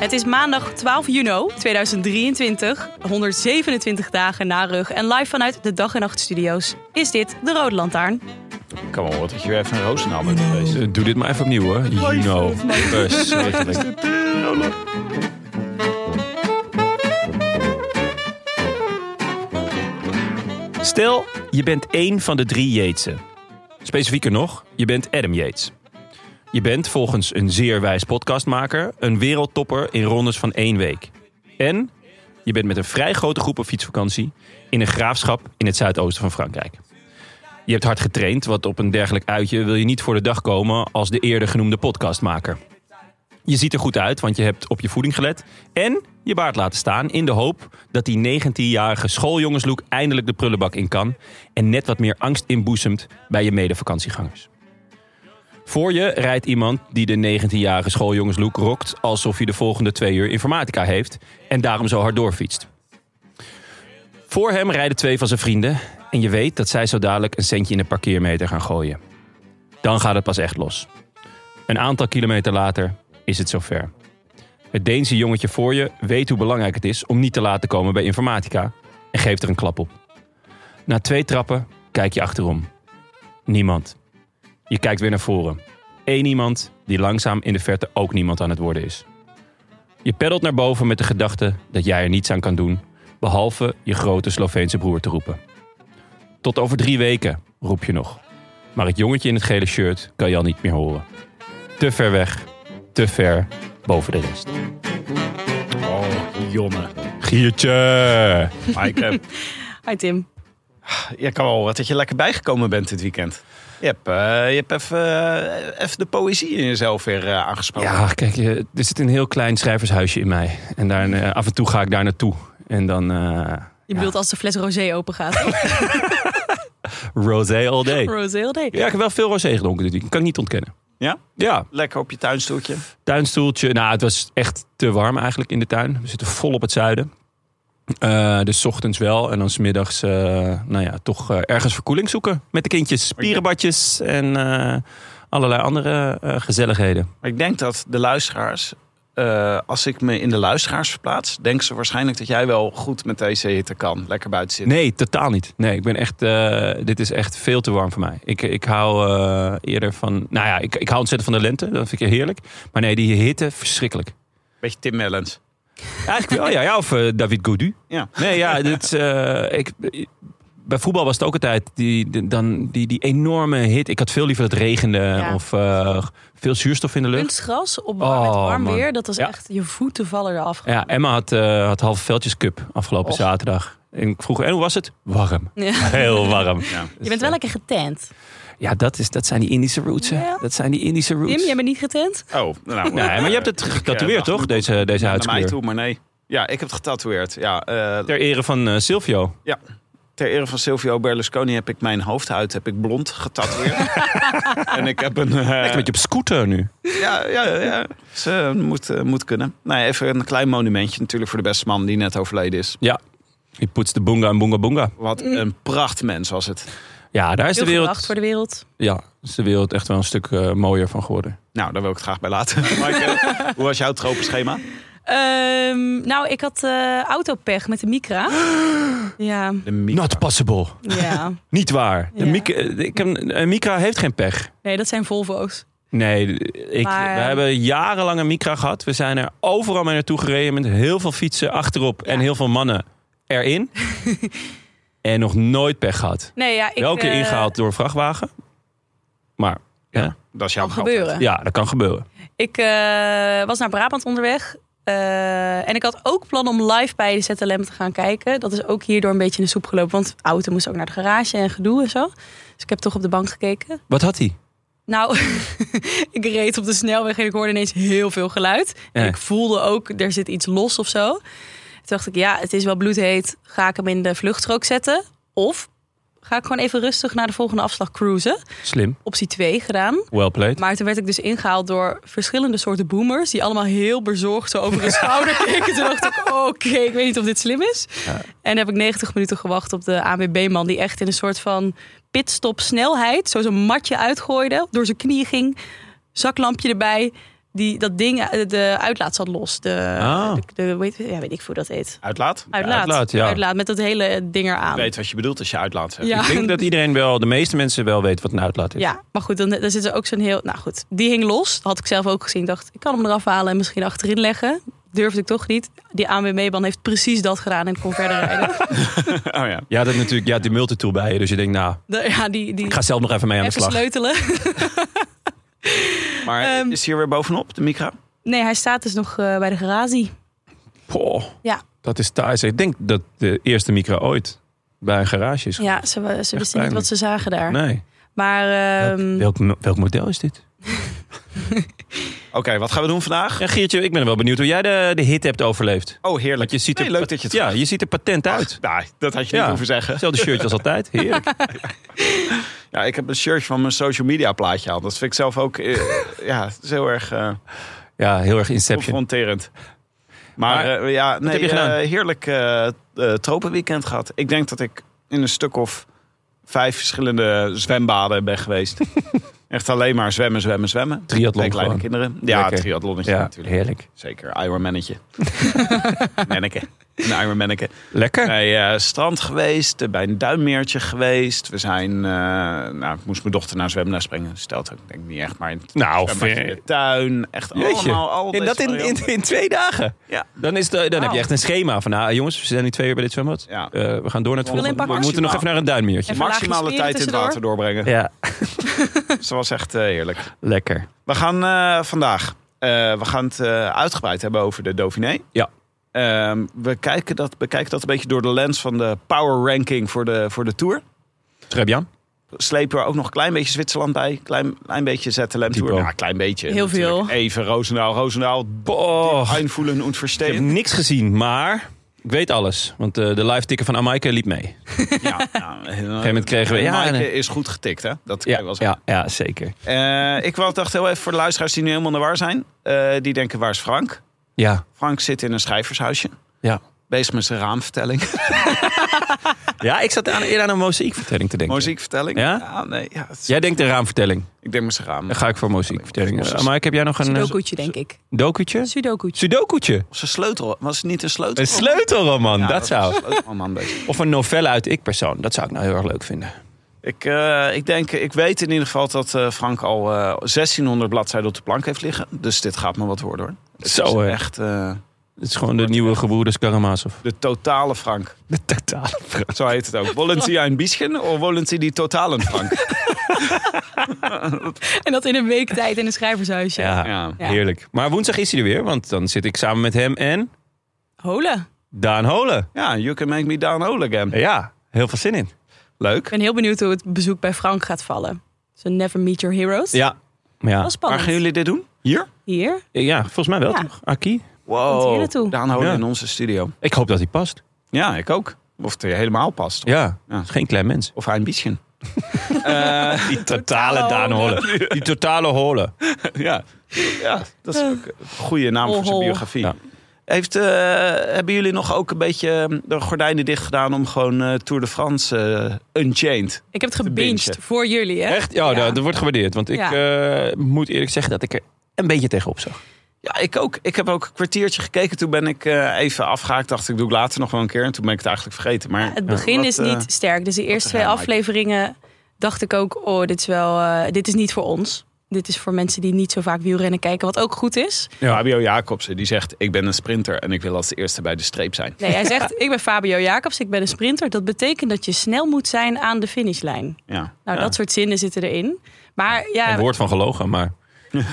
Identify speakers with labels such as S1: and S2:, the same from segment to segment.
S1: Het is maandag 12 juni 2023, 127 dagen na rug en live vanuit de Dag en Nacht Studio's is dit de Rode Lantaarn.
S2: Kan wel hoor, dat je weer even een roosennaam bent geweest.
S3: Eh, Doe dit maar even opnieuw hoor. You know. Verschrikkelijk.
S2: Stel, je bent één van de drie Jeetsen.
S3: Specifieker nog, je bent Adam Yates. Je bent volgens een zeer wijs podcastmaker een wereldtopper in rondes van één week. En je bent met een vrij grote groep op fietsvakantie in een graafschap in het zuidoosten van Frankrijk. Je hebt hard getraind, want op een dergelijk uitje wil je niet voor de dag komen als de eerder genoemde podcastmaker. Je ziet er goed uit, want je hebt op je voeding gelet. En je baard laten staan in de hoop dat die 19-jarige schooljongenslook eindelijk de prullenbak in kan. En net wat meer angst inboezemt bij je medevakantiegangers. Voor je rijdt iemand die de 19-jarige schooljongenslook rokt alsof hij de volgende twee uur informatica heeft. En daarom zo hard doorfietst. Voor hem rijden twee van zijn vrienden. En je weet dat zij zo dadelijk een centje in de parkeermeter gaan gooien. Dan gaat het pas echt los. Een aantal kilometer later is het zover. Het Deense jongetje voor je weet hoe belangrijk het is om niet te laten komen bij informatica en geeft er een klap op. Na twee trappen kijk je achterom. Niemand. Je kijkt weer naar voren. Eén iemand die langzaam in de verte ook niemand aan het worden is. Je peddelt naar boven met de gedachte dat jij er niets aan kan doen, behalve je grote Sloveense broer te roepen. Tot over drie weken, roep je nog. Maar het jongetje in het gele shirt kan je al niet meer horen. Te ver weg, te ver boven de rest.
S2: Oh, jonne.
S3: Giertje!
S2: Maar ik, eh,
S1: Hi Tim.
S2: ja, kan wel wat dat je lekker bijgekomen bent dit weekend. Je hebt, eh, je hebt even, eh, even de poëzie in jezelf weer eh, aangesproken.
S3: Ja, kijk, eh, er zit een heel klein schrijvershuisje in mij. En daar, eh, af en toe ga ik daar naartoe. En dan eh
S1: Je bedoelt als de fles rosé open gaat.
S3: rosé all day.
S1: rosé oh, all day.
S3: Ja, ik heb wel veel rosé gedronken dit weekend. Kan ik niet ontkennen.
S2: Ja?
S3: Ja,
S2: Lekker op je tuinstoeltje.
S3: tuinstoeltje. Nou, het was echt te warm eigenlijk in de tuin. We zitten vol op het zuiden. Eh, dus 's ochtends wel en dan 's middags, eh, nou ja, toch eh, ergens verkoeling zoeken met de kindjes. Spierenbadjes en eh, allerlei andere eh, gezelligheden.
S2: Maar ik denk dat de luisteraars, eh, als ik me in de luisteraars verplaats, denken ze waarschijnlijk dat jij wel goed met deze hitte kan. Lekker buiten zitten.
S3: Nee, totaal niet. Nee, ik ben echt. eh, dit is echt veel te warm voor mij. Ik, ik hou eh, eerder van. Nou ja, ik, ik hou ontzettend van de lente. Dat vind ik heerlijk. Maar nee, die hitte, verschrikkelijk.
S2: Beetje Tim Mellens.
S3: Eigenlijk wel, ja. ja of eh, David Goudu.
S2: Ja.
S3: Nee, ja, dit, is, eh, ik, bij voetbal was het ook altijd die, die- dan, die, die enorme hit. Ik had veel liever dat het regende
S1: Ja.
S3: of eh, veel zuurstof in de lucht.
S1: Kunstgras op
S3: Oh,
S1: met warm
S3: man.
S1: weer, dat was
S3: Ja.
S1: echt je voeten vallen eraf.
S3: Ja, Emma had, eh had halve veldjes cup afgelopen
S2: Och.
S3: zaterdag. En ik vroeg, en hoe was het? Warm.
S1: Ja.
S3: Heel warm.
S2: Ja.
S1: Je bent wel lekker getent.
S3: Ja, dat, is, dat zijn die Indische roots. hè.
S1: Ja.
S3: Dat zijn die Indische roots.
S1: Tim, jij bent niet getent?
S2: Oh, nou.
S3: Nee, maar je hebt het
S2: Ja,
S3: getatoeëerd,
S2: dacht
S3: toch? Deze, deze
S2: naar mij
S3: huidskleur.
S2: toe, maar nee. Ja, ik heb het getatoeëerd. Ja, eh,
S3: Ter ere van eh, Silvio.
S2: ter ere van Silvio Berlusconi heb ik mijn hoofdhuid heb ik blond getatoeëerd. en ik heb een... eh,
S3: Echt een beetje op scooter nu.
S2: ja, ja, ja. Ze moet, eh, moet kunnen. Nee, even een klein monumentje natuurlijk voor de beste man die net overleden is.
S3: Ja. Je poetst de boonga en boonga boonga.
S2: Wat een prachtmens was het.
S3: Ja, daar is
S1: Heel
S3: de
S1: gewacht
S3: wereld,
S1: voor de wereld.
S3: ja, is de wereld echt wel een stuk eh, mooier van geworden.
S2: Nou, daar wil ik het graag bij laten. Maaike, hoe was jouw tropenschema?
S1: Ehm, nou, ik had eh autopech met de Micra. ja,
S2: De micro.
S3: Not possible.
S1: ja.
S3: Niet waar. De
S1: Ja.
S3: Mika, ik heb, eh, Mika eh, heeft geen pech.
S1: Nee, dat zijn Volvo's.
S3: Nee, ik,
S1: Maar-
S3: we hebben jarenlang een Micra gehad. We zijn er overal mee naartoe gereden met heel veel fietsen achterop en
S1: Ja.
S3: heel veel mannen erin. en nog nooit pech gehad.
S1: Nee, ja, ik,
S3: Wel een keer
S1: eh,
S3: ingehaald door een vrachtwagen. Maar
S2: Dat is jouw
S1: Kan
S2: geld.
S1: gebeuren.
S3: ja, dat kan gebeuren.
S1: Ik eh, was naar Brabant onderweg. eh, en ik had ook plan om live bij de ZLM te gaan kijken. Dat is ook hierdoor een beetje in de soep gelopen. Want auto moest ook naar de garage en gedoe en zo. Dus ik heb toch op de bank gekeken.
S3: Wat had hij?
S1: Nou, ik reed op de snelweg en ik hoorde ineens heel veel geluid. En
S3: Ja.
S1: ik voelde ook, er zit iets los of zo. Toen dacht ik, ja, het is wel bloedheet. Ga ik hem in de vluchtstrook zetten? Of ga ik gewoon even rustig naar de volgende afslag cruisen?
S3: Slim.
S1: Optie 2 gedaan.
S3: Well played.
S1: Maar toen werd ik dus ingehaald door verschillende soorten boomers. Die allemaal heel bezorgd zo over hun schouder keken. Toen dacht ik, oké, ik weet niet of dit slim is. En heb ik 90 minuten gewacht op de ANWB-man. Die echt in een soort van pitstop snelheid. Zo zijn matje uitgooide. Door zijn knieën ging. Zaklampje erbij. Die, dat ding, eh, de uitlaat zat los. De,
S3: Ah.
S1: de, de- hoe heet- ja, weet ik hoe dat heet.
S2: Uitlaat?
S1: Uitlaat.
S3: uitlaat, ja.
S1: Uitlaat, met dat hele ding
S2: Ik
S1: eraan.
S2: weet wat je bedoelt als je uitlaat zegt.
S1: Ja.
S3: Ik denk dat iedereen wel, de meeste mensen wel weten wat een uitlaat is.
S1: Ja, maar goed, dan, dan zit er ook zo'n heel... Nou goed, die hing los. Dat had ik zelf ook gezien. Ik dacht, ik kan hem eraf halen en misschien achterin leggen. Durfde ik toch niet. Die ANWB-man heeft precies dat gedaan en ik kon verder rijden.
S2: Oh ja.
S3: Je had het natuurlijk, ja, die multitool bij je. Dus je denkt, nou,
S1: De- ja, die, die
S3: ik ga zelf nog even mee aan de
S1: even
S3: slag.
S1: sleutelen.
S2: Maar
S1: Ehm,
S2: is hier weer bovenop, de micra?
S1: Nee, hij staat dus nog eh, bij de garage.
S3: Poh,
S1: Ja.
S3: Dat is thuis. Ik denk dat de eerste micro ooit bij een garage is.
S1: Ja, ze, ze wisten niet
S3: pijnlijk.
S1: wat ze zagen daar.
S3: Nee.
S1: Maar ehm,
S3: Mm. Welk, welk, welk model is dit?
S2: Oké, wat gaan we doen vandaag?
S3: Ja, Geertje, ik ben wel benieuwd hoe jij de, de hit hebt overleefd.
S2: Oh,
S3: Want
S2: heerlijk.
S3: je ziet er,
S2: Nee, leuk dat je het
S3: Ja,
S2: vraagt.
S3: je ziet er patent uit.
S2: Nou, dat had je
S3: Ja.
S2: niet hoeven zeggen.
S3: Hetzelfde shirtje als altijd. Heerlijk.
S2: Ja, ik heb een shirtje van mijn social media plaatje aan. Dat vind ik zelf ook eh, ja, het is heel erg eh,
S3: Ja, heel erg Inception.
S2: confronterend. Maar,
S3: Maar,
S2: eh, ja, nee,
S3: heb je gedaan?
S2: eh, heerlijk eh, eh, tropenweekend gehad. Ik denk dat ik in een stuk of vijf verschillende zwembaden ben geweest. Echt alleen maar zwemmen, zwemmen, zwemmen.
S3: Triathlon
S2: Met kleine
S3: gewoon.
S2: kinderen. Ja,
S3: Lekker.
S2: triathlonnetje
S3: Ja,
S2: natuurlijk.
S3: heerlijk.
S2: Zeker, Ironmannetje. manneke. Een Ironmanneke.
S3: Lekker.
S2: Bij eh, strand geweest, eh, bij een duimmeertje geweest. We zijn, eh, nou, ik moest mijn dochter naar zwemles brengen. Stelt ook, denk ik niet echt, maar in het
S3: Nou,
S2: zwembadje in
S3: ver-
S2: de tuin. Echt
S3: Jeetje.
S2: allemaal, al
S3: En dat
S2: deze
S3: in, in,
S2: varianten.
S3: in twee dagen.
S2: Ja.
S3: Dan, is de, dan heb je echt een schema van, nou jongens, we zijn nu twee uur bij dit zwembad.
S2: Ja.
S3: Eh, we gaan door naar het
S2: Wil
S3: volgende.
S1: inpakken?
S3: We moeten nog even naar een duinmeertje.
S1: Even
S2: Maximale
S1: laagje
S2: tijd in het
S1: tussendoor.
S2: water doorbrengen.
S3: Ja,
S2: Dus dat was echt eh, heerlijk.
S3: lekker.
S2: We gaan eh, vandaag, eh, we gaan het eh, uitgebreid hebben over de Dauphiné.
S3: Ja.
S2: Ehm, we kijken dat, bekijken dat een beetje door de lens van de power ranking voor de, voor de Tour.
S3: Trebjan?
S2: slepen we ook nog een klein beetje Zwitserland bij. Klein, klein beetje ZLM Tour.
S3: Typo.
S2: Ja, klein beetje.
S1: Heel
S2: natuurlijk.
S1: veel.
S2: Even Roosendaal, Roosendaal.
S3: Boah.
S2: Einvoelen en
S3: Oh. Ik heb
S2: verstehen.
S3: niks gezien, maar ik weet alles. Want eh, de live ticker van Amaike liep mee.
S2: Ja, nou, op een gegeven
S3: moment kregen we- ja, nee.
S2: is goed getikt, hè? Dat kan je
S3: Ja,
S2: wel zeggen.
S3: ja, ja zeker.
S2: Eh, ik wel dacht heel even voor de luisteraars die nu helemaal naar waar zijn. eh, die denken, waar is Frank?
S3: Ja,
S2: Frank zit in een schrijvershuisje.
S3: ja.
S2: Bezig met zijn raamvertelling.
S3: Ja, ik zat aan, eerder aan een mozaïekvertelling te denken.
S2: Muziekvertelling.
S3: Ja?
S2: nee, ja, het is-
S3: Jij denkt een raamvertelling.
S2: Ik denk met zijn raam.
S3: Dan ga ik voor mozaïekvertelling. Eh, maar ik heb jij nog een eh,
S1: sudoku'tje, denk ik.
S3: dokutje?
S1: Sudoku'tje.
S3: Sudoku'tje.
S2: Zijn sleutel. Was het niet een sleutel?
S3: Een sleutelroman,
S2: Ja,
S3: Oh. dat
S2: was een
S3: zou.
S2: sleutelman bezig.
S3: Of een novelle uit ik persoon. Dat zou ik nou heel erg leuk vinden.
S2: Ik, eh, ik denk, ik weet in ieder geval dat eh, Frank al eh, 1600 bladzijden op de plank heeft liggen. Dus dit gaat me wat worden hoor. Het
S3: Zo,
S2: is
S3: hè.
S2: echt eh,
S3: Het is gewoon de nieuwe gewoerders Karamazov.
S2: de totale Frank.
S3: De totale
S2: Zo heet het ook. Wollen ze een bisschen of wollen ze die totalen Frank?
S1: En dat in een week tijd in een schrijvershuisje.
S3: Ja,
S2: Ja.
S1: Ja.
S3: heerlijk. Maar woensdag is hij er weer, want dan zit ik samen met hem en
S1: Holen.
S3: Daan Holen.
S2: Ja, you can make me down all again.
S3: Ja, heel veel zin in.
S2: Leuk.
S1: Ik ben heel benieuwd hoe het bezoek bij Frank gaat vallen. Zo Never Meet Your Heroes.
S3: Ja.
S1: Wel
S3: Ja,
S2: Waar
S1: spannend.
S2: gaan jullie dit doen? Hier?
S1: Hier.
S3: ja volgens mij wel
S1: Ja.
S3: toch? Aki?
S1: Komt hier
S2: Wow.
S1: naartoe.
S2: Daan houden
S3: Ja.
S2: in onze studio.
S3: Ik hoop dat hij past.
S2: Ja, ik ook. Of het helemaal past.
S3: Ja,
S2: Ja.
S3: is geen klein mens.
S2: Of een bisschen.
S3: Die totale Daan Holle. Die totale Holle.
S2: ja. ja, dat is ook een goede naam voor zijn
S1: Hol, hol.
S2: biografie.
S3: Ja.
S2: Heeft, eh, hebben jullie nog ook een beetje eh, de gordijnen dicht gedaan om gewoon eh, Tour de France eh, Unchained?
S1: Ik heb het
S2: bingen.
S1: gebinged voor jullie, hè?
S3: Echt? Ja, Dat, dat wordt gewaardeerd. Want ik eh, moet eerlijk zeggen dat ik er een beetje tegenop zag.
S2: Ja, ik ook. Ik heb ook een kwartiertje gekeken. Toen ben ik eh, even afgehaakt. Dacht ik, doe ik later nog wel een keer. En toen ben ik het eigenlijk vergeten. Maar
S1: Het begin
S2: wat,
S1: is
S2: eh,
S1: niet sterk. Dus de eerste twee
S2: raar, Mike.
S1: afleveringen dacht ik ook, oh, dit is wel, eh, dit is niet voor ons. dit is voor mensen die niet zo vaak wielrennen kijken, wat ook goed is.
S2: Fabio Jacobsen die zegt: Ik ben een sprinter en ik wil als eerste bij de streep zijn.
S1: Nee, hij zegt, ik ben Fabio Jacobs, ik ben een sprinter. Dat betekent dat je snel moet zijn aan de finishlijn.
S2: Ja.
S1: Nou,
S3: Ja.
S1: dat soort zinnen zitten erin. Maar
S3: Een
S1: ja,
S3: woord van gelogen, maar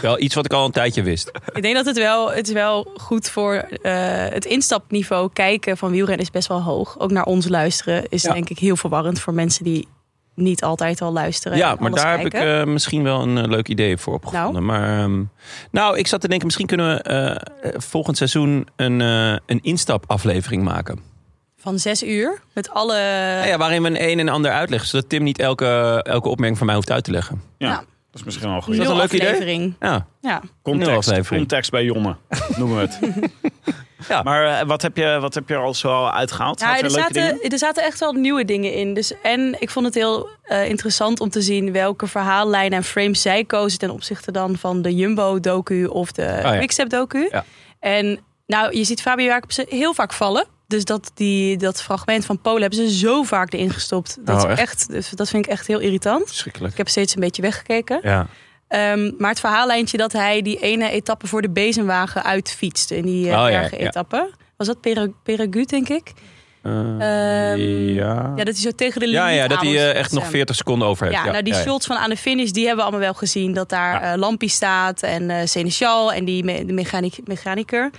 S3: wel iets wat ik al een tijdje wist.
S1: ik denk dat het wel, het is wel goed voor eh, het instapniveau kijken van wielrennen is best wel hoog. Ook naar ons luisteren is
S3: Ja.
S1: denk ik heel verwarrend voor mensen die niet altijd al luisteren. en
S3: Ja, maar
S1: alles
S3: daar
S1: kijken.
S3: heb ik eh, misschien wel een eh, leuk idee voor opgevonden. Maar, ehm, nou, ik zat te denken, misschien kunnen we eh, eh, volgend seizoen een, eh, een instapaflevering maken.
S1: Van zes uur met alle.
S3: Nou ja, waarin we een een en ander uitleggen, zodat Tim niet elke, elke opmerking van mij hoeft uit te leggen.
S2: Ja.
S1: Nou.
S2: Dat is misschien wel een
S1: nul
S2: goede.
S3: dat een leuk idee?
S1: aflevering.
S3: Ja,
S1: Ja.
S3: Nul
S2: Context,
S3: aflevering.
S2: context bij Jonne, noemen we het.
S3: Ja.
S2: Maar eh, wat, heb je, wat heb je al zo uitgehaald? Had
S1: Ja,
S2: je
S1: er,
S2: leuke dingen?
S1: zaten, er zaten echt wel nieuwe dingen in. Dus, en ik vond het heel eh, interessant om te zien welke verhaallijnen en frames zij kozen ten opzichte dan van de Jumbo-docu of de
S3: Ah, ja.
S1: Quickstep-docu.
S3: Ja.
S1: En nou, je ziet Fabio Jacobsen heel vaak vallen. Dus dat, die, dat fragment van Polen hebben ze zo vaak erin gestopt. Dat,
S3: Oh,
S1: is
S3: echt?
S1: echt? dus dat vind ik echt heel irritant.
S3: verschrikkelijk.
S1: Ik heb steeds een beetje weggekeken.
S3: Ja.
S1: Ehm, maar het verhaallijntje dat hij die ene etappe voor de bezemwagen uitfietste. In die eh,
S3: Oh, ja,
S1: bergen
S3: ja.
S1: etappe. Was dat Pere- Peragut, denk ik?
S3: Eh,
S1: Ehm,
S3: ja.
S1: Ja, dat hij zo tegen de
S3: Ja,
S1: limiet
S3: ja, dat
S1: aan
S3: hij
S1: was.
S3: eh, echt nog
S1: Ja.
S3: 40 seconden over heeft.
S1: Ja, nou die shots van aan de finish, die hebben we allemaal wel gezien. Dat daar eh Lampie staat en eh Seneschal en die me- de mechaniek, mechaniker.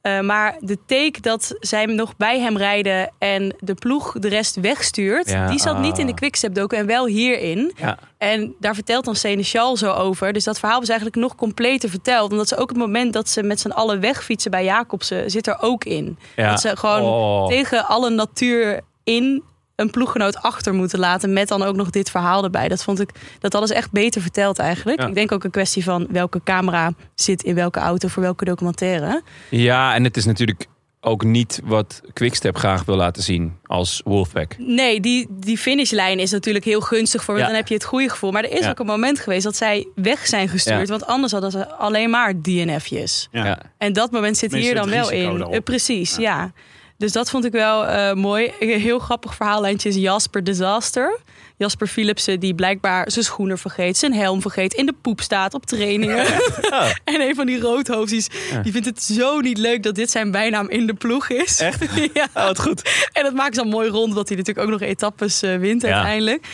S1: Eh, maar de take dat zij hem nog bij hem rijden en de ploeg de rest wegstuurt...
S3: Ja,
S1: die zat
S3: ah.
S1: niet in de quickstep-docu en wel hierin.
S3: Ja.
S1: En daar vertelt dan Seneschal zo over. Dus dat verhaal is eigenlijk nog completer verteld. Omdat ze ook het moment dat ze met z'n allen wegfietsen bij Jacobsen... zit er ook in.
S3: Ja.
S1: Dat ze gewoon
S3: Oh.
S1: tegen alle natuur in een ploeggenoot achter moeten laten. Met dan ook nog dit verhaal erbij. Dat vond ik dat alles echt beter verteld eigenlijk.
S3: Ja.
S1: Ik denk ook een kwestie van welke camera zit in welke auto voor welke documentaire.
S3: Ja, en het is natuurlijk ook niet wat Quickstep graag wil laten zien als Wolfpack.
S1: Nee, die, die finishlijn is natuurlijk heel gunstig voor. Want
S3: Ja.
S1: dan heb je het goede gevoel. Maar er is
S3: Ja.
S1: ook een moment geweest dat zij weg zijn gestuurd.
S3: Ja.
S1: Want anders hadden ze alleen maar DNF'jes.
S2: Ja.
S3: Ja.
S1: En dat moment zit
S2: Tenminste,
S1: hier dan
S2: het
S1: wel
S2: risico
S1: in.
S2: daarop.
S1: Eh, precies, ja. Dus dat vond ik wel eh, mooi. Een heel grappig verhaallijntje is Jasper Disaster. Jasper Philipsen die blijkbaar zijn schoenen vergeet, zijn helm vergeet, in de poep staat op trainingen. en een van die roodhoofdies, die vindt het zo niet leuk dat dit zijn bijnaam in de ploeg is. Echt? ja. wat goed. En dat maakt ze dan mooi rond, dat hij natuurlijk ook nog etappes eh, wint
S3: Ja.
S1: uiteindelijk.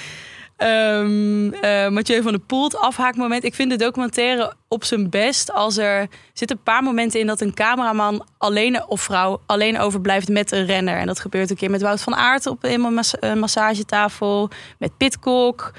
S1: Ehm eh, Mathieu van der Poel, het afhaakmoment. Ik vind de documentaire op zijn best als er zitten een paar momenten in dat een cameraman alleen of vrouw alleen overblijft met een renner. En dat gebeurt een keer met Wout van Aert op een mas- een massagetafel, met Pitcock,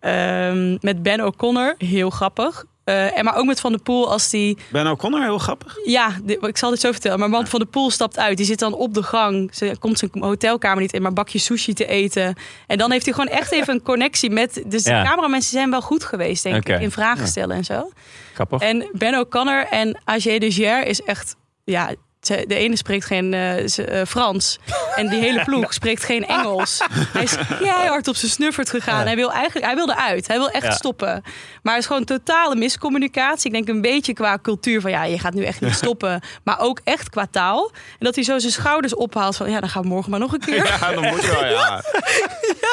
S1: ehm, met Ben O'Connor. Heel grappig. Eh, en maar ook met Van der Poel als die
S2: Ben O'Connor, heel grappig.
S1: ja, di- ik zal dit zo vertellen. Maar man van de Poel stapt uit. Die zit dan op de gang. Ze komt zijn hotelkamer niet in, maar bakje sushi te eten. En dan heeft hij gewoon echt even een connectie met... Dus
S3: Ja.
S1: de cameramensen zijn wel goed geweest, denk
S3: Oké.
S1: ik. In vragen stellen en zo.
S3: Grappig.
S1: En Ben O'Connor en AJ de Gier is echt... Ja, ze- de ene spreekt geen eh, ze- eh, Frans. En die hele ploeg spreekt geen Engels. Hij is keihard op zijn snuffert gegaan. Hij, wil eigenlijk, hij wilde uit. Hij wil echt
S3: Ja.
S1: stoppen. Maar het is gewoon totale miscommunicatie. Ik denk een beetje qua cultuur van... ja, je gaat nu echt niet stoppen. Maar ook echt qua taal. En dat hij zo zijn schouders ophaalt van... ja, dan gaan we morgen maar nog een keer.
S2: Ja, dan moet je wel, ja.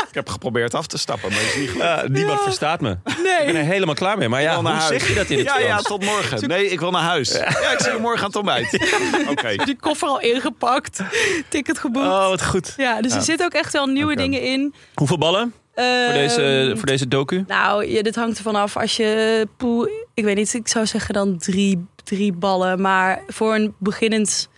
S2: Ik heb geprobeerd af te stappen, maar het is niet goed.
S3: Ja, Eh, niemand verstaat me. Ik ben
S1: Nee.
S3: er helemaal klaar mee. Maar ja,
S2: Ik wil
S3: hoe
S2: naar huis.
S3: zeg je dat in het
S2: ja, ja,
S3: Frans?
S2: tot morgen. Nee, ik wil naar huis. Ja, ik zie je morgen aan het ontbijt. Oké.
S1: Die koffer al ingepakt. Ticket geboekt.
S3: Oh, wat goed.
S1: Ja, dus er zitten ook echt wel nieuwe
S3: Oké.
S1: dingen in.
S3: Hoeveel ballen voor deze,
S1: Ehm,
S3: voor deze docu?
S1: Nou, ja, dit hangt ervan af. Als je poe, ik weet niet, ik zou zeggen dan drie, drie ballen. Maar voor een beginnend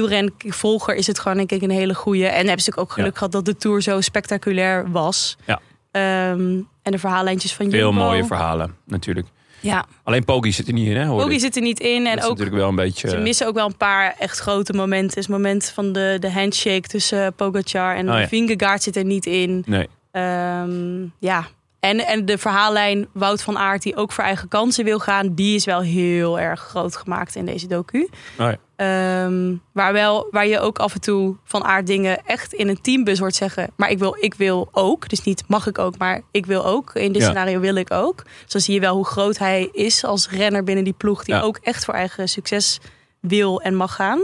S1: wielrenvolger is het gewoon denk ik een hele goeie. En hebben ze natuurlijk ook geluk
S3: Ja.
S1: gehad dat de Tour zo spectaculair was.
S3: Ja.
S1: Ehm, en de verhaallijntjes van
S3: Veel
S1: Jumbo.
S3: mooie verhalen, natuurlijk.
S1: Ja,
S3: Alleen Pogi zit er niet in, hè? hoor
S1: Pogi
S3: ik.
S1: zit er niet in.
S3: Dat
S1: En
S3: is
S1: ook,
S3: natuurlijk eh, wel een beetje...
S1: ze missen ook wel een paar echt grote momenten. Dus het moment van de, de handshake tussen Pogacar en
S3: Oh ja.
S1: Vingegaard zit er niet in.
S3: Nee.
S1: Ehm, ja. En, en de verhaallijn Wout van Aert, die ook voor eigen kansen wil gaan, die is wel heel erg groot gemaakt in deze docu.
S3: Oh ja.
S1: Ehm, waar, wel, waar je ook af en toe van Aert dingen echt in een teambus hoort zeggen. Maar ik wil, ik wil ook. Dus niet mag ik ook, maar ik wil ook. In dit
S3: Ja.
S1: scenario wil ik ook. Dus dan zie je wel hoe groot hij is als renner binnen die ploeg. Die
S3: Ja.
S1: ook echt voor eigen succes wil en mag gaan.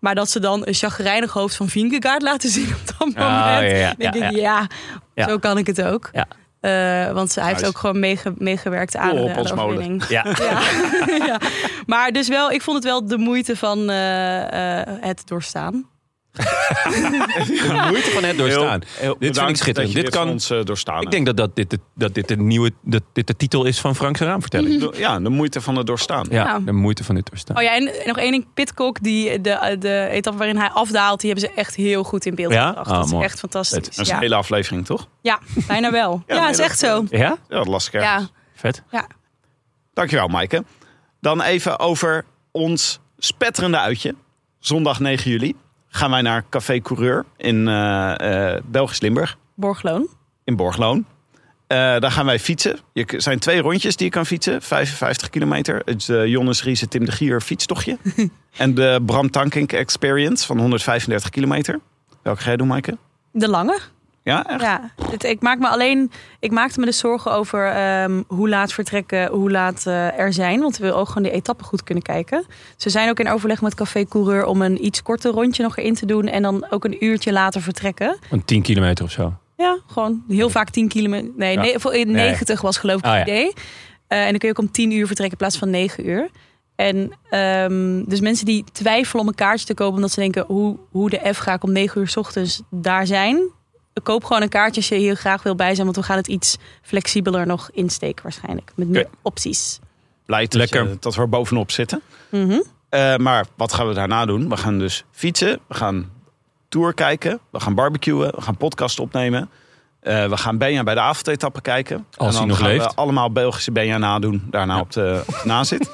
S1: Maar dat ze dan een chagrijnig hoofd van Vingegaard laten zien op dat moment.
S3: Ah, ja, ja,
S1: denk
S3: ja,
S1: ik, ja,
S3: Ja.
S1: zo kan ik het ook.
S3: Ja.
S1: Eh, want hij heeft
S2: Nice.
S1: ook gewoon meege- meegewerkt aan,
S2: Kool op
S1: de- aan
S2: ons
S1: de
S2: molen.
S1: overwinning.
S3: Ja.
S1: Ja. ja. Maar dus wel, ik vond het wel de moeite van eh, eh, het doorstaan.
S3: De moeite van het doorstaan. dit vind ik
S2: bedankt dat
S3: schitterend.
S2: je
S3: Dit kan,
S2: voor ons eh, doorstaan.
S3: ik denk dat, dat, dit, de- dat dit de nieuwe dat dit de titel is van Frank's raamvertelling.
S2: hebt. Ja, de moeite van het doorstaan.
S3: Ja,
S1: Ja.
S3: de moeite van dit doorstaan.
S1: Oh ja, en, en nog één ding. Pitcock, die, de, de etappe waarin hij afdaalt, die hebben ze echt heel goed in beeld
S3: Ja?
S1: gebracht.
S3: Ah,
S1: dat is
S3: mooi.
S1: echt fantastisch.
S2: Dat is
S1: Ja.
S2: een hele aflevering, toch?
S1: ja, bijna wel. Ja,
S2: nee,
S1: is
S2: dat-
S1: echt zo.
S3: Ja?
S2: Ja, dat las ik ergens.
S1: Ja.
S3: Vet.
S2: Dankjewel, Maaike. Dan even over ons spetterende uitje. Zondag 9 juli gaan wij naar Café Coureur in eh, eh, Belgisch-Limburg,
S1: Borgloon.
S2: in Borgloon. Eh, daar gaan wij fietsen. Je k- Er zijn twee rondjes die je kan fietsen, 55 kilometer. Het is, eh, Jonas Ries en Tim de Gier fietstochtje. en de Bram Tankink Experience van 135 kilometer. Welke ga je doen, Maaike?
S1: De Lange.
S2: Ja, echt?
S1: Ja, het, ik, maak me alleen, ik maakte me dus zorgen over ehm, hoe laat vertrekken, hoe laat eh, er zijn. Want we willen ook gewoon die etappen goed kunnen kijken. Ze zijn ook in overleg met Café Coureur om een iets korter rondje nog erin te doen. En dan ook een uurtje later vertrekken.
S3: Een 10 kilometer of zo.
S1: Ja, gewoon heel vaak 10 kilometer. Nee,
S3: Ja.
S1: ne- voor- in
S3: Nee.
S1: 90 was geloof ik
S3: Ah,
S1: het
S3: ja.
S1: idee. Eh, en dan kun je ook om 10 uur vertrekken in plaats van 9 uur. En ehm, dus mensen die twijfelen om een kaartje te kopen, omdat ze denken: hoe, hoe de F ga ik om 9 uur 's ochtends daar zijn? Koop gewoon een kaartje als je hier graag wil bij zijn, want we gaan het iets flexibeler nog insteken, waarschijnlijk. Met meer
S2: Oké.
S1: opties.
S2: Blij dat,
S3: Lekker.
S2: je- dat we er bovenop zitten.
S1: Mhm.
S2: Eh, maar wat gaan we daarna doen? We gaan dus fietsen, we gaan tour kijken, we gaan barbecuen, we gaan podcast opnemen. Eh, we gaan Benja bij de avondetappen kijken.
S3: Als
S2: en dan
S3: hij nog
S2: gaan
S3: leeft.
S2: we allemaal Belgische Benja nadoen, daarna op de na zit.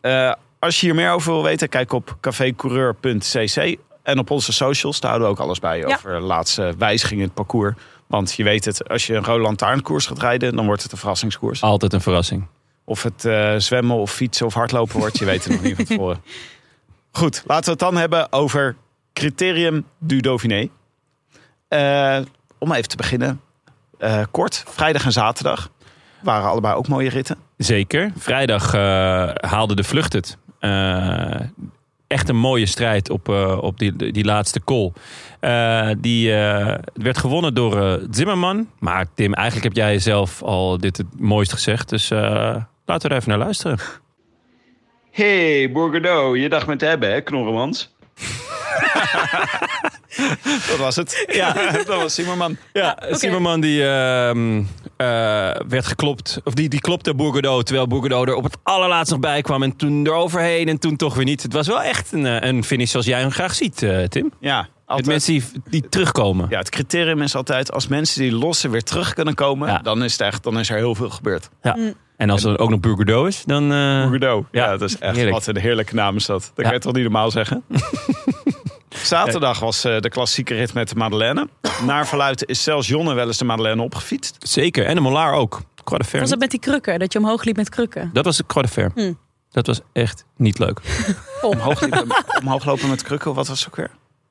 S2: Eh, als je hier meer over wil weten, kijk op cafécoureur.cc. En op onze socials, daar houden we ook alles bij
S1: Ja.
S2: over de laatste wijzigingen in het parcours. Want je weet het, als je een rode lantaarnkoers gaat rijden, dan wordt het een verrassingskoers.
S3: Altijd een verrassing.
S2: Of het eh, zwemmen of fietsen of hardlopen wordt. Je weet het nog niet van tevoren. Goed, laten we het dan hebben over criterium du Dauphiné. Eh, om even te beginnen. eh, kort, vrijdag en zaterdag waren allebei ook mooie ritten.
S3: Zeker. Vrijdag eh, haalde de vlucht het. Eh, echt een mooie strijd op, eh, op die, die, die laatste call. Eh, die eh, werd gewonnen door eh, Zimmerman. Maar Tim, eigenlijk heb jij zelf al dit het mooist gezegd. Dus eh, laten we er even naar luisteren.
S2: Hey, Bourgodo, je dag met hebben, hè, Knorremans? dat was het. Ja, dat was Simmerman.
S3: Ja, Zimmerman die ehm, eh, werd geklopt. Of die, die klopte Bourgodeau. Terwijl Bourgodeau er op het allerlaatst nog bij kwam. En toen eroverheen en toen toch weer niet. Het was wel echt een, eh, een finish zoals jij hem graag ziet, eh, Tim.
S2: Ja,
S3: Met
S2: altijd.
S3: mensen die, die terugkomen.
S2: ja, het criterium is altijd als mensen die lossen weer terug kunnen komen,
S3: Ja.
S2: dan is het echt, dan is er heel veel gebeurd.
S3: Ja. En als er ook nog Burgerdo is, dan... eh,
S2: Bordeaux. Ja,
S3: Ja,
S2: dat is echt
S3: heerlijk.
S2: wat een heerlijke naam is dat. Dat
S3: Ja.
S2: kan je toch niet normaal zeggen? Zaterdag was eh, de klassieke rit met de Madeleine. Naar verluidt is zelfs Jonne wel eens de Madeleine opgefietst.
S3: zeker. En de Molaar ook. Croix de Fer
S1: Was dat
S3: niet.
S1: met die krukken, dat je omhoog liep met krukken?
S3: Dat was de Croix de Fer.
S1: Hm.
S3: Dat was echt niet leuk.
S2: Omhoog, liepen- omhoog lopen met krukken, wat was het ook weer?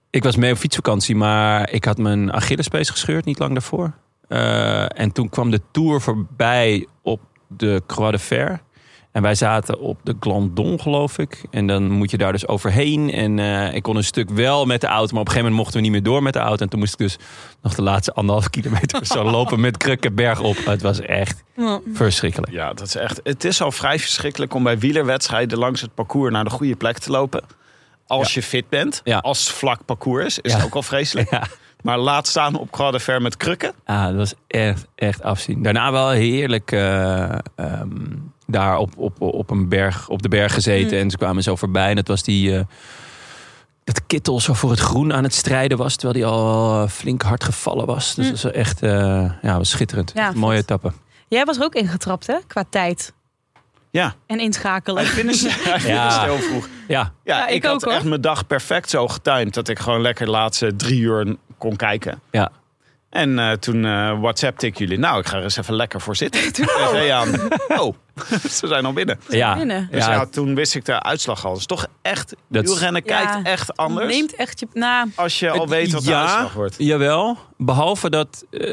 S3: Ik was mee op fietsvakantie, maar ik had mijn Achillespees gescheurd niet lang daarvoor. Eh, en toen kwam de Tour voorbij op de Croix de Fer. En wij zaten op de Glandon, geloof ik. En dan moet je daar dus overheen. En eh, ik kon een stuk wel met de auto, maar op een gegeven moment mochten we niet meer door met de auto. En toen moest ik dus nog de laatste anderhalf kilometer of zo lopen met krukken bergop. Het was echt verschrikkelijk.
S2: Ja, dat is echt. Het is al vrij verschrikkelijk om bij wielerwedstrijden langs het parcours naar de goede plek te lopen. Als je fit bent,
S3: Ja.
S2: als het vlak parcours is, is
S3: Ja.
S2: het ook al vreselijk.
S3: Ja.
S2: Maar laat staan op Croix de Fer met krukken.
S3: Ah, dat was echt, echt afzien. Daarna wel heerlijk eh, ehm, daar op, op, op, een berg, op de berg gezeten.
S1: Mm.
S3: En ze kwamen zo voorbij. En dat was die... eh, dat Kittel zo voor het groen aan het strijden was. Terwijl hij al eh, flink hard gevallen was. Dus
S1: Mm.
S3: dat was echt eh, ja, was schitterend.
S1: Ja,
S3: Echt een mooie
S1: vet.
S3: etappe.
S1: Jij was er ook ingetrapt, hè? Qua tijd
S2: Ja,
S1: en inschakelen.
S2: hij finishte hij
S3: Ja.
S2: finishte heel vroeg.
S3: Ja,
S2: Ja,
S1: Ja,
S2: ik,
S1: ik
S2: had
S1: ook, hoor.
S2: echt mijn dag perfect zo getimed dat ik gewoon lekker de laatste drie uur kon kijken.
S3: ja.
S2: En eh, toen eh WhatsAppte ik jullie, nou, ik ga er eens even lekker voor zitten. TV aan. Oh, ze zijn al binnen.
S3: ja.
S1: binnen.
S2: Dus ja.
S3: ja,
S2: toen wist ik de uitslag al. Dus toch echt,
S3: Dat is-
S2: wielrennen
S1: Ja.
S2: kijkt echt anders
S1: Neemt echt je... Nou,
S2: als je al weet wat de
S3: Ja.
S2: uitslag wordt.
S3: Jawel, behalve dat eh,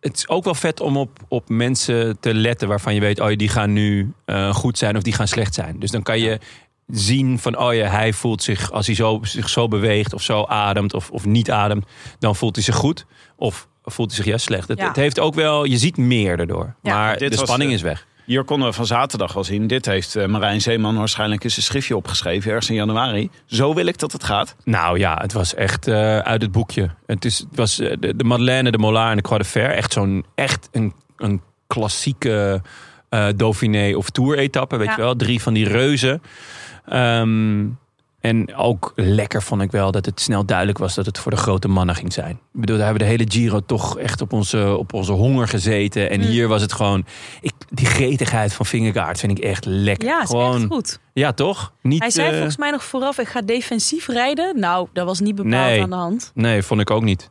S3: het is ook wel vet om op, op mensen te letten waarvan je weet, oh ja, die gaan nu eh, goed zijn of die gaan slecht zijn. Dus dan kan je zien van, oh ja, hij voelt zich, als hij zo, zich zo beweegt of zo ademt of, of niet ademt, dan voelt hij zich goed. Of voelt hij zich juist slecht. Het,
S1: Ja.
S3: het heeft ook wel, je ziet meer daardoor.
S1: Ja.
S3: Maar
S2: Dit
S3: de
S2: was,
S3: spanning
S2: eh,
S3: is weg.
S2: Hier konden we van zaterdag al zien. Dit heeft eh, Marijn Zeeman waarschijnlijk eens een schriftje opgeschreven. Ergens in januari. Zo wil ik dat het gaat.
S3: Nou ja, het was echt eh, uit het boekje. Het, is, het was eh, de, de Madeleine, de Mola en de Croix de Fer. Echt zo'n, echt een, een klassieke eh Dauphiné of Tour-etappe, weet
S1: Ja.
S3: je wel. Drie van die reuzen. Ehm, en ook lekker vond ik wel dat het snel duidelijk was dat het voor de grote mannen ging zijn. Ik bedoel, daar hebben we de hele Giro toch echt op onze, op onze honger gezeten. En
S1: Mm.
S3: hier was het gewoon... Ik, die gretigheid van Vingegaard vind ik echt lekker.
S1: Ja, is
S3: gewoon,
S1: echt goed.
S3: Ja, toch? Niet,
S1: Hij zei
S3: eh,
S1: volgens mij nog vooraf, ik ga defensief rijden. Nou, dat was niet bepaald
S3: Nee.
S1: aan de hand.
S3: Nee, vond ik ook niet.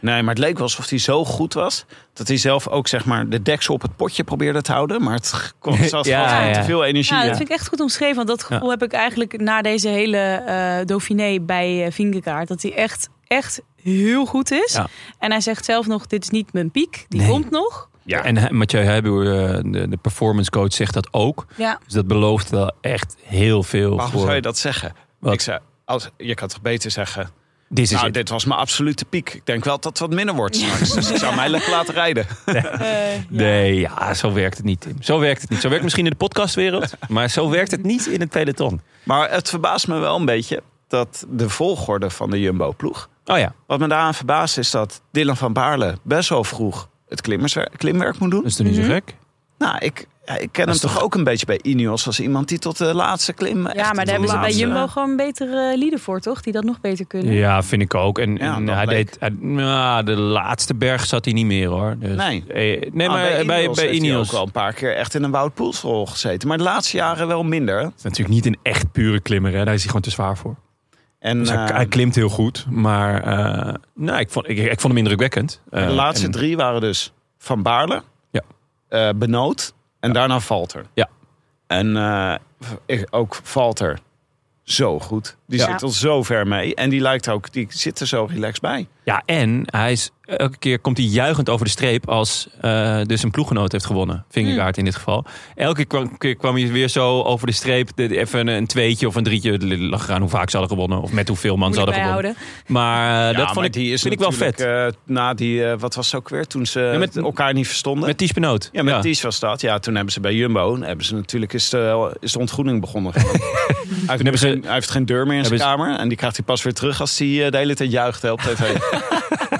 S2: Nee, maar het leek wel alsof hij zo goed was. Dat hij zelf ook zeg maar de deksel op het potje probeerde te houden. Maar het kwam
S3: Ja,
S2: zelfs gewoon
S3: ja.
S2: te veel energie.
S1: Ja, dat
S2: Ja.
S1: vind ik echt goed omschreven. Want dat gevoel heb ik eigenlijk na deze hele eh Dauphiné bij eh Vingegaard. Dat hij echt, echt heel goed is.
S3: Ja.
S1: En hij zegt zelf nog, dit is niet mijn piek. Die
S3: Nee.
S1: komt nog.
S3: Ja. En hij- Mathieu Heijboer, eh, de, de performance coach, zegt dat ook.
S1: Ja.
S3: Dus dat belooft wel echt heel veel
S2: Waarom
S3: voor.
S2: zou je dat zeggen?
S3: Wat?
S2: Ik zei, als, je kan toch beter zeggen.
S3: Dit is
S2: nou,
S3: het.
S2: dit was mijn absolute piek. Ik denk wel dat het wat minder wordt straks. Dus ik zou mij lekker laten rijden.
S1: Eh, ja.
S3: Nee, ja, zo werkt het niet, Tim. Zo werkt het niet. Zo werkt het misschien in de podcastwereld, maar zo werkt het niet in het peloton.
S2: Maar het verbaast me wel een beetje dat de volgorde van de Jumbo-ploeg.
S3: Oh ja,
S2: Wat me daaraan verbaast is dat Dylan van Baarle best wel vroeg het klimmerswer- klimwerk moet doen.
S3: dat is toch niet zo
S1: Mhm.
S3: gek?
S2: Nou, ik, ja, ik ken hem
S3: is
S2: toch
S3: toch-
S2: ook een beetje bij Ineos als iemand die tot de laatste klim. echt
S1: Ja, maar daar
S2: tot de
S1: hebben ze bij
S2: laatste-
S1: Jumbo gewoon betere eh, lieden voor, toch? Die dat nog beter kunnen.
S3: eh. Mm-hmm. Ja, vind ik ook. En,
S2: Ja,
S3: en
S2: dat
S3: hij
S2: bleek.
S3: deed, hij- nou, de laatste berg zat hij niet meer hoor. Dus,
S2: Nee.
S3: eh, nee,
S2: Ah,
S3: maar bij, bij,
S2: heeft hij
S3: Ineos.
S2: ook wel een paar keer echt in een Wout Poelsrol gezeten. Maar de laatste jaren wel minder.
S3: Het is natuurlijk niet een echt pure klimmer, hè. daar is hij gewoon te zwaar voor.
S2: En
S3: Dus hij,
S2: eh,
S3: hij klimt heel goed, maar eh, nou, ik, vond, ik, ik vond hem indrukwekkend.
S2: de
S3: Eh,
S2: laatste
S3: en-
S2: drie waren dus Van Baarle,
S3: Ja.
S2: eh, Benoot en daarna Valter.
S3: Ja.
S2: En eh, ik- ook Valter, zo goed. Die
S1: Ja.
S2: zit al zo ver mee. En die, lijkt ook, die zit er zo relaxed bij.
S3: Ja, en hij is, elke keer komt hij juichend over de streep als eh, dus een ploeggenoot heeft gewonnen. Vingegaard in dit geval. Elke keer kwam, keer kwam hij weer zo over de streep. de- de- Even een, een tweetje of een drietje. Het lag eraan hoe vaak ze hadden gewonnen. Of met hoeveel man
S1: Moet
S3: ze
S1: ik
S3: hadden gewonnen.
S1: bijhouden.
S3: Maar eh, dat vond
S2: maar
S3: ik,
S2: die is
S3: vind ik wel
S2: natuurlijk,
S3: vet.
S2: eh, na die, eh, wat was het ook weer? Toen ze
S3: met-
S2: elkaar niet verstonden.
S3: met Ties Benoot.
S2: ja, met Ties was dat. Ja, toen hebben ze bij Jumbo. Hebben ze natuurlijk is de, is de ontgroening begonnen. hij, heeft
S3: hebben ze-
S2: geen, hij heeft geen deur meer in zijn
S3: hebben ze-
S2: kamer. En die krijgt hij pas weer terug als hij eh, de hele tijd juicht hè, op tv.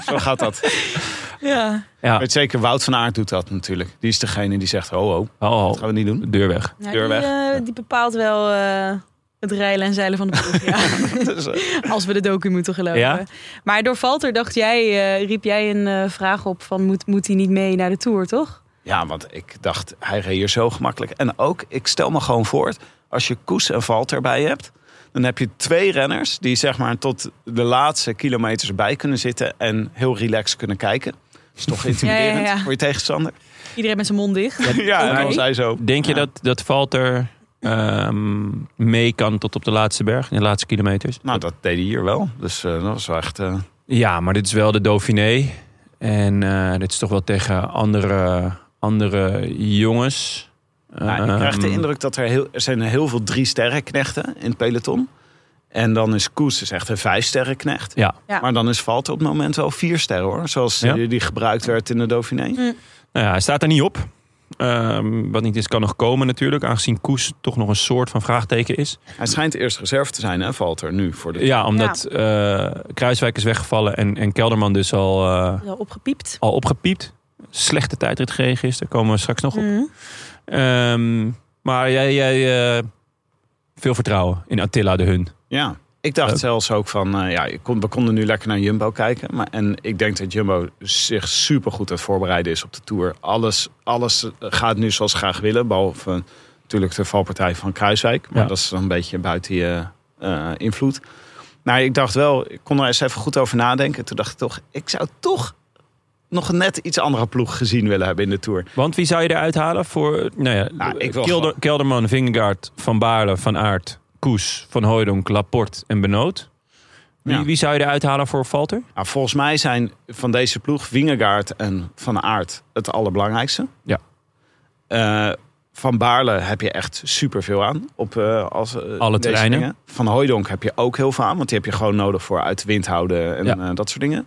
S2: zo gaat dat.
S1: Ja.
S3: Ja.
S2: Weet zeker, Wout van Aert doet dat natuurlijk. Die is degene die zegt, ho ho,
S3: Oh,
S2: dat
S3: oh,
S2: gaan we niet doen.
S3: de deur weg.
S1: Ja,
S2: Deur
S1: die,
S2: weg.
S1: eh, die bepaalt wel eh, het rijlen en zeilen van de ploeg. ja.
S2: Dus, eh,
S1: Als we de docu moeten geloven.
S3: Ja.
S1: Maar door Valter dacht jij, eh, riep jij een eh, vraag op van moet, moet hij niet mee naar de Tour, toch?
S2: ja, want ik dacht, hij reed hier zo gemakkelijk. En ook, ik stel me gewoon voor, als je Koes en Valt erbij hebt... dan heb je twee renners die zeg maar tot de laatste kilometers erbij kunnen zitten... en heel relaxed kunnen kijken. Dat is toch intimiderend
S1: Ja, ja, ja.
S2: voor je tegenstander?
S1: Iedereen met zijn mond dicht.
S2: Ja, en dan was hij zo.
S3: Denk je
S2: Ja.
S3: dat, dat Valter ehm, mee kan tot op de laatste berg? In de laatste kilometers?
S2: Nou, dat deed hij hier wel. Dus eh, dat was wel echt... eh,
S3: Ja, maar dit is wel de Dauphiné. En eh, dit is toch wel tegen andere, andere jongens.
S2: Nou, ik krijg de
S3: Ehm,
S2: indruk dat er, heel, er zijn heel veel drie sterrenknechten in het peloton. En dan is Koes is echt een vijf sterrenknecht.
S3: Ja.
S1: Ja.
S2: Maar dan is Valt op het moment wel vier sterren hoor. Zoals
S3: Ja.
S2: eh, die gebruikt werd in de Dauphiné.
S3: Nou ja, hij staat er niet op. Ehm, wat niet is, kan nog komen natuurlijk. Aangezien Koes toch nog een soort van vraagteken is.
S2: Hij schijnt eerst reserve te zijn hè Valter nu voor de...
S3: Ja, omdat eh, Kruiswijk is weggevallen en, en Kelderman dus al, eh,
S1: Wel opgepiept.
S3: al opgepiept. Slechte tijdrit gereden gisteren, komen we straks nog op.
S1: Mhm.
S3: Ehm, maar jij, jij eh, veel vertrouwen in Attila de Hun.
S2: Ja. Ik dacht
S3: Ja.
S2: zelfs ook van, eh, ja, ik kon, we konden nu lekker naar Jumbo kijken. Maar, en ik denk dat Jumbo zich supergoed aan het voorbereiden is op de Tour. Alles, alles gaat nu zoals ze graag willen. Behalve eh, natuurlijk de valpartij van Kruiswijk. Maar
S3: Ja.
S2: dat is dan een beetje buiten je eh, invloed. Nou, ik dacht wel, ik kon er eens even goed over nadenken. Toen dacht ik toch, ik zou toch nog net iets andere ploeg gezien willen hebben in de Tour.
S3: Want wie zou je eruit halen voor... Nou ja,
S2: Nou, ik wil
S3: Kelder-
S2: gewoon-
S3: Kelderman, Vingegaard, Van Baarle, Van Aert, Koes, Van Hooijdonk, Laporte en Benoot. Wie,
S2: Ja.
S3: wie zou je eruit halen voor Valter?
S2: Nou, volgens mij zijn van deze ploeg Wingegaard en Van Aert het allerbelangrijkste.
S3: Ja.
S2: Eh, van Baarle heb je echt superveel aan. Op, eh, als, eh, deze
S3: terreinen.
S2: dingen. Van Hooijdonk heb je ook heel veel aan. Want die heb je gewoon nodig voor uit de wind houden en
S3: Ja.
S2: eh, dat soort dingen.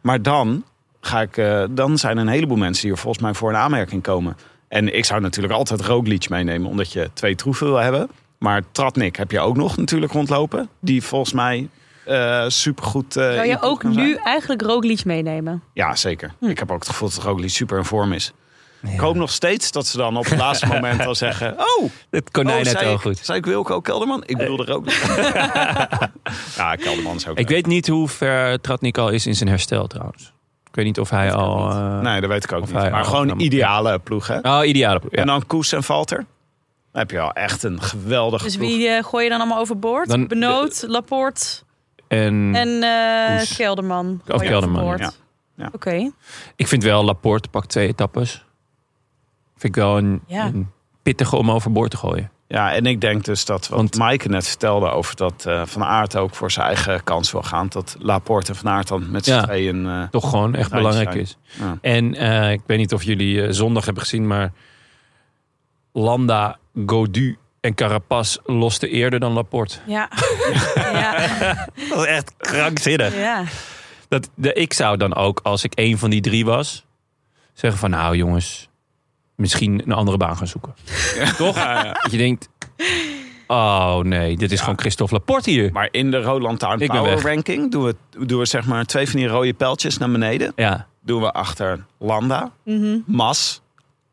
S2: Maar dan ga ik, eh, dan zijn er een heleboel mensen die er volgens mij voor een aanmerking komen. En ik zou natuurlijk altijd Roglic meenemen, omdat je twee troeven wil hebben. Maar Tratnik heb je ook nog natuurlijk rondlopen. Die volgens mij eh supergoed... eh,
S1: Zou je
S2: input
S1: ook
S2: kan zijn.
S1: nu Hm. eigenlijk Roglic meenemen?
S2: Ja, zeker. Ik heb ook het gevoel dat Roglic super in vorm is. Ik hoop nog steeds dat ze dan op het laatste moment al zeggen... Oh,
S4: Het konijn
S2: oh,
S4: uit
S2: zei
S4: wel
S2: ik-
S4: goed.
S2: Zei ik Wilco Kelderman? Ik bedoelde Roglic. ja, Kelderman is ook...
S3: Ik weet niet hoe ver Tratnik al is in zijn herstel trouwens. Ik weet niet of hij al... eh,
S2: Nee, dat weet ik ook
S3: Of
S2: niet.
S3: hij-
S2: Maar
S3: oh,
S2: gewoon
S3: dan-
S2: ideale ploeg, hè?
S3: Oh, ideale. Ja.
S2: En dan Koes en Valter. Dan heb je al echt een geweldige
S1: Dus
S2: ploeg.
S1: wie eh, gooi je dan allemaal overboord?
S3: Dan-
S1: Benoot, Laporte
S3: En,
S1: en eh,
S3: Koes.
S1: Kelderman. gooi je
S3: Kelderman,
S1: overboord.
S2: ja. Ja.
S1: Oké.
S3: ik vind wel, Laporte pakt twee etappes. Vind ik wel een,
S1: Ja.
S3: een pittige om overboord te gooien.
S2: Ja, en ik denk dus dat wat
S3: Want-
S2: Maaike net vertelde over dat eh, Van Aert ook voor zijn eigen kans wil gaan. Dat Laporte en Van Aert dan met z'n
S3: Ja.
S2: tweeën... eh,
S3: Toch gewoon echt
S2: Ja,
S3: belangrijk
S2: zijn.
S3: is.
S2: Ja.
S3: En eh, ik weet niet of jullie eh, zondag hebben gezien, maar Landa, Godu en Carapaz losten eerder dan Laporte.
S1: Ja. ja.
S3: Dat is echt krankzinnig.
S1: ja.
S3: Dat, de, ik zou dan ook, als ik één van die drie was, zeggen van nou jongens, misschien een andere baan gaan zoeken. Toch? Dat je denkt, oh nee, dit is gewoon Christophe Laporte hier.
S2: maar in de Roland Town
S3: Ik ben
S2: Power
S3: weg.
S2: Ranking doen we, doen we zeg maar twee van die rode pijltjes naar beneden.
S3: Ja,
S2: Doen we achter Landa,
S1: Mhm.
S2: Mas,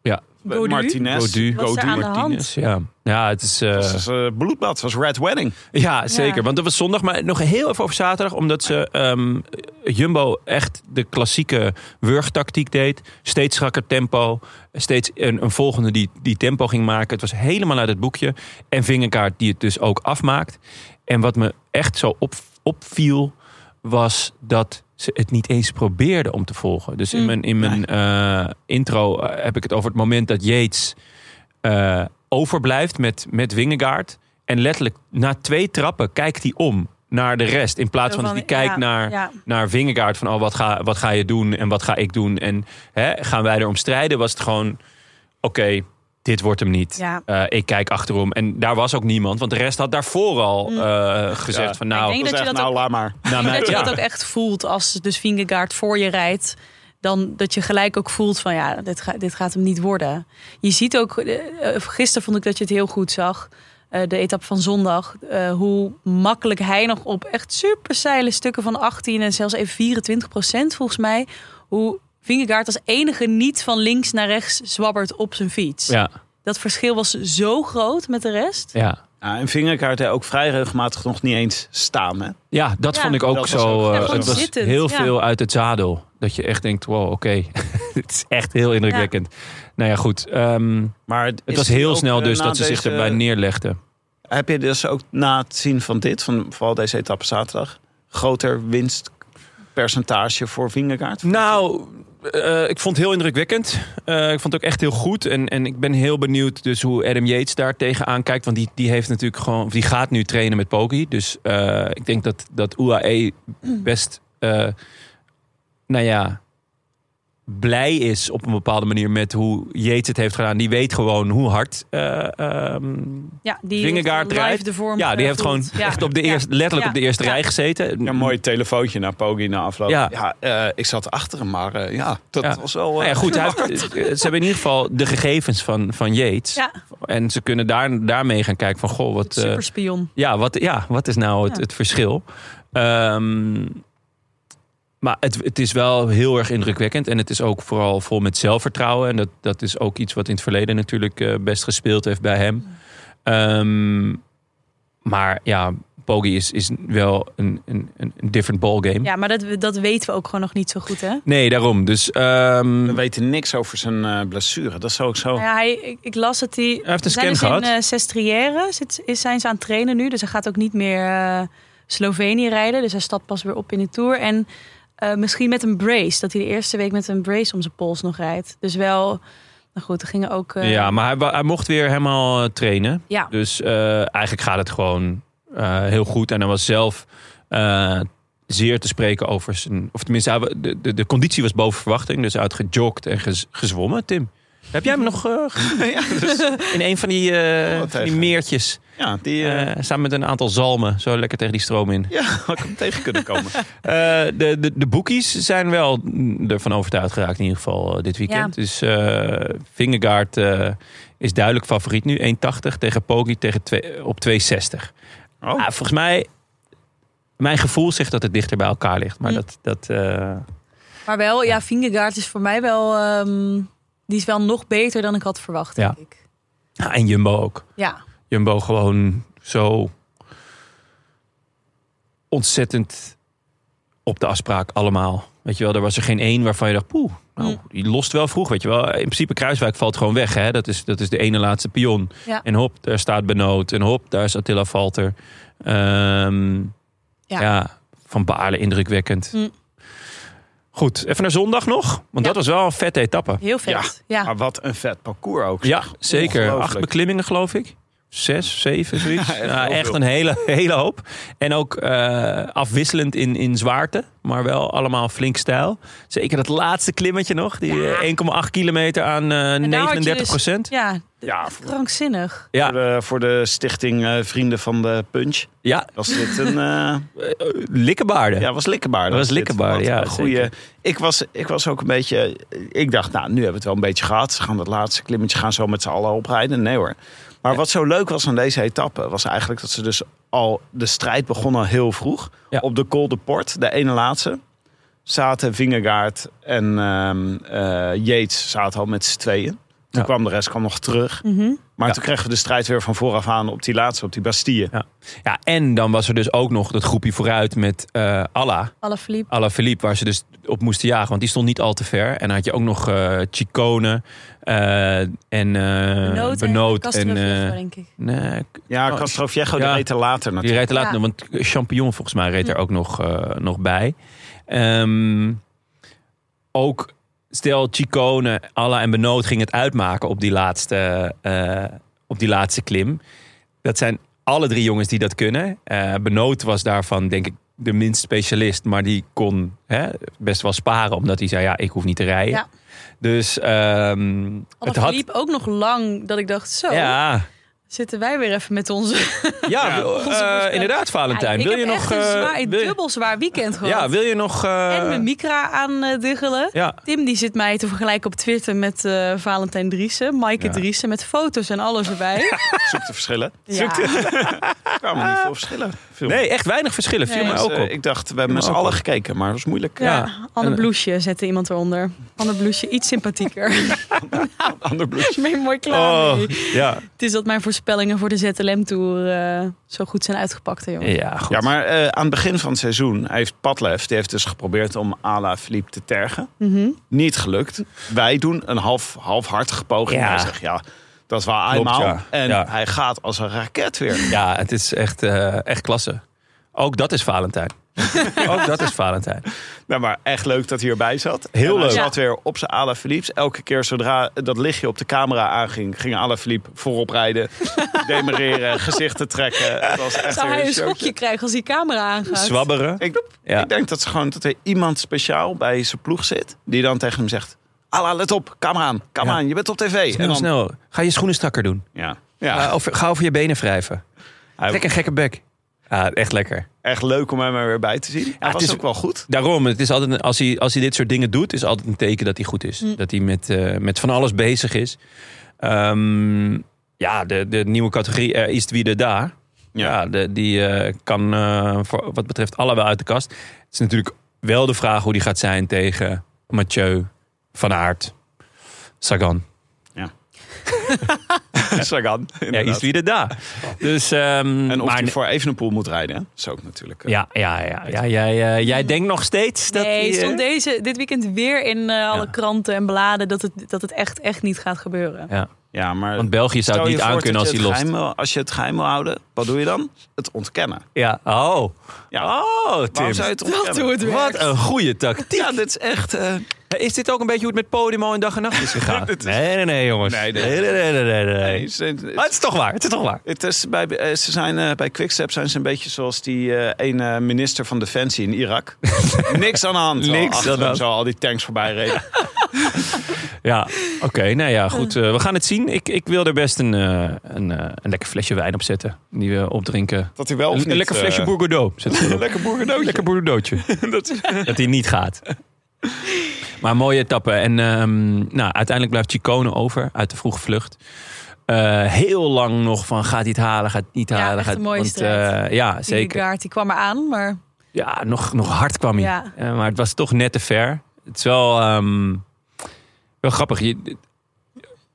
S2: eh,
S3: ja.
S1: Gaudu?
S2: Martinez.
S3: Gaudu.
S1: Wat is er aan de hand?
S3: Martinez, ja. ja, het is... eh,
S2: Dat was eh, bloedbad, dat was Red Wedding.
S3: Ja, zeker. Want dat was zondag. Maar nog heel even over zaterdag. Omdat ze ehm, Jumbo echt de klassieke wurgtactiek deed. Steeds strakker tempo. Steeds een, een volgende die, die tempo ging maken. Het was helemaal uit het boekje. En Vingerkaart die het dus ook afmaakt. En wat me echt zo op, opviel was dat ze het niet eens probeerden om te volgen. Dus in
S1: Mm.
S3: mijn, in mijn eh, intro eh, heb ik het over het moment dat Yates eh, overblijft met, met Wingegaard. En letterlijk na twee trappen kijkt hij om naar de rest. In plaats van dat hij kijkt
S1: ja,
S3: naar,
S1: ja.
S3: naar Vingegaard. Van oh, wat, ga, wat ga je doen en wat ga ik doen? En hè, gaan wij erom strijden? Was het gewoon, oké, dit wordt hem niet.
S1: Ja.
S3: Eh, ik kijk achterom. En daar was ook niemand. Want de rest had daarvoor al eh, gezegd
S2: Ja.
S3: van
S1: Mm. Ik
S3: nou...
S1: denk dat
S2: Dat was
S1: je
S2: echt,
S1: dat
S2: nou, laat maar.
S3: nou,
S1: Maar
S3: nou,
S1: dat je
S3: ja.
S1: dat ook echt voelt als dus Vingegaard voor je rijdt. Dan dat je gelijk ook voelt van ja, dit, ga- dit gaat hem niet worden. Je ziet ook, eh, eh, gisteren vond ik dat je het heel goed zag. eh, de etappe van zondag. eh, hoe makkelijk hij nog op echt super steile stukken van 18 en zelfs even 24 procent volgens mij. Hoe Vingegaard als enige niet van links naar rechts zwabbert op zijn fiets.
S3: ja,
S1: Dat verschil was zo groot met de rest.
S3: ja.
S2: Ja, en Vingerkaart hè, ook vrij regelmatig nog niet eens staan. Hè?
S3: Ja, dat
S1: Ja.
S3: vond ik ook
S2: Dat was ook-
S3: zo. eh,
S2: Ja, gewoon
S3: het was
S1: zittend,
S3: heel
S1: ja.
S3: veel uit het zadel. Dat je echt denkt, wow, oké. dit is echt heel indrukwekkend. Nou ja, goed. ehm,
S2: Maar
S3: het was heel
S2: eh,
S3: snel dus dat ze zich erbij neerlegden.
S2: Heb je dus ook na het zien van dit, van vooral deze etappe zaterdag, groter winstpercentage voor Vingerkaart?
S3: Nou, eh, ik vond het heel indrukwekkend. Eh, ik vond het ook echt heel goed. En, en ik ben heel benieuwd dus hoe Adam Yates daar tegenaan kijkt. Want die, die, heeft natuurlijk gewoon, of die gaat nu trainen met Poki. Dus eh, ik denk dat, dat UAE best, eh, nou ja, blij is op een bepaalde manier met hoe Yates het heeft gedaan. Die weet gewoon hoe hard eh, ehm,
S1: Ja, die
S3: Vingegaard
S1: heeft live
S3: rijdt.
S1: de vorm
S3: Ja, die heeft gewoon
S1: gevoeld. Ja.
S3: echt op de
S1: Ja.
S3: eerste, letterlijk
S1: Ja.
S3: op de eerste
S1: Ja.
S3: rij gezeten.
S2: Ja, een mooi telefoontje naar Poggi na afloop.
S3: Ja.
S2: Ja, eh, ik zat achter hem, maar eh, ja, dat
S3: Ja.
S2: was wel... eh,
S3: Nou ja, goed, hij heeft- ze hebben in ieder geval de gegevens van, van Yates.
S1: Ja.
S3: En ze kunnen daar, daarmee gaan kijken van, goh, wat, eh,
S1: Superspion.
S3: ja, wat, ja, wat is nou het,
S1: Ja.
S3: het verschil? Ehm, maar het, het is wel heel erg indrukwekkend. En het is ook vooral vol met zelfvertrouwen. En dat, dat is ook iets wat in het verleden natuurlijk eh, best gespeeld heeft bij hem. Ehm, maar ja, Poggi is, is wel een, een, een een different ballgame.
S1: Ja, maar dat, dat weten we ook gewoon nog niet zo goed, hè?
S3: Nee, daarom. Dus ehm,
S2: We weten niks over zijn eh, blessure, dat is ook zo.
S1: Nou Ja, hij, ik, ik las dat hij...
S3: Hij heeft een
S1: zijn
S3: scan
S1: dus
S3: gehad.
S1: in eh, Sestriere zit- is zijn ze aan het trainen nu. Dus hij gaat ook niet meer eh, Slovenië rijden. Dus hij stapt pas weer op in de Tour. En eh, misschien met een brace. Dat hij de eerste week met een brace om zijn pols nog rijdt. Dus wel... Nou goed, er gingen ook... eh,
S3: Ja, maar hij, wa- hij mocht weer helemaal eh, trainen.
S1: Ja.
S3: Dus eh, eigenlijk gaat het gewoon eh, heel goed. En hij was zelf eh, zeer te spreken over zijn... Of tenminste, hij wa- de, de, de conditie was boven verwachting. Dus hij had gejogd en gez- gezwommen, Tim. Heb jij hem nog eh, gezien?
S2: ja, dus,
S3: in een van die, eh,
S2: Wat
S3: van die
S2: even.
S3: meertjes?
S2: ja, die... eh,
S3: Eh, samen met een aantal zalmen. Zo lekker tegen die stroom in.
S2: ja, had ik hem tegen kunnen komen.
S3: Eh, de, de, de boekies zijn wel mm, ervan overtuigd geraakt in ieder geval eh, dit weekend. Dus eh Vingegaard eh, is duidelijk favoriet nu. 1,80 tegen Poggi tegen twee- op 2,60.
S2: Oh.
S3: Ah, volgens mij, mijn gevoel zegt dat het dichter bij elkaar ligt. Maar
S1: Hm.
S3: dat, dat eh,
S1: Maar wel, ja, Vingegaard is voor mij wel... ehm, die is wel nog beter dan ik had verwacht,
S3: Ja.
S1: denk ik.
S3: ah, en Jumbo ook.
S1: Ja.
S3: Jumbo gewoon zo ontzettend op de afspraak allemaal. Weet je wel, er was er geen één waarvan je dacht, poeh, nou,
S1: Mm.
S3: die lost wel vroeg. Weet je wel, in principe Kruiswijk valt gewoon weg. Hè? Dat, is, dat is de ene laatste pion.
S1: Ja.
S3: En hop, daar staat Benoot. En hop, daar is Attila Valter. Ehm, ja.
S1: Ja.
S3: Van Baarle indrukwekkend.
S1: Mm.
S3: Goed, even naar zondag nog. Want
S1: Ja.
S3: dat was wel een vette etappe.
S1: Heel vet. Ja.
S3: Ah,
S2: Maar wat een vet parcours ook.
S3: Ja,
S2: zeg.
S3: zeker.
S2: Ongelooflijk.
S3: Acht beklimmingen, geloof ik. Zes, zeven, zoiets.
S2: Ja,
S3: Ja,
S2: echt
S3: echt
S2: heel veel.
S3: een hele, hele hoop. En ook eh, afwisselend in, in zwaarte, maar wel allemaal flink stijl. Zeker dat laatste klimmetje nog, die
S1: Ja.
S3: eh, 1,8 kilometer aan eh,
S1: daar had je
S3: 39
S1: dus-
S3: procent.
S1: Ja,
S2: Ja, voor,
S1: krankzinnig.
S3: Ja,
S2: voor de, voor de stichting eh, Vrienden van de Punch
S3: ja,
S2: was dit een... eh,
S3: eh, eh, likkenbaarden.
S2: Ja, was likkenbaar.
S3: Dat was
S2: dit.
S3: likkenbaar,
S2: Wat
S3: ja,
S2: een Goeie.
S3: zeker.
S2: Ik, was, ik was ook een beetje... Ik dacht, nou, nu hebben we het wel een beetje gehad. Ze gaan dat laatste klimmetje gaan zo met z'n allen oprijden. Nee hoor. Maar wat zo leuk was aan deze etappe... was eigenlijk dat ze dus al... De strijd begon al heel vroeg.
S3: Ja.
S2: Op de Col de Port, de ene laatste... zaten Vingegaard en ehm, eh, Yates zaten al met z'n tweeën.
S3: Ja.
S2: Toen kwam de rest kwam nog terug.
S1: Mhm.
S2: Maar
S3: Ja.
S2: toen kregen we de strijd weer van vooraf aan... op die laatste, op die Bastille.
S3: Ja, en dan was er dus ook nog dat groepje vooruit met eh Alla.
S1: Alle verliep.
S3: Alla Philippe, waar ze dus op moesten jagen. Want die stond niet al te ver. En dan had je ook nog eh Chicone eh, en eh,
S1: Benoot en
S3: Benoot.
S1: Castro
S3: En,
S1: Viejo,
S3: eh
S1: denk ik.
S3: nee,
S2: Ja,
S3: Oh,
S2: Castro
S3: ja.
S2: Viejo, die reed er
S3: Die
S2: later natuurlijk.
S3: rijdt er later
S1: Ja.
S3: nog, want Champignon volgens mij reed er
S1: Hm.
S3: ook nog, eh, nog bij. Ehm, ook stel Chicone, Alla en Benoot ging het uitmaken op die laatste, eh, op die laatste klim. Dat zijn alle drie jongens die dat kunnen. Eh Benoot was daarvan denk ik de minst specialist, maar die kon hè, best wel sparen, omdat hij zei ja, ik hoef niet te rijden.
S1: Ja.
S3: Dus ehm,
S1: Alle
S3: het had...
S1: verliep ook nog lang dat ik dacht, zo,
S3: Ja,
S1: zitten wij weer even met onze...
S3: ja,
S2: Ja.
S3: eh,
S1: Onze voorspelling.
S3: inderdaad Valentijn.
S1: Ja, ik
S3: wil je
S1: heb echt
S3: nog...
S1: een
S3: eh,
S1: zwaar,
S3: wil je-
S1: dubbel zwaar weekend gehad.
S3: Ja, wil je nog... eh,
S1: En mijn micra aan eh, diggelen.
S3: Ja,
S1: Tim die zit mij te vergelijken op Twitter met eh, Valentijn Driessen. Maaike
S3: Ja.
S1: Driessen met foto's en alles erbij.
S2: Zoek de verschillen.
S1: Ja.
S2: Er kwamen niet veel verschillen. Veel
S3: Ah. nee, echt weinig verschillen. Viel
S1: Nee.
S3: mij
S2: Dus,
S3: ook
S2: eh,
S3: op.
S2: ik dacht, we hebben met z'n
S3: ook op.
S2: allen gekeken, maar dat was moeilijk.
S1: Ja,
S3: Ja.
S1: Anne
S3: En-
S1: Bloesje zette iemand eronder. Anne Bloesje, iets sympathieker.
S2: eh, Ander bloed.
S1: Ik ben mooi klaar
S3: Oh,
S1: mee.
S3: ja.
S1: Het is dat mijn voorspellingen voor de ZLM-tour eh, zo goed zijn uitgepakt, hè, jongen.
S3: Ja, goed.
S2: Ja, maar eh, aan het begin van het seizoen heeft Padlef, die heeft dus geprobeerd om Ala Philippe te tergen.
S1: Mhm.
S2: Niet gelukt. Wij doen een half, halfhartige poging.
S3: Ja.
S2: Hij zegt, ja, dat is wel
S3: Klopt,
S2: eenmaal.
S3: ja.
S2: En
S3: Ja.
S2: hij gaat als een raket weer.
S3: ja het is echt, eh, echt klasse. Ook dat is Valentijn. ook dat is Valentijn.
S2: Nou, maar echt leuk dat hij erbij zat.
S3: Heel
S2: En hij
S3: leuk.
S2: zat weer op zijn Ala Philippe's. Elke keer zodra dat lichtje op de camera aanging, ging Ala Philippe voorop rijden. demereren, gezichten trekken. Het was echt
S1: Zou
S2: weer
S1: hij een
S2: showtje.
S1: schokje krijgen als die camera aangaat?
S3: Zwabberen.
S2: Ik,
S3: Ja.
S2: ik denk dat, ze gewoon, dat er iemand speciaal bij zijn ploeg zit. Die dan tegen hem zegt. Ala, let op. Kom aan. Kom
S3: Ja.
S2: aan. Je bent op tv.
S3: Snel,
S2: dan,
S3: snel. Ga je schoenen strakker doen.
S2: Ja. Ja.
S3: Eh, over- ga over je benen wrijven.
S2: Hij-
S3: Trek een gekke bek. Ja, echt lekker.
S2: echt leuk om hem er weer bij te zien. hij
S3: het
S2: was
S3: is-
S2: ook wel goed.
S3: Daarom, het is altijd, een- als, hij, als hij dit soort dingen doet, is altijd een teken dat hij goed is.
S1: Mm.
S3: Dat hij met, eh, met van alles bezig is. Ehm, ja, de, de nieuwe categorie er is wie er daar. Ja, de, die eh, kan eh, voor wat betreft alle wel uit de kast. Het is natuurlijk wel de vraag hoe die gaat zijn tegen Mathieu, Van Aert, Sagan.
S2: Sagan.
S3: Ja,
S2: inderdaad.
S3: is wie er daar. Dus, ehm,
S2: En of
S3: maar,
S2: hij voor Evenepoel moet rijden. hè? Dat is ook natuurlijk. eh,
S3: ja, ja, ja, ja, jij, eh, jij denkt nog steeds dat
S1: nee,
S3: die, eh,
S1: stond deze, dit weekend weer in eh, alle
S3: Ja.
S1: kranten en bladen dat het, dat het echt, echt niet gaat gebeuren.
S3: ja,
S2: ja, maar
S3: want België zou het
S2: stel je
S3: niet
S2: voor
S3: aankunnen als
S2: dat je
S3: hij
S2: het
S3: lost.
S2: geheim wil- als je het geheim wil houden, wat doe je dan? Het ontkennen.
S3: Ja, oh.
S2: Ja.
S3: Oh,
S2: Waarom
S3: Tim.
S2: zou je het
S1: Dat
S2: ontkennen?
S1: doet het werkt.
S3: Wat een goede tactiek.
S2: Ja, dit is echt... eh,
S3: Is dit ook een beetje hoe het met Podimo en dag en nacht is gegaan? nee, nee, nee, jongens.
S2: Nee, nee.
S3: nee, nee, nee, nee, nee.
S2: nee, het is-
S3: Maar het is toch waar. Het is toch waar.
S2: Het is bij, eh, ze zijn, eh, bij Quickstep zijn ze een beetje zoals die eh, ene minister van Defensie in Irak. Niks aan de hand.
S3: Niks
S2: Achter
S3: aan de
S2: hem
S3: hand.
S2: Zo al die tanks voorbij reden.
S3: Ja, oké. nou ja, goed. eh, we gaan het zien. Ik, ik wil er best een, eh, een, eh, een lekker flesje wijn op zetten. Die we opdrinken.
S2: Dat hij wel of
S3: Een,
S2: niet,
S3: lekker flesje
S2: eh,
S3: Bourgodeau. zetten we erop.
S2: Lekker boergedootje.
S3: Lekker boerdootje. dat, dat hij niet gaat. Maar mooie etappe. En ehm, nou, uiteindelijk blijft Chicone over uit de vroege vlucht. Eh, heel lang nog van gaat hij het halen, gaat het niet
S1: Ja,
S3: halen.
S1: echt
S3: gaat,
S1: een mooie
S3: want,
S1: strijd.
S3: eh, ja,
S1: Die
S3: zeker.
S1: Lugaard, die kwam er aan, maar
S3: Ja, nog, nog hard kwam hij.
S1: Ja.
S3: Eh, maar het was toch net te ver. Het is wel, ehm, wel grappig. Je,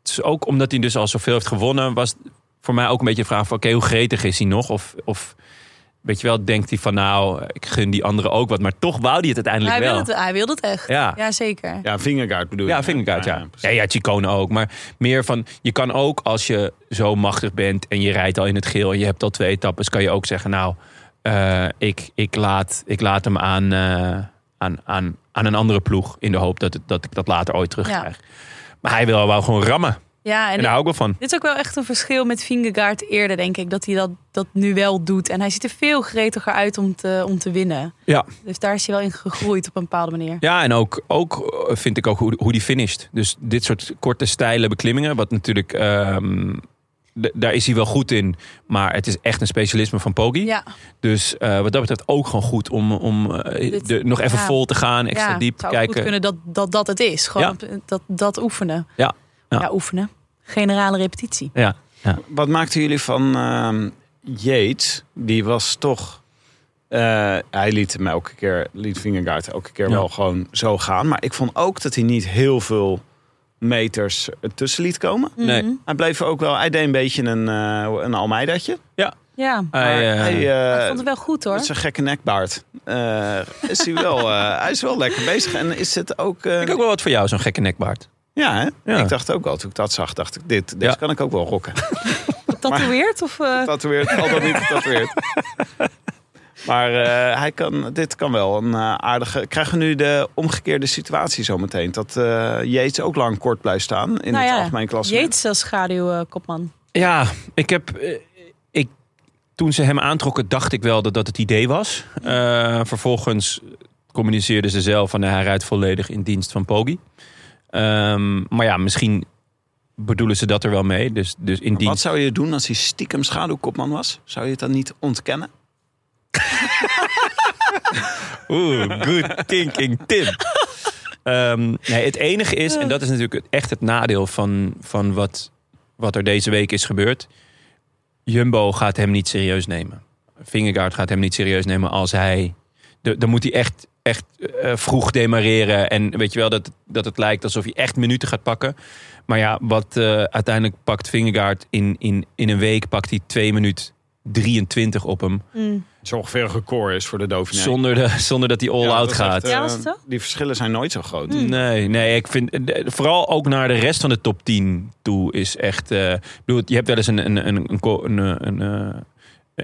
S3: het is ook omdat hij dus al zoveel heeft gewonnen, was voor mij ook een beetje de vraag van oké, hoe gretig is hij nog? Of, of weet je wel, denkt hij van nou, ik gun die anderen ook wat. Maar toch wou hij het uiteindelijk
S1: hij
S3: wel.
S1: wilde, het, hij wilde het echt.
S3: Ja.
S1: Ja, zeker.
S2: Ja, vingergaard bedoel je.
S3: Ja, vind ik uit, ja.
S2: precies.
S3: Ja, ja, Chicone ook. Maar meer van, je kan ook als je zo machtig bent en je rijdt al in het geel en je hebt al twee etappes, kan je ook zeggen, nou, eh, ik, ik, laat, ik laat hem aan, eh, aan, aan, aan een andere ploeg in de hoop dat, het- dat ik dat later ooit terugkrijg. Maar hij wil wel gewoon rammen.
S1: Ja, en
S3: En nou- daar hou ik wel van.
S1: dit is ook wel echt een verschil met Vingegaard eerder, denk ik. Dat hij dat, dat nu wel doet. En hij ziet er veel gretiger uit om te, om te winnen.
S3: Ja.
S1: Dus daar is hij wel in gegroeid op een bepaalde manier.
S3: Ja, en ook, ook eh, vind ik ook hoe, hoe die finisht. Dus dit soort korte, steile beklimmingen, wat natuurlijk... ehm, d- daar is hij wel goed in, maar het is echt een specialisme van Poggi.
S1: Ja,
S3: Dus eh, wat dat betreft ook gewoon goed om, om eh,
S1: Dit-
S3: de- nog even
S1: ja.
S3: vol te gaan,
S1: ja,
S3: extra diep
S1: zou ook goed
S3: kijken.
S1: kunnen dat, dat dat het is. Gewoon eh, dat, dat oefenen.
S3: Ja, ja.
S1: Ja. oefenen. Generale repetitie.
S3: Ja.
S2: Wat maakten jullie van ehm Yates? Die was toch... eh, hij liet hem elke keer, liet Vingegaard elke keer
S3: Ja.
S2: wel gewoon zo gaan. Maar ik vond ook dat hij niet heel veel meters tussen liet komen.
S3: Nee.
S1: Mhm.
S2: Hij bleef ook wel, hij deed een beetje een, eh een Almeidatje.
S1: Ja,
S3: Hij,
S2: Maar
S3: eh,
S2: hij,
S1: Maar ik
S2: eh,
S1: vond het wel goed hoor.
S2: met zijn gekke nekbaard. eh, is hij, wel, eh, hij is wel lekker bezig. En is het ook... eh,
S3: vind ik ook wel wat voor jou, zo'n gekke nekbaard.
S2: Ja, hè?
S3: Ja.
S2: ik dacht ook al toen ik dat zag, dacht ik, dit, deze
S3: Ja.
S2: kan ik ook wel rocken.
S1: Getatoeëerd of... eh,
S2: Getatoeëerd, al dan niet getatoeëerd. Maar eh, hij kan, dit kan wel een eh, aardige... Krijgen we nu de omgekeerde situatie zometeen? Dat eh Jeets ook lang kort blijft staan in
S1: nou
S2: het
S1: ja,
S2: algemeen klassement.
S1: Yates als schaduwkopman.
S3: Ja, ik heb. eh, Ik, toen ze hem aantrokken, dacht ik wel dat dat het idee was. Eh, vervolgens communiceerden ze zelf van nou, hij rijdt volledig in dienst van Poggi. Ehm, maar ja, misschien bedoelen ze dat er wel mee. Dus, dus in
S2: Wat
S3: dienst.
S2: zou je doen als hij stiekem schaduwkopman was? Zou je het dan niet ontkennen?
S3: Oeh, good thinking, Tim. Ehm, nee, het enige is, en dat is natuurlijk het- echt het nadeel van, van wat, wat er deze week is gebeurd. Jumbo gaat hem niet serieus nemen. Vingegaard gaat hem niet serieus nemen als hij... de- Dan moet hij echt, echt eh, vroeg demareren. En weet je wel, dat, dat het lijkt alsof hij echt minuten gaat pakken. Maar ja, wat eh, uiteindelijk pakt Vingegaard in, in, in een week... pakt hij 2 minuut 23 op hem.
S2: Zo ongeveer een record is voor de Dauphiné.
S3: Zonder, de, zonder dat hij all-out gaat.
S1: Ja, was het Hmm. zo?
S2: eh, Die verschillen zijn nooit zo groot.
S3: Nee, nee, ik vind eh, de- vooral ook naar de rest van de top 10 toe is echt. eh, ik bedoel, je hebt wel eens een, een, een, een, ko- een, eh, een, eh,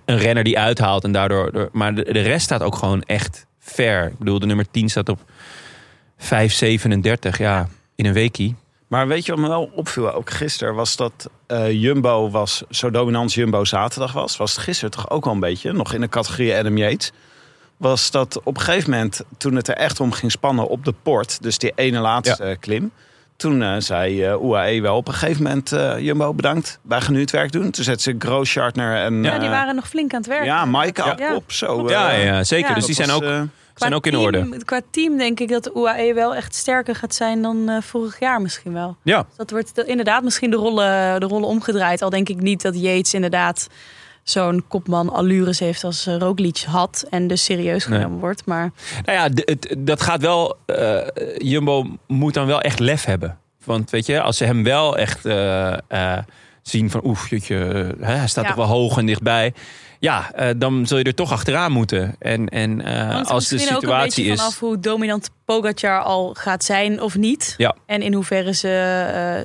S3: een renner die uithaalt en daardoor. door- Maar de, de rest staat ook gewoon echt ver. Ik bedoel, de nummer 10 staat op 5,37. Ja, in een weekie.
S2: Maar weet je wat me wel opviel, ook gisteren, was dat eh, Jumbo was, zo dominant Jumbo zaterdag was, was het gisteren toch ook wel een beetje, nog in de categorie Adam Yates, was dat op een gegeven moment, toen het er echt om ging spannen op de port, dus die ene laatste eh, klim, toen eh, zei eh UAE wel op een gegeven moment, eh, Jumbo bedankt, wij gaan nu het werk doen. Toen zette ze Grooschartner en
S1: Ja, die
S2: eh,
S1: waren nog flink aan het werken.
S2: ja, Maaike
S1: Ja.
S2: op, zo. eh,
S3: Ja, ja zeker.
S1: Ja.
S3: dus die
S2: dat
S3: zijn ook,
S2: was, eh,
S1: Qua
S3: zijn ook in
S1: team-
S3: orde.
S1: Qua team denk ik dat de UAE wel echt sterker gaat zijn dan eh, vorig jaar misschien wel. Dus
S3: Ja,
S1: Dat wordt de- inderdaad misschien de rollen, de rollen omgedraaid. Al denk ik niet dat Yates inderdaad zo'n kopman allures heeft als eh, Roglic had. En dus serieus
S3: Nee.
S1: genomen wordt. Maar
S3: Nou ja, d- het- dat gaat wel. eh, Jumbo moet dan wel echt lef hebben. Want weet je, als ze hem wel echt eh, eh, zien van oef, jeetje, eh, hè, hij staat
S1: Ja.
S3: toch wel hoog en dichtbij. Ja, eh, dan zul je er toch achteraan moeten. En, en eh,
S1: hangt er
S3: als de
S1: misschien ook een
S3: situatie
S1: beetje
S3: is.
S1: vanaf hoe dominant Pogacar al gaat zijn of niet.
S3: Ja.
S1: En in hoeverre ze eh,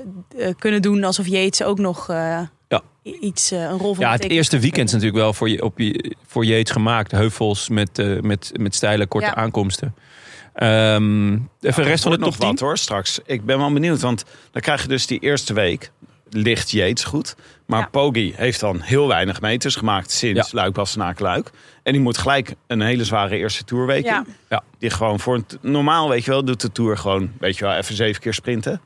S1: eh, kunnen doen alsof Yates ook nog eh,
S3: Ja.
S1: i- iets, eh, een rol van
S3: Ja, het
S1: betekenis
S3: eerste
S1: kan
S3: weekend is
S1: spelen.
S3: natuurlijk wel voor, je, op je, voor Jeets gemaakt. Heuvels met, eh, met, met steile, korte
S1: Ja.
S3: aankomsten. Ehm even de rest van de top
S2: wordt nog
S3: 10.
S2: wat hoor straks. Ik ben wel benieuwd, want dan krijg je dus die eerste week. ligt Yates goed. Maar
S1: Ja.
S2: Poggi heeft dan heel weinig meters gemaakt sinds Luik Bastenaak Luik. En die moet gelijk een hele zware eerste toerweek
S1: Ja.
S2: in.
S3: Ja.
S2: Die gewoon voor een t- normaal, weet je wel, doet de tour gewoon, weet je wel, even zeven keer sprinten.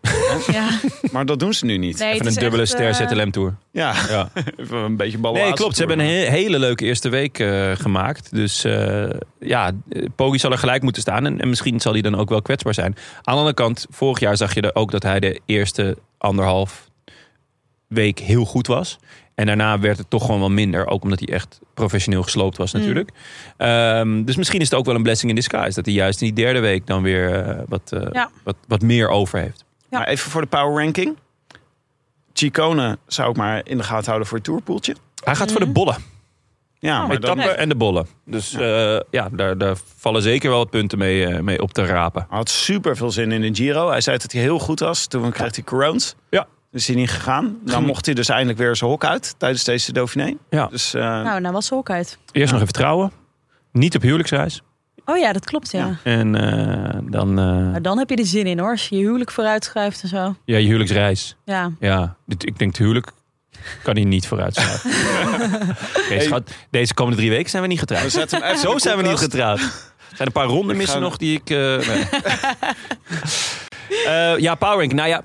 S1: Ja.
S2: Maar dat doen ze nu niet.
S1: Nee, het
S3: Even
S1: is
S3: een dubbele
S1: echt,
S3: ster
S1: eh,
S3: ZLM Tour.
S2: Ja,
S3: Ja.
S2: even een beetje ballen.
S3: Nee, klopt. Ze hebben een he- hele leuke eerste week eh, gemaakt. Dus eh, ja, eh, Poggi zal er gelijk moeten staan. En, en misschien zal hij dan ook wel kwetsbaar zijn. Aan de andere kant, vorig jaar zag je er ook dat hij de eerste anderhalf week heel goed was. En daarna werd het toch gewoon wel minder. Ook omdat hij echt professioneel gesloopt was natuurlijk. Ehm, dus misschien is het ook wel een blessing in disguise. Dat hij juist in die derde week dan weer eh, wat, eh,
S1: Ja.
S3: wat, wat meer over heeft.
S1: Ja.
S2: Maar even voor de power ranking. Chicone zou ik maar in de gaten houden voor het tourpoeltje.
S3: Hij gaat voor de bollen.
S2: Ja, maar
S3: Met
S2: dan
S3: tappen en de bollen. Dus ja, ja daar, daar vallen zeker wel wat punten mee, eh, mee op te rapen.
S2: Hij had super veel zin in de Giro. Hij zei dat hij heel goed was. Toen kreeg hij corones.
S3: Ja.
S2: Dus is hij niet gegaan. Dan mocht hij dus eindelijk weer zijn hok uit tijdens deze Dauphiné.
S3: Ja.
S2: Dus eh,
S1: Nou, nou was ze ook uit.
S3: Eerst nog even trouwen. Niet op huwelijksreis.
S1: Oh ja, dat klopt, ja.
S2: Ja.
S3: En eh, dan eh,
S1: Maar dan heb je er zin in hoor, als je je huwelijk vooruitschuift en zo.
S3: ja, je huwelijksreis.
S1: Ja.
S3: Ja, dit, ik denk het huwelijk kan hij niet vooruit schuiven. Oké, schat, deze komende drie weken zijn we niet
S2: we
S3: getrouwd.
S2: zetten hem even in
S3: Zo
S2: de
S3: zijn we niet
S2: koelkast.
S3: getrouwd. Er zijn een paar ronden
S2: Ik
S3: missen
S2: ga-
S3: nog die ik... eh, nee. Eh, ja, Power Rank. Nou ja,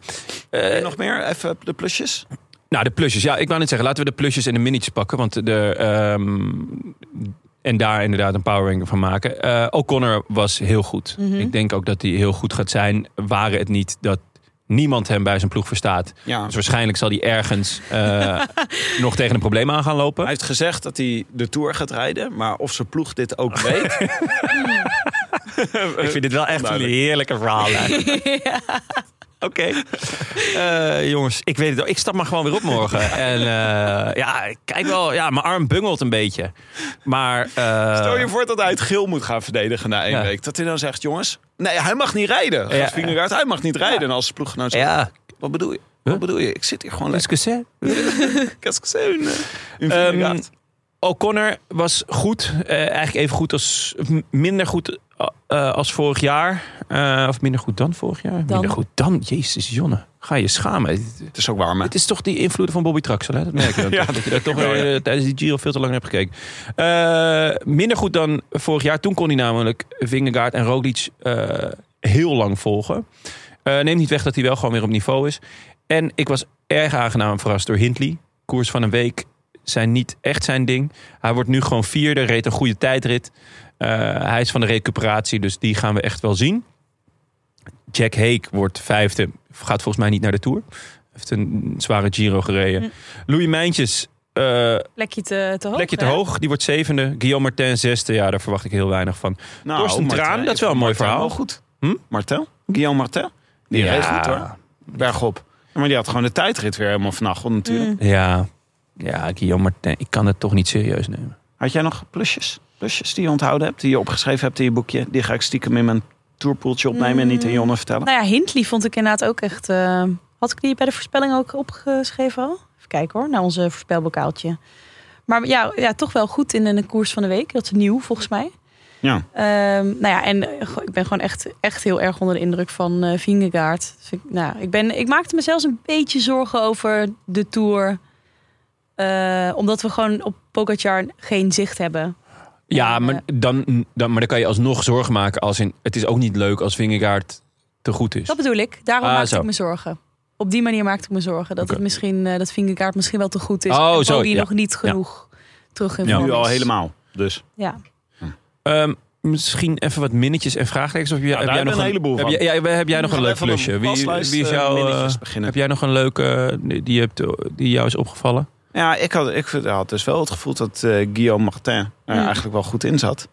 S3: eh,
S2: Nog meer? Even de plusjes?
S3: Nou, de plusjes. Ja, ik wou net zeggen, laten we de plusjes en de minnetjes pakken. Want de, ehm, en daar inderdaad een power ranking van maken. Eh, O'Connor was heel goed. Ik denk ook dat hij heel goed gaat zijn. Waren het niet dat niemand hem bij zijn ploeg verstaat.
S2: Ja.
S3: Dus waarschijnlijk zal hij ergens eh, nog tegen een probleem aan gaan lopen.
S2: Hij heeft gezegd dat hij de Tour gaat rijden. Maar of zijn ploeg dit ook weet...
S3: Ik vind dit wel echt een
S2: Duidelijk.
S3: heerlijke verhaal. Oké. Eh, jongens, ik weet het wel. Ik stap maar gewoon weer op morgen. En eh, ja, ik kijk wel. Ja, mijn arm bungelt een beetje. Maar... eh,
S2: Stel je voor dat hij het geel moet gaan verdedigen na één
S3: Ja.
S2: week. Dat hij dan zegt, jongens... Nee, hij mag niet rijden.
S3: Ja.
S2: Gaat Vingegaard, hij mag niet rijden. En als zijn ploeggenoot zegt,
S3: Ja,
S2: wat bedoel je?
S3: Huh?
S2: Wat bedoel je? Ik zit hier gewoon lekker.
S3: Excusez.
S2: Ik heb gezien. Een
S3: Ehm,
S2: Vingegaard.
S3: O'Connor was goed. eh, eigenlijk even goed als. m- Minder goed eh, eh, als vorig jaar. Eh, of minder goed dan vorig jaar. Minder goed dan. Jezus, Jonne. Ga je schamen. Het-
S2: Het is ook warm, hè?
S3: Het is toch die invloeden van Bobby Traxel. Hè? Dat merk je. dan toch, dat je daar toch
S2: wel, ja.
S3: eh, tijdens die Giro veel te lang naar hebt gekeken. Eh, minder goed dan vorig jaar. Toen kon hij namelijk Vingegaard en Roglic eh, heel lang volgen. Eh neemt niet weg dat hij wel gewoon weer op niveau is. En ik was erg aangenaam verrast door Hindley. Koers van een week zijn niet echt zijn ding. Hij wordt nu gewoon vierde, reed een goede tijdrit. Eh, hij is van de recuperatie, dus die gaan we echt wel zien. Jack Hake wordt vijfde, gaat volgens mij niet naar de Tour. Heeft een zware Giro gereden.
S1: Hm.
S3: Louis Mijntjes, eh,
S1: Plekje te, te hoog.
S3: plekje te
S1: hè?
S3: hoog, die wordt zevende. Guillaume Martin zesde, ja, daar verwacht ik heel weinig van.
S2: Nou,
S3: Torsten
S2: Martin
S3: Traan, dat is wel een
S2: heeft
S3: mooi
S2: Martin
S3: verhaal.
S2: goed.
S3: Hm?
S2: Martel? Guillaume Martel? Die
S3: Ja.
S2: reed goed hoor. Bergop. Maar die had gewoon de tijdrit weer helemaal vannacht natuurlijk.
S1: Mm.
S3: Ja, ja Guillaume Martin, ik kan het toch niet serieus nemen.
S2: Had jij nog plusjes? Plusjes die je onthouden hebt, die je opgeschreven hebt in je boekje? Die ga ik stiekem in mijn tourpoeltje opnemen en niet aan Jonne vertellen.
S1: Nou ja, Hindley vond ik inderdaad ook echt... eh, had ik die bij de voorspelling ook opgeschreven al? Even kijken hoor, naar onze voorspelbokaaltje. Maar ja, ja, toch wel goed in de koers van de week. Dat is nieuw volgens mij.
S2: Ja.
S1: Ehm, nou ja, en eh, go- ik ben gewoon echt, echt heel erg onder de indruk van eh Vingegaard. Dus ik, nou, ik, ben, ik maakte me zelfs een beetje zorgen over de Tour. Eh, omdat we gewoon op Pogacar geen zicht hebben.
S3: Ja,
S1: En,
S3: maar
S1: eh,
S3: dan, dan, maar dan kan je alsnog zorgen maken als in... Het is ook niet leuk als Vingegaard te goed is.
S1: Dus Dat bedoel ik. Daarom
S3: Ah,
S1: maakte
S3: zo.
S1: ik me zorgen. Op die manier maakte ik me zorgen. Dat,
S3: Oké.
S1: het misschien, eh dat Vingegaard misschien wel te goed is.
S3: Oh,
S1: en
S3: zo,
S1: Poggi
S3: ja.
S1: nog niet genoeg terug in
S3: Ja.
S1: vorm
S2: Nu al
S1: is.
S2: helemaal. Dus.
S1: Ja.
S3: Ehm, misschien even wat minnetjes en vraagtekens. Of heb jij, heb
S2: daar
S3: jij
S2: hebben
S3: nog
S2: we een heleboel
S3: heb
S2: van.
S3: jij, ja, heb jij nog
S2: Gaan
S3: een
S2: we
S3: leuk
S2: even een
S3: plusje? Wie,
S2: waslijst,
S3: wie is
S2: eh,
S3: jou, eh,
S2: minnetjes beginnen?
S3: heb jij nog een leuke die, die, je hebt, eh, die jou is opgevallen?
S2: Ja, ik had, ik had dus wel het gevoel dat eh, Guillaume Martin er eigenlijk wel goed in zat.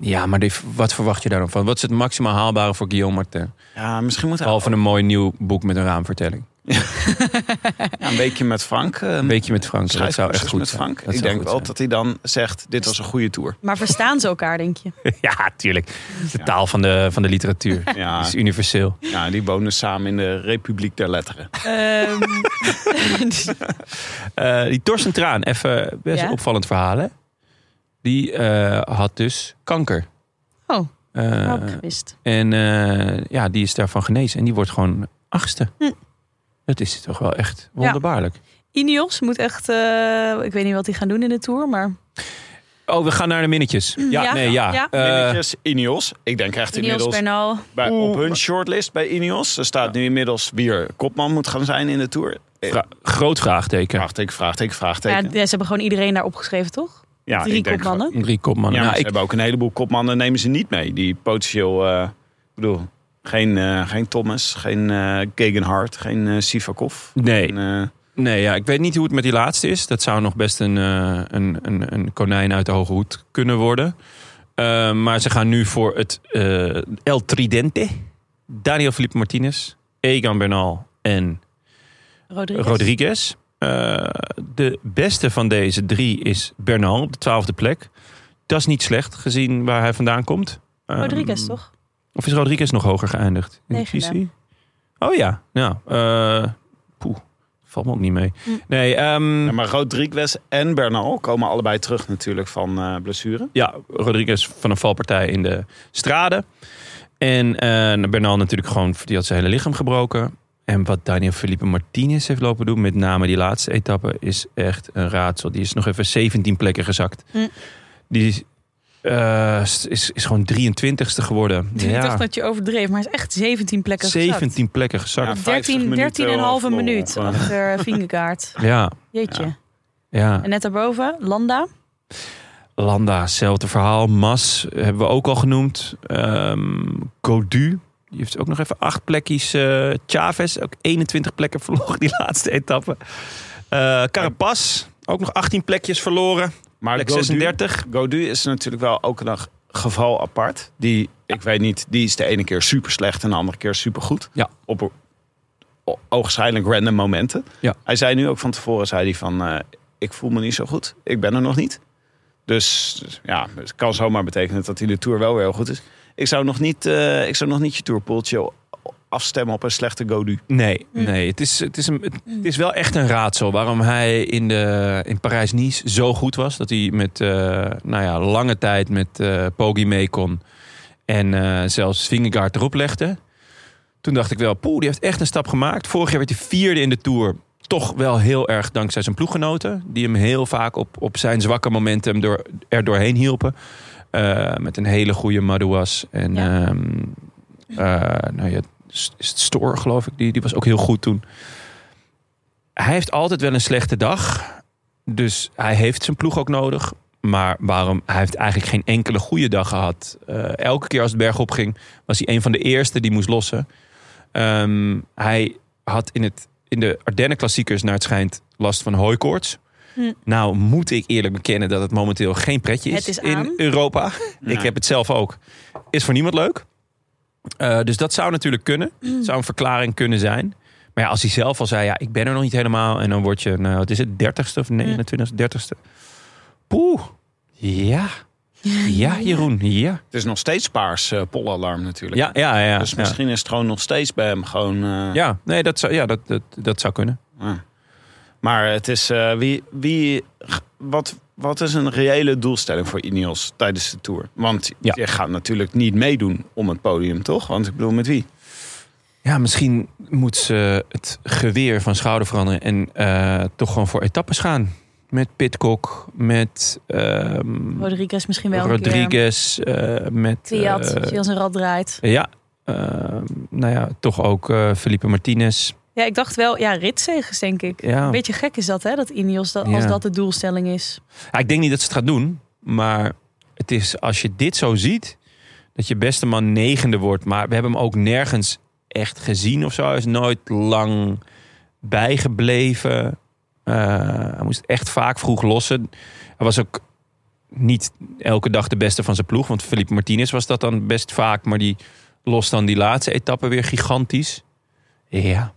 S3: Ja, maar die- wat verwacht je daar dan van? Wat is het maximaal haalbare voor Guillaume Martin?
S2: Ja, misschien moet hij
S3: Behalve een mooi nieuw boek met een raamvertelling.
S2: ja, een weekje met Frank. eh,
S3: Een beetje met Frank. Dat zou echt
S2: schrijfcursus
S3: goed
S2: met
S3: zijn.
S2: Frank.
S3: Dat
S2: ik
S3: zou
S2: denk
S3: goed
S2: wel
S3: zijn.
S2: dat hij dan zegt, dit was een goede tour.
S1: Maar verstaan ze elkaar, denk je?
S3: Ja, tuurlijk. De taal van de, van de literatuur.
S2: Ja.
S3: Die is universeel.
S2: Ja, die wonen samen in de Republiek der Letteren.
S1: Ehm,
S3: Dus Eh, die Torsten Traan, even best
S1: Ja?
S3: een opvallend verhaal hè? Die eh, had dus kanker.
S1: oh,
S3: Eh,
S1: had ik gemist.
S3: en eh, ja, die is daarvan genezen. En die wordt gewoon achtste. Het is toch wel echt wonderbaarlijk.
S1: Ineos moet echt, eh, ik weet niet wat die gaan doen in de Tour, maar
S3: Oh, we gaan naar de minnetjes. Ja,
S1: Ja.
S3: nee, ja.
S1: Ja.
S3: Eh,
S2: Minnetjes, Ineos. Ik denk echt
S1: Ineos
S2: inmiddels
S1: Bernal.
S2: bij, op hun shortlist bij Ineos. Er staat nu inmiddels wie er kopman moet gaan zijn in de Tour. Eh,
S3: vra- groot vraagteken.
S2: Vraagteken, vraagteken,
S1: Ja,
S2: vraagteken.
S1: ze hebben gewoon iedereen daar opgeschreven, toch?
S2: Ja,
S1: Drie
S2: ik denk gewoon-
S1: kopmannen.
S3: Drie kopmannen.
S2: Ja, maar
S3: nou,
S2: ze
S3: ik,
S2: hebben ook een heleboel kopmannen, nemen ze niet mee. Die potentieel, eh, ik bedoel, geen, eh, geen Thomas, geen eh Gegenhardt, geen eh, Sivakov.
S3: nee,
S2: En, eh,
S3: nee ja, ik weet niet hoe het met die laatste is. Dat zou nog best een, eh, een, een, een konijn uit de hoge hoed kunnen worden. Eh, maar ze gaan nu voor het eh, El Tridente. Daniel Felipe Martinez, Egan Bernal en
S1: Rodriguez.
S3: Rodriguez. Eh, de beste van deze drie is Bernal op de twaalfde plek. Dat is niet slecht gezien waar hij vandaan komt. Ehm,
S1: Rodriguez, toch?
S3: Of is Rodriguez nog hoger geëindigd? In de
S1: Negende.
S3: positie? Oh ja, nou. eh, poeh, valt me ook niet mee.
S1: Hm.
S3: Nee, ehm,
S2: ja, maar Rodriguez en Bernal komen allebei terug natuurlijk van eh, blessure.
S3: ja, Rodriguez van een valpartij in de strade. En eh, Bernal natuurlijk gewoon, die had zijn hele lichaam gebroken. En wat Daniel Felipe Martinez heeft lopen doen, met name die laatste etappe, is echt een raadsel. Die is nog even 17 plekken gezakt.
S1: Mm.
S3: Die eh, is, is gewoon 23ste geworden.
S1: Ik
S3: ja,
S1: dacht dat je overdreef, maar hij is echt 17 plekken gezakt.
S3: 17 plekken gezakt.
S2: Ja,
S1: 13,
S2: 50
S1: 13 en
S2: minuten eh.
S1: halve
S2: verloren.
S1: minuut achter Vingegaard.
S3: ja.
S1: Jeetje.
S3: ja.
S1: En net daarboven, Landa.
S3: Landa, hetzelfde verhaal. Mas hebben we ook al genoemd. Ehm Godu, die heeft ook nog even acht plekjes. eh Chavez, ook 21 plekken verloren die laatste etappe. Eh Carapaz, ook nog 18 plekjes verloren.
S2: Maar
S3: Plek
S2: Godu-
S3: 36.
S2: Godu is natuurlijk wel ook een geval apart. Die, ik weet niet, die is de ene keer super slecht en de andere keer super goed.
S3: Ja.
S2: Op o- o- oogschijnlijk random momenten.
S3: Ja.
S2: Hij zei nu ook van tevoren, zei hij van, eh, ik voel me niet zo goed. Ik ben er nog niet. Dus dus ja, het kan zomaar betekenen dat hij de Tour wel weer heel goed is. Ik zou nog niet, eh, ik zou nog niet je Tourpoeltje o- afstemmen op een slechte Godu.
S3: Nee, nee het, is, het, is een, het, het is wel echt een raadsel waarom hij in, de, in Parijs-Nice zo goed was. Dat hij met eh, nou ja, lange tijd met eh Poggi mee kon. En eh, zelfs Vingegaard erop legde. Toen dacht ik wel, poeh, die heeft echt een stap gemaakt. Vorig jaar werd hij vierde in de Tour. Toch wel heel erg dankzij zijn ploeggenoten. Die hem heel vaak op, op zijn zwakke momenten hem door, er doorheen hielpen. Eh, met een hele goede Madouas. En
S1: Ja.
S3: ehm, eh, nou ja, S- Store, geloof ik. Die, die was ook heel goed toen. Hij heeft altijd wel een slechte dag. Dus hij heeft zijn ploeg ook nodig. Maar waarom? Hij heeft eigenlijk geen enkele goede dag gehad. Eh, elke keer als het berg opging, was hij een van de eerste die moest lossen. Ehm, hij had in, het, in de Ardennen-klassiekers, naar het schijnt, last van hooikoorts.
S1: Hm.
S3: Nou, moet ik eerlijk bekennen dat het momenteel geen pretje is,
S1: Het is aan.
S3: in Europa. Ik
S2: Ja.
S3: heb het zelf ook. Is voor niemand leuk. Eh, dus dat zou natuurlijk kunnen.
S1: Hm.
S3: Zou een verklaring kunnen zijn. Maar ja, als hij zelf al zei, ja, ik ben er nog niet helemaal. En dan word je, nou, wat is het, dertigste of 29ste, dertigste. Poeh. Ja. Ja, Jeroen. Ja.
S2: Het is nog steeds paars eh, pollalarm natuurlijk.
S3: Ja, ja, ja.
S2: dus
S3: ja.
S2: misschien is het gewoon nog steeds bij hem gewoon... eh,
S3: Ja, nee, dat zou, ja, dat, dat, dat zou kunnen.
S2: Ja. Maar het is eh, wie, wie, g- wat, wat is een reële doelstelling voor Ineos tijdens de tour? Want
S3: Ja.
S2: je gaat natuurlijk niet meedoen om het podium, toch? Want ik bedoel, met wie?
S3: Ja, misschien moet ze het geweer van schouder veranderen en eh, toch gewoon voor etappes gaan. Met Pitcock, met ehm,
S1: Rodriguez misschien wel een keer.
S3: Rodriguez, eh, met...
S1: Kwiat,
S3: eh,
S1: als je als een rad draait.
S3: ja, ehm, nou ja, toch ook eh, Felipe Martinez.
S1: Ja, ik dacht wel, ja, ritzegens denk ik.
S3: Ja.
S1: Een beetje gek is dat, hè? Dat Ineos, dat, als
S3: Oh. Ja.
S1: dat de doelstelling is.
S3: Ja, ik denk niet dat ze het gaat doen, maar het is als je dit zo ziet, dat je beste man negende wordt. Maar we hebben hem ook nergens echt gezien of zo. Hij is nooit lang bijgebleven. Eh, hij moest echt vaak vroeg lossen. Hij was ook niet elke dag de beste van zijn ploeg, want Felipe Martinez was dat dan best vaak, maar die lost dan die laatste etappe weer gigantisch. Ja.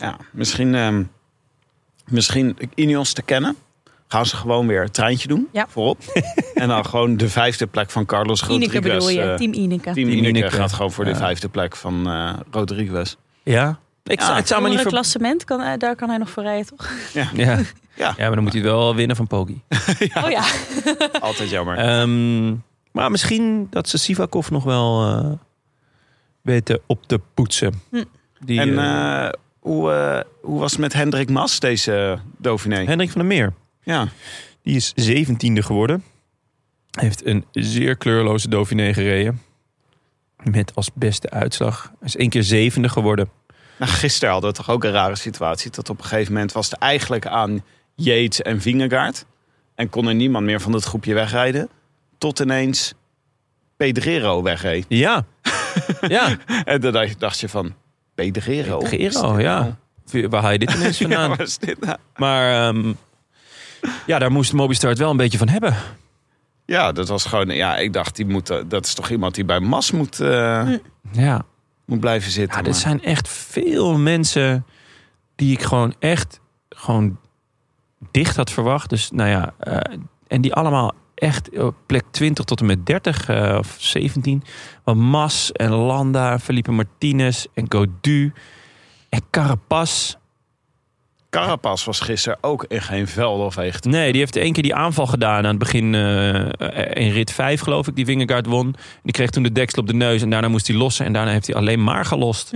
S2: Ja, misschien, ehm, misschien Ineos te kennen. Gaan ze gewoon weer het treintje doen
S1: Ja.
S2: voorop. en dan gewoon de vijfde plek van Carlos
S1: Ineke
S2: Rodriguez.
S1: bedoel je,
S2: eh,
S1: team Ineke.
S2: Team
S3: Team
S2: Ineke
S3: Ineke.
S2: gaat gewoon voor
S3: Ja.
S2: de vijfde plek van eh, Rodriguez.
S3: Ja. Ik
S2: Ja.
S3: zou, het zou me niet
S1: Jongere
S3: ver...
S1: klassement, kan, eh, daar kan hij nog voor rijden, toch?
S3: Ja.
S2: Ja.
S3: ja, maar dan moet hij het wel winnen van Poggi.
S1: Oh ja.
S2: Altijd jammer.
S3: Ehm, maar misschien dat ze Sivakov nog wel eh, weten op te poetsen.
S1: Hm.
S3: Die,
S2: en
S3: eh,
S2: eh, Hoe, eh, hoe was het met Hendrik Mas, deze Dauphiné?
S3: Hendrik van der Meer.
S2: Ja,
S3: Die is 17e geworden. Heeft een zeer kleurloze Dauphiné gereden. Met als beste uitslag. Hij is één keer zevende geworden.
S2: nou, gisteren hadden we toch ook een rare situatie. Dat op een gegeven moment was het eigenlijk aan Yates en Vingegaard. En kon er niemand meer van het groepje wegrijden. Tot ineens Pedrero wegreed.
S3: Ja. ja.
S2: En dan dacht je- dacht je van, Pedrero?
S3: Gero, ja. Waar haal je dit ineens vandaan?
S2: Ja, was dit nou?
S3: Maar ehm, ja, daar moest Mobistar het wel een beetje van hebben.
S2: Ja, dat was gewoon... Ja, ik dacht, die moet, eh, dat is toch iemand die bij Mas moet, eh,
S3: Ja,
S2: moet blijven zitten.
S3: ja er
S2: maar-
S3: zijn echt veel mensen die ik gewoon echt gewoon dicht had verwacht. Dus nou ja, eh, en die allemaal echt op plek 20 tot en met 30 eh, of 17. Want Mas en Landa, Felipe Martinez en Godu en Carapaz.
S2: Carapaz was gisteren ook in geen veld of echt.
S3: Nee, die heeft één keer die aanval gedaan aan het begin eh, in rit 5, geloof ik, die Vingegaard won. Die kreeg toen de deksel op de neus en daarna moest hij lossen. En daarna heeft hij alleen maar gelost.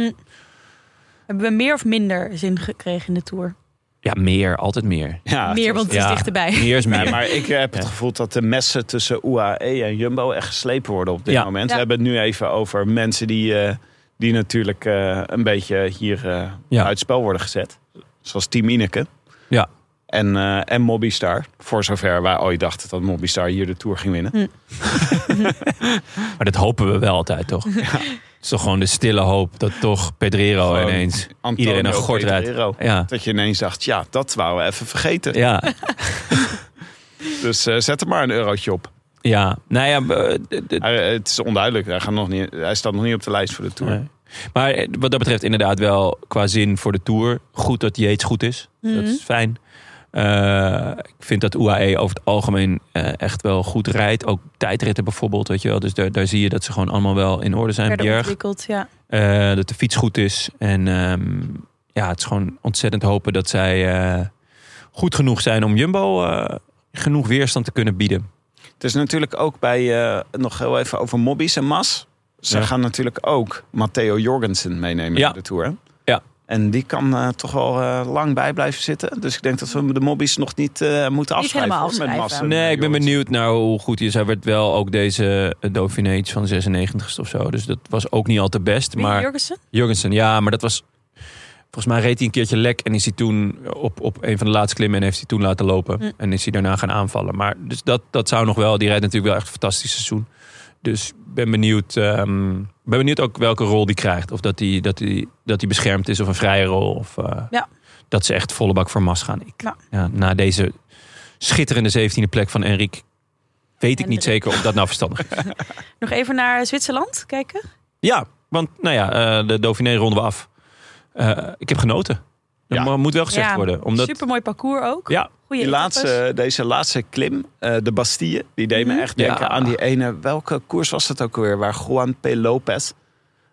S1: Hebben we meer of minder zin gekregen in de Tour?
S3: Ja, meer, altijd meer.
S2: Ja, het
S1: meer,
S2: was-
S1: want het
S3: ja.
S1: is dichterbij.
S3: Meer is
S2: Ja,
S3: meer.
S2: maar ik eh, heb het
S3: Ja.
S2: gevoel dat de messen tussen UAE en Jumbo echt geslepen worden op dit
S3: Ja.
S2: moment. We
S1: Ja.
S2: hebben het nu even over mensen die, eh, die natuurlijk eh, een beetje hier eh
S3: Ja.
S2: uit spel worden gezet. Zoals Team Ineke.
S3: Ja.
S2: En, eh, en Mobbystar. Voor zover wij ooit dachten dat Mobbystar hier de Tour ging winnen.
S3: Hm. Maar dat hopen we wel altijd, toch? Het is toch gewoon de stille hoop dat toch Pedrero
S2: Gewoon
S3: ineens
S2: Antonio
S3: iedereen een gort
S2: Pedrero.
S3: rijdt. Ja,
S2: Dat je ineens dacht, ja, dat wouden we even vergeten.
S3: ja,
S2: Dus eh, zet er maar een eurotje op.
S3: ja. Nou ja, eh, d- d-
S2: Hij- het is onduidelijk. Hij, gaat nog niet, hij staat nog niet op de lijst voor de Tour.
S3: Nee. Maar eh, wat dat betreft inderdaad wel qua zin voor de Tour. Goed dat Yates goed is. Dat is fijn. Eh, ik vind dat UAE over het algemeen eh, echt wel goed rijdt. Ook tijdritten bijvoorbeeld, weet je wel. Dus daar, daar zie je dat ze gewoon allemaal wel in orde zijn.
S1: Verder
S3: Bjerg,
S1: ontwikkeld, ja.
S3: eh, dat de fiets goed is. En ehm, ja, het is gewoon ontzettend hopen dat zij eh, goed genoeg zijn om Jumbo eh, genoeg weerstand te kunnen bieden.
S2: Het is natuurlijk ook bij, eh, nog heel even over Mobbies en Mas. Ze
S3: Ja.
S2: gaan natuurlijk ook Matteo Jorgensen meenemen
S3: Ja.
S2: in de Tour. hè?
S3: Ja.
S2: En die kan eh, toch wel eh, lang bij blijven zitten. Dus ik denk dat we de Mobbies nog niet eh, moeten afschrijven.
S1: helemaal
S2: hoor, met
S1: afschrijven.
S2: Mas en
S3: Nee, ik ben
S2: Jorgensen.
S3: benieuwd naar hoe goed hij is. Hij werd wel ook deze eh, Dauphiné iets van 96 of zo. Dus dat was ook niet al te best.
S1: Wie,
S3: Maar
S1: Jurgensen?
S3: Jurgensen, ja, maar dat was... Volgens mij reed hij een keertje lek en is hij toen op, op een van de laatste klimmen en heeft hij toen laten lopen.
S1: Hm.
S3: En is hij daarna gaan aanvallen. Maar dus dat, dat zou nog wel, die rijdt natuurlijk wel echt een fantastisch seizoen. Dus ik ben benieuwd, ehm, ik ben benieuwd ook welke rol die krijgt. Of dat hij dat die, dat die beschermd is of een vrije rol. Of eh,
S1: Ja.
S3: dat ze echt volle bak voor Mas gaan. Ik, ja.
S1: Ja.
S3: na deze schitterende 17e plek van Enric weet ik niet
S1: Hendrik.
S3: zeker of dat nou verstandig is.
S1: Nog even naar Zwitserland kijken.
S3: Ja, want nou ja, eh, de Dauphiné ronden we af. Eh, ik heb genoten. Dat
S2: Ja. Eh,
S3: mo- moet wel gezegd
S1: Ja,
S3: worden. Omdat,
S1: Supermooi parcours ook.
S3: Ja, eh,
S1: Goeie
S2: Die
S1: etappes. Mhm.
S2: laatste, eh, deze laatste klim, eh, de Bastille, die deed me echt denken
S3: Ja.
S2: aan die ene. Welke koers was dat ook weer? Waar Juan P. Lopez,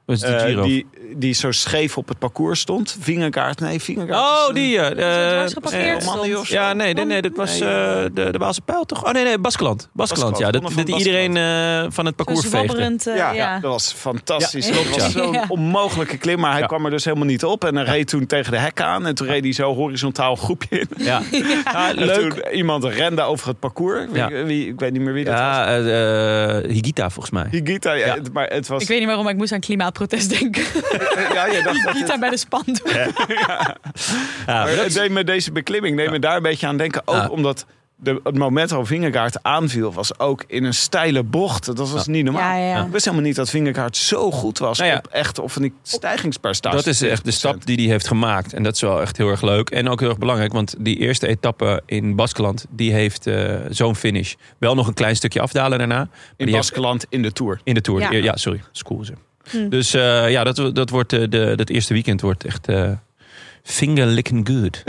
S3: was die
S2: eh,
S3: Giro.
S2: die, die zo scheef op het parcours stond. Vingerkaart, nee, vingerkaart.
S3: oh, die. eh,
S1: Zo
S3: eh,
S1: dwars geparkeerd
S3: eh,
S1: stond. Oh,
S2: of zo.
S3: ja, nee, nee, nee, dat was eh, de, de Waalse pijl toch? Oh nee, nee, Baskeland. Baskeland,
S2: Baskeland,
S3: ja. Dat,
S2: ronde
S3: dat
S2: van
S3: iedereen eh, van het
S1: Zo
S3: parcours veegde.
S1: zwabberend. eh,
S2: Ja,
S1: ja,
S2: dat was fantastisch.
S3: Ja,
S2: dat
S3: klopt,
S2: was
S3: ja.
S2: zo'n
S1: Ja.
S2: onmogelijke klim, maar hij
S3: Ja.
S2: kwam er dus helemaal niet op. En hij reed toen tegen de hekken aan en toen reed hij zo horizontaal een groepje in.
S3: Ja. Ja,
S2: En
S3: leuk.
S2: toen iemand rende over het parcours. Wie-
S3: Ja.
S2: wie- ik weet niet meer wie dat was.
S3: Ja, eh, eh, Higita volgens mij.
S2: Higita, ja,
S3: Ja.
S2: het- maar het was...
S1: Ik weet niet waarom, maar ik moest aan klimaatprotest denken.
S2: ja, je dacht dat
S1: Niet
S2: het,
S1: daar bij de spandoek.
S3: Ja,
S2: maar het deed me deze beklimming, deed me daar een beetje aan denken. Ook
S3: Ja.
S2: omdat de, het moment waarop Vingerkaart aanviel, was ook in een steile bocht. Dat was niet normaal.
S1: Ja, ja, ja.
S2: Ik wist helemaal niet dat Vingerkaart zo goed was
S3: Nou ja.
S2: op echt of van die stijgingspercentage.
S3: Dat is echt de stap die hij heeft gemaakt. En dat is wel echt heel erg leuk. En ook heel erg belangrijk. Want die eerste etappe in Baskeland, die heeft eh, zo'n finish. Wel nog een klein stukje afdalen daarna. maar
S2: In
S3: die heeft-
S2: Baskeland in de Tour.
S3: in de Tour. Ja,
S1: Ja.
S3: sorry. School ze. Dus eh, ja, dat, dat, wordt, eh, de, dat eerste weekend wordt echt eh finger licking good.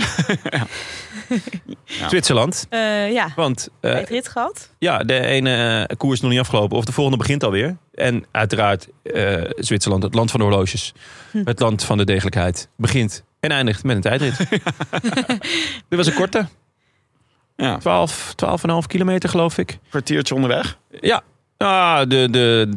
S2: Ja.
S3: Zwitserland.
S1: Eh, ja,
S3: Want eh,
S1: het rit gehad.
S3: ja, de ene eh, koers is nog niet afgelopen. Of de volgende begint alweer. En uiteraard eh, Zwitserland, het land van de horloges.
S1: Hm.
S3: Het land van de degelijkheid. Begint en eindigt met een tijdrit. Dit was een korte.
S2: Ja.
S3: 12, 12,5 kilometer geloof ik.
S2: Kwartiertje onderweg.
S3: Ja. Ah, de, de,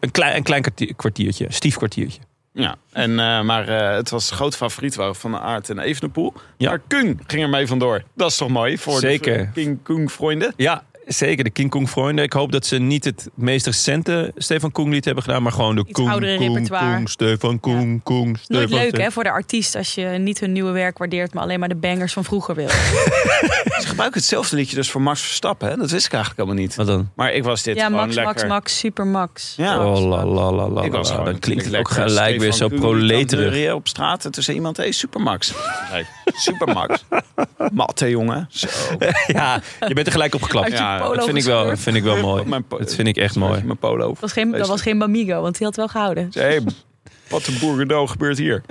S3: een, klein, een klein kwartier- kwartiertje. Stief kwartiertje.
S2: Ja, en, eh, maar eh, het was groot favoriet waren van Aard en Evenepoel.
S3: Ja.
S2: Maar Kung ging er mee vandoor. Dat is toch mooi voor
S3: Zeker.
S2: de King Kung vrienden.
S3: Ja, zeker. De King Kong vrienden. Ik hoop dat ze niet het meest recente Stefan Koeng lied hebben gedaan, maar gewoon de
S1: Iets
S3: Koeng,
S1: oudere
S3: Koeng,
S1: repertoire.
S3: Koeng, Stefan Koeng, Koeng,
S1: Nooit
S3: Stefan.
S1: leuk
S3: Koeng.
S1: hè, voor de artiest als je niet hun nieuwe werk waardeert, maar alleen maar de bangers van vroeger wil.
S2: Ze gebruiken hetzelfde liedje dus voor Max Verstappen. Hè? Dat wist ik eigenlijk helemaal niet.
S3: Wat dan?
S2: Maar ik was dit
S1: Ja,
S2: gewoon
S1: Max,
S2: lekker.
S1: Max, Max, super Max.
S2: Ja.
S1: Max,
S3: Oh la
S1: Max.
S3: la la la.
S2: Ik was
S3: la.
S2: gewoon
S3: Dan klinkt het ook
S2: natuurlijk lekker
S3: gelijk weer zo
S2: Stefan Koen, die
S3: proleterig.
S2: kanterie op straat en toen zei iemand, hé, hey, Supermax. Nee, Supermax. Matte, jongen. Zo.
S3: Ja, je bent er gelijk op geklapt.
S1: Uit je
S3: Ja,
S1: polo
S3: dat vind ik wel,
S1: gescheurd.
S3: vind ik wel mooi.
S2: Mijn po-
S3: Dat vind ik echt
S2: Zoals
S3: mooi.
S2: je Mijn polo.
S1: Dat was, geen, dat was geen Bamigo, want die had wel gehouden.
S2: Hé, hey, wat een boergedoe gebeurt hier.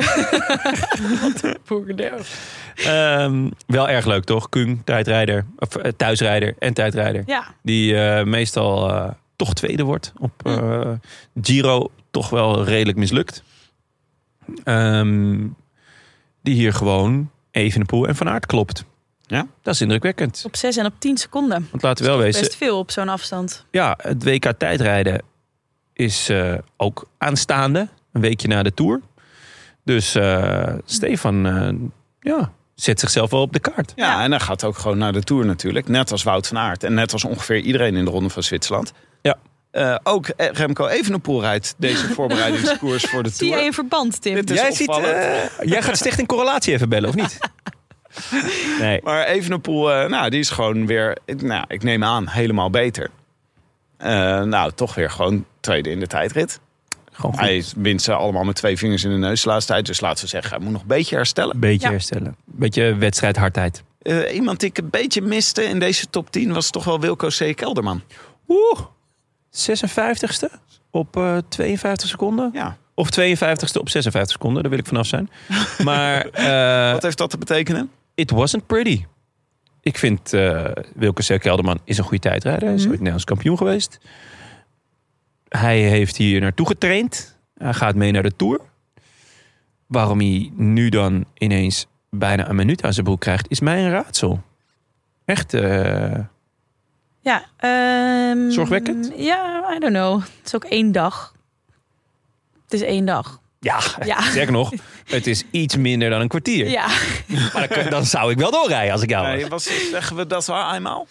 S3: Ehm, wel erg leuk, toch? Kung, tijdrijder, of eh, thuisrijder en tijdrijder.
S1: Ja,
S3: Die eh, meestal eh, toch tweede wordt. Op
S1: Hm.
S3: eh, Giro toch wel redelijk mislukt. Ehm, die hier gewoon even de poel en van aard klopt.
S2: Ja.
S3: Dat is indrukwekkend.
S1: op 6 en op 10 seconden.
S3: Want laten we wel wezen,
S1: Best veel op zo'n afstand.
S3: ja, het WK tijdrijden is eh, ook aanstaande. Een weekje na de Tour. Dus eh, Stefan eh, ja, zet zichzelf wel op de kaart.
S2: Ja, en dan gaat ook gewoon naar de Tour natuurlijk. Net als Wout van Aert. En net als ongeveer iedereen in de Ronde van Zwitserland.
S3: Ja.
S2: Eh, ook eh, Remco Evenepoel rijdt deze voorbereidingskoers voor de
S1: Zie jij
S2: Tour.
S1: een verband, Tim?
S2: Dit is Jij ziet, opvallend.
S3: eh, jij gaat Stichting Correlatie even bellen, of niet? Nee.
S2: Maar Evenepoel, eh, nou, die is gewoon weer, ik- nou, ik neem aan, helemaal beter. Eh, nou, toch weer gewoon tweede in de tijdrit.
S3: Gewoon goed.
S2: Hij wint ze allemaal met twee vingers in de neus de laatste tijd. Dus laten we zeggen, hij moet nog een beetje herstellen.
S3: Een beetje
S1: Ja.
S3: herstellen. beetje wedstrijdhardheid.
S2: Eh, iemand die ik een beetje miste in deze top 10 was toch wel Wilco C. Kelderman.
S3: Oeh, 56ste op eh, 52 seconden.
S2: Ja.
S3: Of 52ste op 56 seconden, daar wil ik vanaf zijn. Maar eh,
S2: Wat heeft dat te betekenen?
S3: it wasn't pretty. Ik vind eh Wilke C. Kelderman is een goede tijdrijder.
S1: Mhm.
S3: Hij is ooit Nederlands kampioen geweest. Hij heeft hier naartoe getraind. Hij gaat mee naar de Tour. Waarom hij nu dan ineens bijna een minuut aan zijn broek krijgt, is mij een raadsel. Echt, eh,
S1: Ja, ehm,
S3: Zorgwekkend?
S1: Ja, I don't know. Het is ook één dag. Het is één dag.
S3: ja,
S1: Ja.
S3: sterker nog, het is iets minder dan een kwartier.
S1: Ah. Ja,
S3: Maar dan, dan zou ik wel doorrijden als ik jou was.
S2: Nee, was, zeggen we dat waar eenmaal?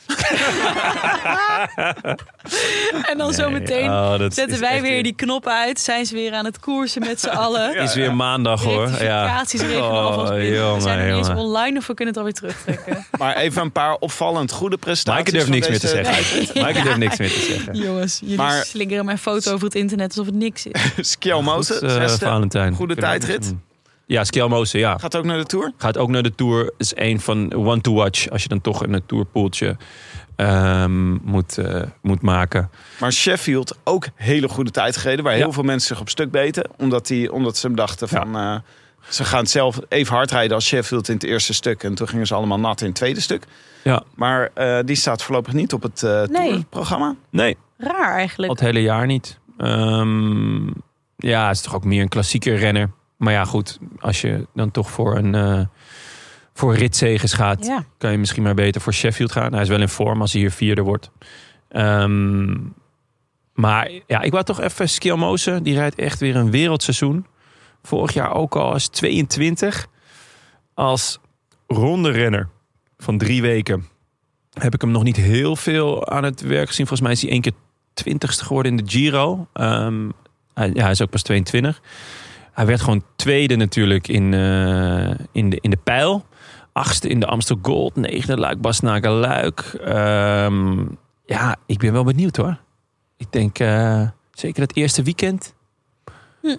S1: en dan zo meteen
S3: Oh, dat
S1: zetten
S3: is
S1: wij
S3: echt
S1: weer die knop uit. Zijn ze weer aan het koersen met z'n allen.
S3: is weer maandag hoor. Ja. Oh,
S1: Rectificaties regelen we alvast binnen.
S3: jongen,
S1: we zijn er niet eens
S3: jongen.
S1: online of we kunnen het alweer terugtrekken.
S2: Maar even een paar opvallend goede prestaties.
S3: Maaike durft
S2: van
S3: niks meer te
S2: deze-
S3: zeggen. Maaike durft niks meer te zeggen.
S1: Jongens, jullie
S2: Maar-
S1: slingeren mijn foto over het internet alsof het niks is.
S2: Skjelmoze,
S3: Goed, eh,
S2: zesde.
S3: Valentijn.
S2: Goede
S3: Kunnen we
S2: tijdrit.
S3: niks doen. Ja, Skelmoze, ja.
S2: Gaat ook naar de Tour.
S3: Gaat ook naar de Tour. Is een van one to watch. Als je dan toch een tourpoeltje ehm moet, eh, moet maken.
S2: Maar Sheffield ook hele goede tijd gereden. Waar
S3: Ja.
S2: heel veel mensen zich op stuk beten. Omdat, die, omdat ze hem dachten van... eh, ze gaan zelf even hard rijden als Sheffield in het eerste stuk. En toen gingen ze allemaal nat in het tweede stuk.
S3: Ja.
S2: Maar eh, die staat voorlopig niet op het eh
S1: Nee.
S2: Tourprogramma.
S3: Nee,
S1: Raar eigenlijk.
S3: al het hele jaar niet. Ehm, ja, is toch ook meer een klassieke renner. Maar ja, goed. Als je dan toch voor een... eh voor ritzeges gaat,
S1: Ja.
S3: kan je misschien maar beter voor Sheffield gaan. Hij is wel in vorm als hij hier vierde wordt. Ehm, maar ja, ik wou toch even Skjelmozen. Die rijdt echt weer een wereldseizoen. Vorig jaar ook al als 22. Als ronde renner van drie weken heb ik hem nog niet heel veel aan het werk gezien. Volgens mij is hij één keer twintigste geworden in de Giro. Ehm, hij, ja, hij is ook pas 22. Hij werd gewoon tweede natuurlijk in, eh, in, de, in de pijl. Achtste in de Amstel Gold. Negende Luik, Basnaken, Luik. Ehm, ja, ik ben wel benieuwd hoor. Ik denk eh, zeker dat eerste weekend.
S1: Hm.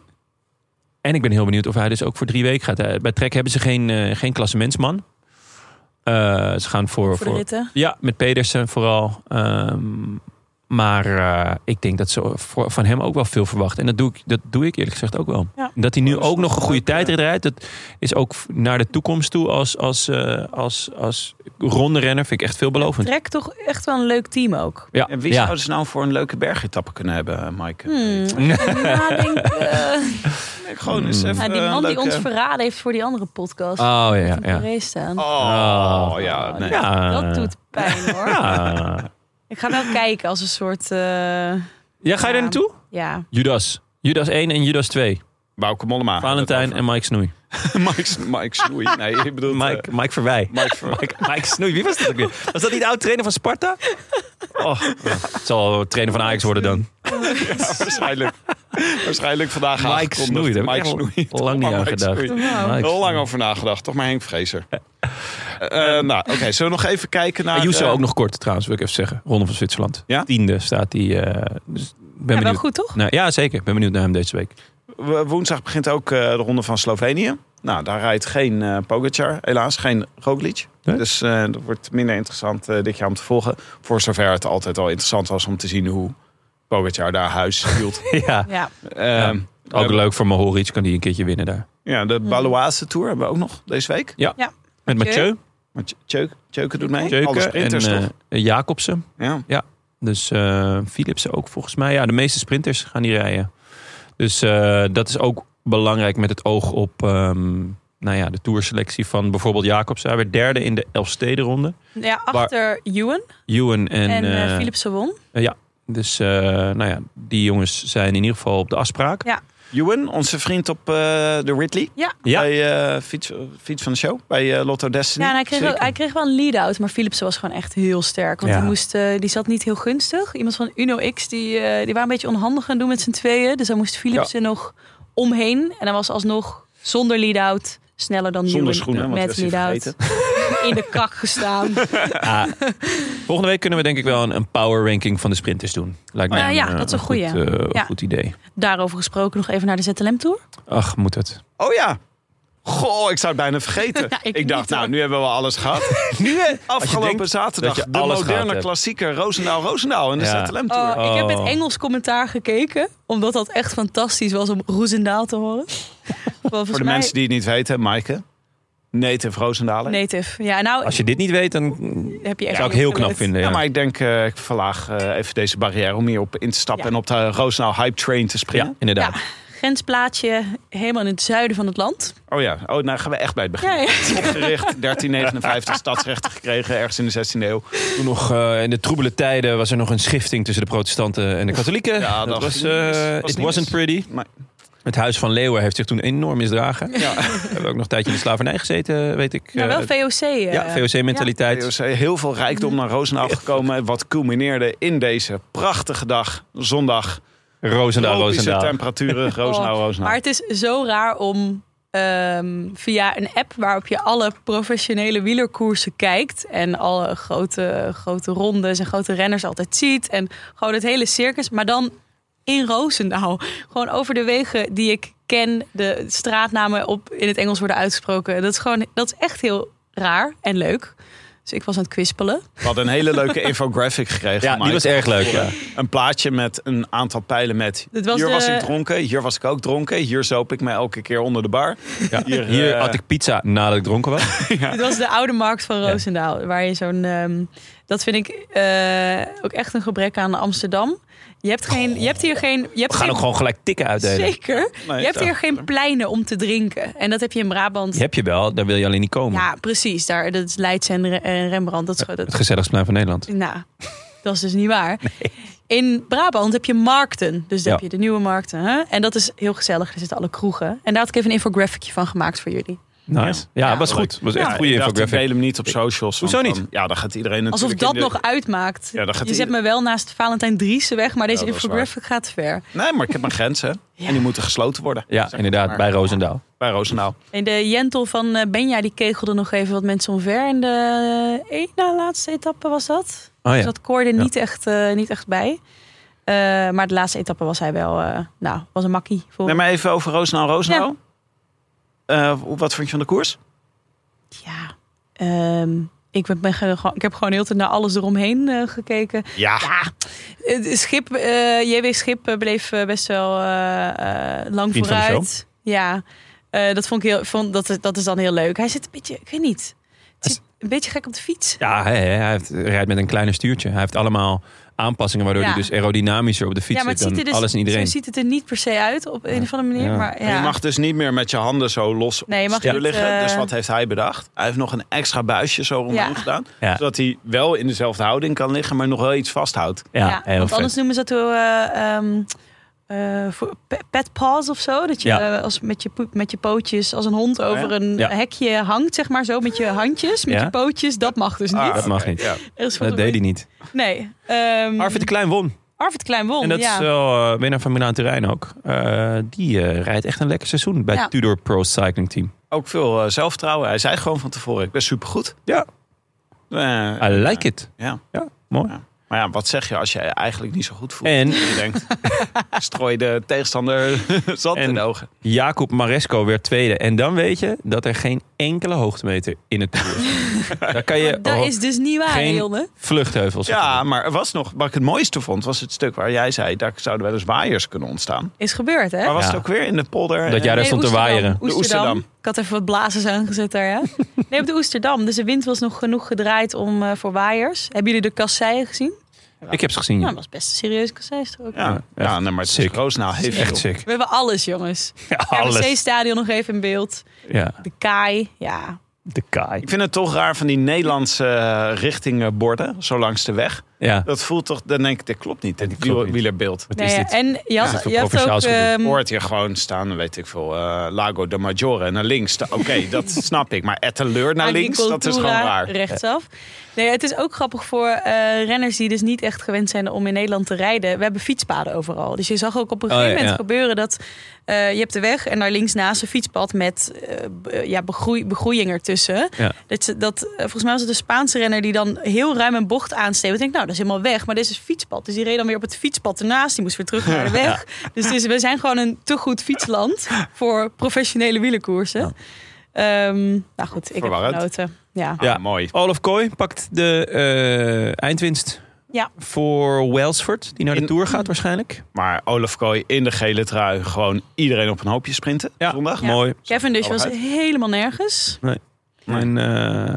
S3: En ik ben heel benieuwd of hij dus ook voor drie weken gaat. Eh, Bij Trek hebben ze geen, eh geen klassementsman. Eh, ze gaan voor,
S1: voor de ritten.
S3: ja, met Pedersen vooral. Ehm, maar eh, ik denk dat ze voor- van hem ook wel veel verwachten. En dat doe ik, dat doe ik eerlijk gezegd ook wel.
S1: Ja.
S3: Dat hij nu ook nog een goede
S2: leuk, ja.
S3: tijdrit rijdt. Dat is ook f- naar de toekomst toe als, als, eh als, als ronde renner. Vind ik echt veelbelovend.
S1: Trek toch echt wel een leuk team ook.
S3: Ja,
S2: En wie
S3: ja.
S2: zouden ze nou voor een leuke bergetappe kunnen hebben, Mike?
S1: Hmm. even Nadenken.
S2: Nee, gewoon
S3: Hmm.
S2: eens even
S1: Nou, die
S2: eh,
S1: man die
S2: leuke-
S1: ons verraden heeft voor die andere podcast.
S3: Oh ja,
S1: Even
S3: ja.
S1: voor race staan.
S2: Oh,
S3: Ah.
S2: ja.
S1: Oh,
S2: Nee.
S3: Ja. eh,
S1: Dat doet pijn hoor.
S3: Ja.
S1: Ik ga wel kijken als een soort. eh,
S3: Ja, ga je
S1: Ja.
S3: er naartoe?
S1: ja.
S3: Judas. Judas 1 en Judas 2.
S2: Bouke Mollema.
S3: Valentijn en Mike Snoei.
S2: Mike, Mike Snoei. Nee, ik bedoel...
S3: Mike, Mike Verwij.
S2: eh, Mike Ver-
S3: Mike, Mike Snoei, wie was dat ook weer? Was dat niet de oud-trainer van Sparta? Oh, het zal trainer van Ajax worden dan.
S2: Ja, waarschijnlijk. waarschijnlijk vandaag
S3: Mike
S2: aangekondigd.
S3: Snoei, daar heb ik
S2: Mike
S3: echt al
S2: Snoei.
S3: lang niet
S2: Mike
S3: aan gedacht.
S2: Snoei.
S1: Wauw.
S3: Mike
S2: Heel lang
S3: Snoei.
S2: over nagedacht. Toch maar Henk Vrezer. Eh, eh, nou, oké. zullen we nog even kijken naar... eh,
S3: En Yusso
S2: de-
S3: ook nog kort trouwens, wil ik even zeggen. Ronde van Zwitserland.
S2: Ja?
S3: Tiende staat hij. eh, dus ik ben
S1: Ja, wel
S3: benieuwd.
S1: goed, toch?
S3: Nou, ja, zeker. Ik ben benieuwd naar hem deze week.
S2: Wo- Woensdag begint ook eh, de ronde van Slovenië. Nou, daar rijdt geen eh Pogacar, helaas. Geen Roglic.
S3: Nee.
S2: Dus eh, dat wordt minder interessant eh, dit jaar om te volgen. Voor zover het altijd al interessant was om te zien hoe Pogacar daar huis hield.
S3: ja.
S1: Ja.
S2: Ehm,
S3: Ook
S2: ehm,
S3: leuk voor Mahoric, kan die een keertje winnen daar.
S2: Ja, de Baloise Tour hebben we ook nog deze week.
S3: Met Mathieu,
S1: Mathieu.
S2: Maar Tjeuken doet mee. Alle
S3: Jeuken en
S2: sprinters toch?
S3: eh, Jacobsen.
S2: Ja.
S3: Dus eh, Philipsen ook volgens mij. Ja, de meeste sprinters gaan die rijden. Dus eh, dat is ook belangrijk met het oog op ehm, nou ja, de toerselectie van bijvoorbeeld Jacobsen. Hij werd derde in de Elfstedenronde.
S1: ja, achter Ewan
S3: Ewan en,
S1: en eh,
S3: eh,
S1: Philipsen won.
S3: Dus eh, nou ja, die jongens zijn in ieder geval op de afspraak.
S1: Ja.
S2: Ewan, onze vriend op eh, de Ridley.
S1: Ja.
S3: Ja.
S2: Bij eh, fiets, fiets van de show. Bij eh, Lotto Destiny.
S1: Ja, en hij kreeg, ook-
S2: Zeker.
S1: hij kreeg wel een lead-out, maar Philipsen was gewoon echt heel sterk. Want
S3: Ja.
S1: die, moest, eh, die zat niet heel gunstig. Iemand van Uno X, die, eh, die waren een beetje onhandig aan doen met z'n tweeën. Dus hij moest Philipsen nog omheen. En hij was alsnog zonder lead-out sneller dan
S2: Zonder
S1: Ewan
S2: schoenen, want
S1: met
S2: die was hij
S1: lead-out. In de kak gestaan.
S3: Ah, volgende week kunnen we denk ik wel een, een power ranking van de sprinters doen. Lijkt
S1: Oh Ja, ja,
S3: eh,
S1: dat is een goeie.
S3: Goed, eh,
S1: Ja.
S3: goed idee.
S1: Daarover gesproken nog even naar de ZLM-tour.
S3: Ach, moet het.
S2: Oh ja. Goh, ik zou het bijna vergeten.
S1: Ja,
S2: ik
S1: ik
S2: dacht,
S1: niet,
S2: nou,
S1: hoor.
S2: nu hebben we alles gehad. nu, hè, afgelopen
S3: denkt
S2: zaterdag,
S3: dat
S2: de
S3: je alles gehad
S2: moderne
S3: hebt.
S2: klassieker Roosendaal-Roosendaal in de
S3: Ja.
S2: ZLM Tour.
S1: Oh, ik heb
S3: Oh.
S1: met Engels commentaar gekeken. Omdat dat echt fantastisch was om Roezendaal te horen.
S2: Voor de mensen die het niet weten, Maaike. Native Roosendalen.
S1: Native. Ja, nou
S3: Als je dit niet weet, dan
S1: heb je echt
S3: zou ik
S1: niet
S3: heel knap
S1: gehoord.
S3: vinden.
S2: Ja,
S3: Ja.
S2: maar ik denk, eh, ik verlaag eh, even deze barrière om hierop in te stappen
S1: Ja.
S2: en op de Roosendaal Hype Train te
S3: Ja,
S2: springen.
S3: inderdaad.
S1: Ja, grensplaatsje helemaal in het zuiden van het land.
S2: Oh ja, oh, nou gaan we echt bij het begin.
S1: Ja, ja.
S2: Opgericht, 1359, stadsrechten gekregen, ergens in de 16e eeuw.
S3: Toen nog eh, in de troebele tijden was er nog een schifting tussen de protestanten en de katholieken.
S2: Ja,
S3: dat
S2: dat
S3: was,
S2: was
S3: eh,
S2: niet mis. Was
S3: it
S2: niet
S3: wasn't
S2: mis.
S3: pretty.
S2: Maar-
S3: Het huis van Leeuwen heeft zich toen enorm misdragen.
S2: Ja.
S3: We hebben ook nog een tijdje in de slavernij gezeten, weet ik.
S1: Nou, wel
S3: Eh,
S1: VOC. eh,
S3: ja, VOC-mentaliteit.
S2: Er is eh, heel veel rijkdom naar Roosendaal gekomen. Wat culmineerde in deze prachtige dag, zondag.
S3: Roosendaal,
S2: Tropische
S3: Roosendaal.
S2: temperaturen, Roosendaal, Roosendaal.
S1: Oh. Maar het is zo raar om ehm, via een app waarop je alle professionele wielerkoersen kijkt. En alle grote, grote rondes en grote renners altijd ziet. En gewoon het hele circus. Maar dan in Roosendaal. Gewoon over de wegen die ik ken. De straatnamen op, in het Engels worden uitgesproken. Dat is, gewoon, dat is echt heel raar en leuk. Dus ik was aan het kwispelen.
S2: We hadden een hele leuke infographic gekregen.
S3: Ja,
S2: van
S3: die was
S2: Mike.
S3: erg leuk. Ja.
S2: Een plaatje met een aantal pijlen met...
S1: Dit was
S2: hier
S1: de-
S2: was ik dronken, hier was ik ook dronken. Hier zoop ik mij elke keer onder de bar.
S3: Ja. Hier,
S2: eh,
S3: had ik pizza nadat ik dronken was.
S1: Dit was de oude markt van Roosendaal. Waar je zo'n. ehm, dat vind ik eh, ook echt een gebrek aan Amsterdam. Je hebt, geen, je hebt hier geen. Je hebt
S3: We gaan
S1: geen-
S3: ook gewoon gelijk tikken uitdelen.
S1: Zeker.
S2: Nee,
S1: je hebt
S2: ja.
S1: hier geen pleinen om te drinken. En dat heb je in Brabant.
S3: Die heb je wel, daar wil je alleen niet komen.
S1: Ja, precies. Daar, dat is Leids en Re- en Rembrandt. Dat is, gewoon- dat,
S3: Het gezelligste plein van Nederland.
S1: nou, dat is dus niet waar. In Brabant heb je markten. Dus daar
S3: Ja.
S1: heb je de nieuwe markten. Hè? En dat is heel gezellig. Er zitten alle kroegen. En daar had ik even een infographicje van gemaakt voor jullie.
S3: Nice. Ja,
S2: Ja,
S3: was
S2: leuk.
S3: goed. Was echt
S2: Ja,
S3: een goede
S2: ik dacht, Ik
S3: infographic.
S2: deel hem niet op socials. want
S3: Hoezo niet?
S2: dan- ja, dan gaat iedereen
S1: Alsof
S2: natuurlijk
S1: dat
S2: in de-
S1: nog uitmaakt.
S2: Ja, dan gaat
S1: je
S2: ieder-
S1: zet me wel naast Valentijn Driessen weg, maar deze
S2: Ja, dat is waar.
S1: infographic gaat ver.
S2: Nee, maar ik heb mijn grenzen. En die moeten gesloten worden.
S3: Ja,
S2: Zeg
S3: inderdaad,
S2: maar.
S3: bij Roosendaal.
S2: Bij Roosendaal.
S1: En de Jentel van eh, Benja die kegelde nog even wat mensen omver. En de eh, één na laatste etappe was dat.
S3: Oh
S1: Dus
S3: ja.
S1: dat koorde
S3: Ja.
S1: niet, echt, eh, niet echt bij. Eh, maar de laatste etappe was hij wel, eh, nou, was een makkie. Voor...
S2: Nee, maar even over Roosendaal, Roosendaal. Eh, hoe- wat vond je van de koers?
S1: Ja, ehm, ik, ben, ben ge- gewoon- ik heb gewoon heel de tijd naar alles eromheen eh, gekeken.
S2: Ja.
S1: Het Schip, eh, JW Schip eh, bleef eh, best wel eh, eh, lang
S3: Vriend van de
S1: vooruit. Ja, Eh, dat vond ik heel, vond, dat, dat is dan heel leuk. Hij zit een beetje, ik weet niet, het zit een beetje gek op de fiets.
S3: Ja, hè, hè, hij heeft, rijdt met een kleiner stuurtje. Hij heeft allemaal aanpassingen waardoor
S1: Ja.
S3: hij dus aerodynamischer op de fiets
S1: ja, maar
S3: zit dan
S1: er dus,
S3: alles en iedereen.
S1: zo ziet het er niet per se uit op een of andere manier.
S3: Ja.
S1: Maar,
S2: En
S1: ja.
S2: Je mag dus niet meer met je handen zo los
S1: Nee, je mag
S2: stuur
S1: niet,
S2: liggen.
S1: eh,
S2: Dus wat heeft hij bedacht? Hij heeft nog een extra buisje zo rondom
S1: Ja.
S2: gedaan.
S3: Ja.
S2: Zodat hij wel in dezelfde houding kan liggen, maar nog wel iets vasthoudt.
S3: Ja,
S1: Ja,
S3: heel
S1: want
S3: vet.
S1: anders noemen ze dat wel, eh, ehm, eh, voor- pe- pet paws of zo. Dat je
S3: Ja. Oh
S1: eh, als met, je, poe- met je pootjes als een hond over een
S3: Ja.
S1: hekje hangt, zeg maar zo. Met je handjes, met
S3: Ja.
S1: je pootjes. Dat mag dus niet.
S2: Ah,
S3: Dat mag
S2: oké,
S3: niet.
S2: ja.
S1: Er is van
S3: Dat
S1: de-
S3: deed hij niet.
S1: Nee. ehm,
S3: Arvid de Klein won.
S1: Arvid Klein won,
S3: En dat
S1: ja.
S3: is wel eh, winnaar van Milaan Terrein ook. Eh, die eh, rijdt echt een lekker seizoen bij
S1: Ja.
S3: het Tudor Pro Cycling Team.
S2: Ook veel eh, zelfvertrouwen. Hij zei gewoon van tevoren, ik ben supergoed.
S3: Ja.
S2: Eh,
S3: I like it.
S2: Ja.
S3: Ja, mooi.
S2: Ja. Maar ja, wat zeg je als je je eigenlijk niet zo goed voelt?
S3: En
S2: Je denkt, strooi de tegenstander zand
S3: En-
S2: in de ogen.
S3: Jacob Maresco werd tweede. En dan weet je dat er geen enkele hoogtemeter in het Tour is. Daar kan je
S1: Dat is dus niet waar,
S3: oh, geen-
S1: Jonne.
S3: vluchtheuvels
S2: Ja, maar er was nog, wat ik het mooiste vond, was het stuk waar jij zei, daar zouden wel eens waaiers kunnen ontstaan.
S1: Is gebeurd, hè?
S2: Maar was
S3: Ja.
S2: het ook weer in de polder?
S3: Dat jij daar
S1: Nee,
S3: stond te
S1: Oesterdam.
S3: waaieren.
S2: De Oesterdam.
S1: Ik had even wat blazers aangezet daar, ja. Nee, op de Oesterdam. Dus de wind was nog genoeg gedraaid om, eh, voor waaiers. Hebben jullie de kasseien gezien?
S3: Ik heb ze gezien.
S1: Nou,
S3: ja.
S1: dat was best een serieus kasseistrook.
S2: Ja, ja,
S3: Ja, echt
S2: nee, maar het is
S3: sick.
S2: groot. Nou, heeft
S3: Echt
S2: veel.
S3: sick.
S1: We hebben alles, jongens.
S3: Ja,
S1: RBC
S3: alles.
S1: stadion nog even in beeld.
S3: Ja,
S1: De kaai, ja.
S3: de kaai.
S2: Ik vind het toch raar van die Nederlandse eh, richtingborden, zo langs de weg.
S3: Ja.
S2: Dat voelt toch, dan denk ik, dit klopt niet, dit
S3: Dit klopt
S2: wiel-
S3: niet.
S2: wielerbeeld.
S3: Wat
S1: Nou
S3: is
S1: ja,
S3: dit?
S1: En je had,
S3: Ja, veel
S1: je had ook...
S3: provinciaals gedoe.
S1: ehm,
S2: Hoort hier gewoon staan, weet ik veel, eh, Lago de Maggiore naar links. Da- Oké, dat snap ik. Maar Etteleur naar links, dat is gewoon
S1: Agricultura
S2: raar.
S1: Rechtsaf. Nee, het is ook grappig voor eh, renners die dus niet echt gewend zijn om in Nederland te rijden. We hebben fietspaden overal. Dus je zag ook op een
S3: Oh,
S1: gegeven
S3: ja,
S1: moment
S3: ja.
S1: gebeuren dat eh, je hebt de weg en daar links naast een fietspad met eh, b- eh, ja, begroei, begroeiing ertussen.
S3: Ja.
S1: Dat, ze- dat, eh, volgens mij was het een Spaanse renner die dan heel ruim een bocht aansteekt. Ik denk, nou, dat is helemaal weg. Maar dit is een fietspad. Dus die reed dan weer op het fietspad ernaast. Die moest weer terug naar de weg. Dus, het is- we zijn gewoon een te goed fietsland voor professionele wielerkoersen. Ehm, nou goed, ik
S2: Verwarrend.
S1: heb genoten. Ja.
S3: Ja.
S2: Ah, mooi.
S3: Olaf Kooi pakt de eh, eindwinst
S1: Ja.
S3: voor Welsford, die naar de
S2: In-
S3: Tour gaat waarschijnlijk.
S2: Maar Olaf Kooi in de gele trui, gewoon iedereen op een hoopje sprinten
S3: Ja.
S2: zondag.
S1: Ja.
S3: Mooi.
S1: Kevin dus was
S2: Allemaal
S1: helemaal nergens.
S2: Nee.
S3: En, eh,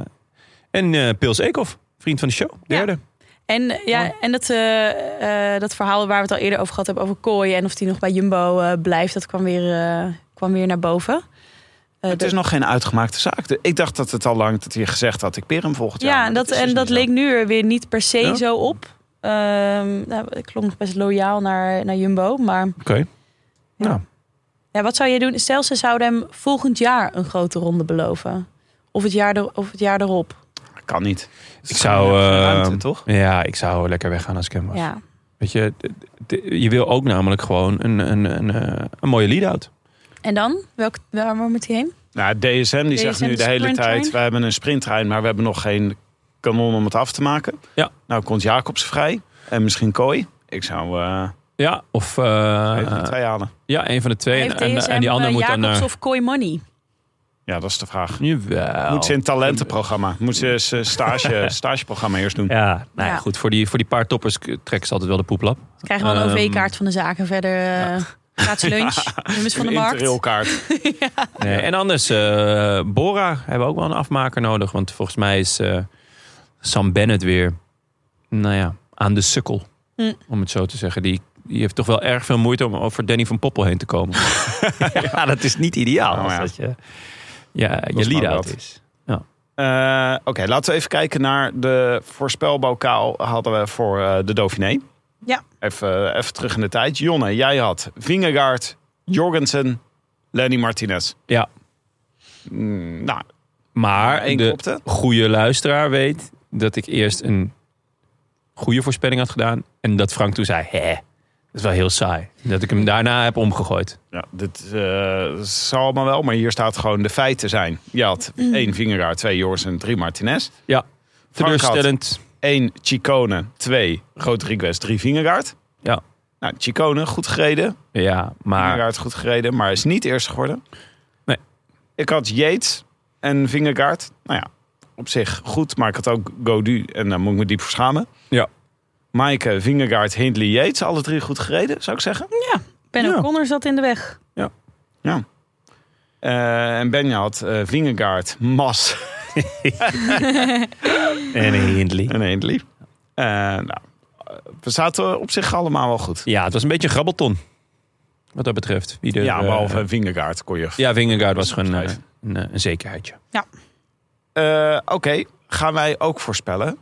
S3: en eh, Pils Eekhoff, vriend van de show, derde.
S1: En, eh, ja, en dat, eh, eh, dat verhaal waar we het al eerder over gehad hebben, over Kooi en of die nog bij Jumbo eh, blijft, dat kwam weer, eh, kwam weer naar boven. Eh,
S2: Het
S1: de-
S2: is nog geen uitgemaakte zaak. De- Ik dacht dat het al lang dat hij gezegd had, ik peer hem volgend jaar.
S1: ja,
S2: maar
S1: en dat,
S2: is dus
S1: en
S2: niet
S1: dat
S2: zo.
S1: leek nu er weer niet per se
S3: Ja.
S1: zo op. Ehm nou, ik klonk nog best loyaal naar, naar Jumbo. Maar
S3: Oké. Nou,
S1: ja, wat zou jij doen? Stel, ze zouden hem volgend jaar een grote ronde beloven. Of het jaar, er, of het jaar erop.
S2: Kan niet.
S3: ik zou...
S2: Geen
S3: eh,
S2: ruimte, toch?
S3: Ja, ik zou lekker weggaan als ik hem was.
S1: Ja.
S3: Weet je, d- d- je wil ook namelijk gewoon een, een, een, eh, een mooie lead-out.
S1: En dan? Welk, waar waar moet hij heen?
S2: Nou, DSM die zegt
S1: DSM
S2: nu de hele
S1: sprinttrein.
S2: tijd, we hebben een sprinttrein, maar we hebben nog geen kanon om het af te maken.
S3: Ja.
S2: Nou komt Jacobs vrij en misschien Kooi. Ik zou eh
S3: Ja, of eh,
S2: even die twee halen.
S3: ja, een van de twee. En,
S1: Heeft
S3: en-
S1: DSM,
S3: en die ander
S1: eh,
S3: moet dan...
S1: Jacobs
S3: eh,
S1: of Kooi Money?
S2: Ja, dat is de vraag.
S3: jawel.
S2: Moet ze in het talentenprogramma? Moet ze zijn stage, stageprogramma eerst doen?
S3: Ja, nou ja,
S1: Ja.
S3: goed. Voor die, voor die paar toppers k- trekken ze altijd wel de poeplap.
S1: Ze krijgen wel een
S3: Ehm,
S1: OV-kaart van de zaken. Verder eh gratis lunch, nummers van de
S2: Een
S1: markt.
S2: interrailkaart.
S3: Nee, en anders, eh, Bora hebben we ook wel een afmaker nodig. Want volgens mij is eh, Sam Bennett weer, nou ja, aan de sukkel.
S1: Hm.
S3: Om het zo te zeggen. Die, die heeft toch wel erg veel moeite om over Danny van Poppel heen te komen. ja, dat is niet ideaal.
S2: Nou
S3: als
S2: ja.
S3: dat je, ja,
S2: is
S3: je
S2: maar
S3: lead-out
S2: wat.
S3: is.
S2: Eh, Oké, laten we even kijken naar de voorspelbokaal hadden we voor eh, de Dauphiné.
S1: Ja.
S2: Even, eh, even terug in de tijd. Jonne, jij had Vingegaard, Jorgensen, Lenny Martinez.
S3: Ja,
S2: Mm, nou,
S3: maar
S2: één
S3: de
S2: klopte.
S3: goede luisteraar weet dat ik eerst een goede voorspelling had gedaan. En dat Frank toen zei, hè, dat is wel heel saai. Dat ik hem daarna heb omgegooid.
S2: Ja, dit eh, zal allemaal wel, maar hier staat gewoon de feiten zijn. Je had één Vingegaard, twee Jorgensen, drie Martinez.
S3: Ja,
S2: Frank had-
S3: teleurstellend.
S2: Eén Chicone, twee Rodriguez, drie Vingegaard.
S3: Ja.
S2: Nou, Chicone, goed gereden.
S3: Ja, maar
S2: Vingegaard goed gereden, maar is niet eerst geworden.
S3: Nee.
S2: Ik had Yates en Vingegaard. Nou ja, op zich goed, maar ik had ook Godu en daar moet ik me diep voor schamen.
S3: Ja.
S2: Maaike, Vingegaard, Hindley, Yates, alle drie goed gereden, zou ik zeggen.
S1: Ben
S3: Ja.
S1: O'Connor zat in de weg.
S2: Eh, en Benja had eh Vingegaard, Mas
S3: en Hindley.
S2: en Hindley. Eh, nou, we zaten op zich allemaal wel goed.
S3: Ja, het was een beetje een grabbelton. Wat dat betreft. Wie er,
S2: Ja,
S3: eh,
S2: behalve Vingegaard kon je.
S3: ja, Vingegaard was gewoon eh,
S2: Vijf.
S3: een, eh, een zekerheidje.
S2: Eh, Oké, gaan wij ook voorspellen.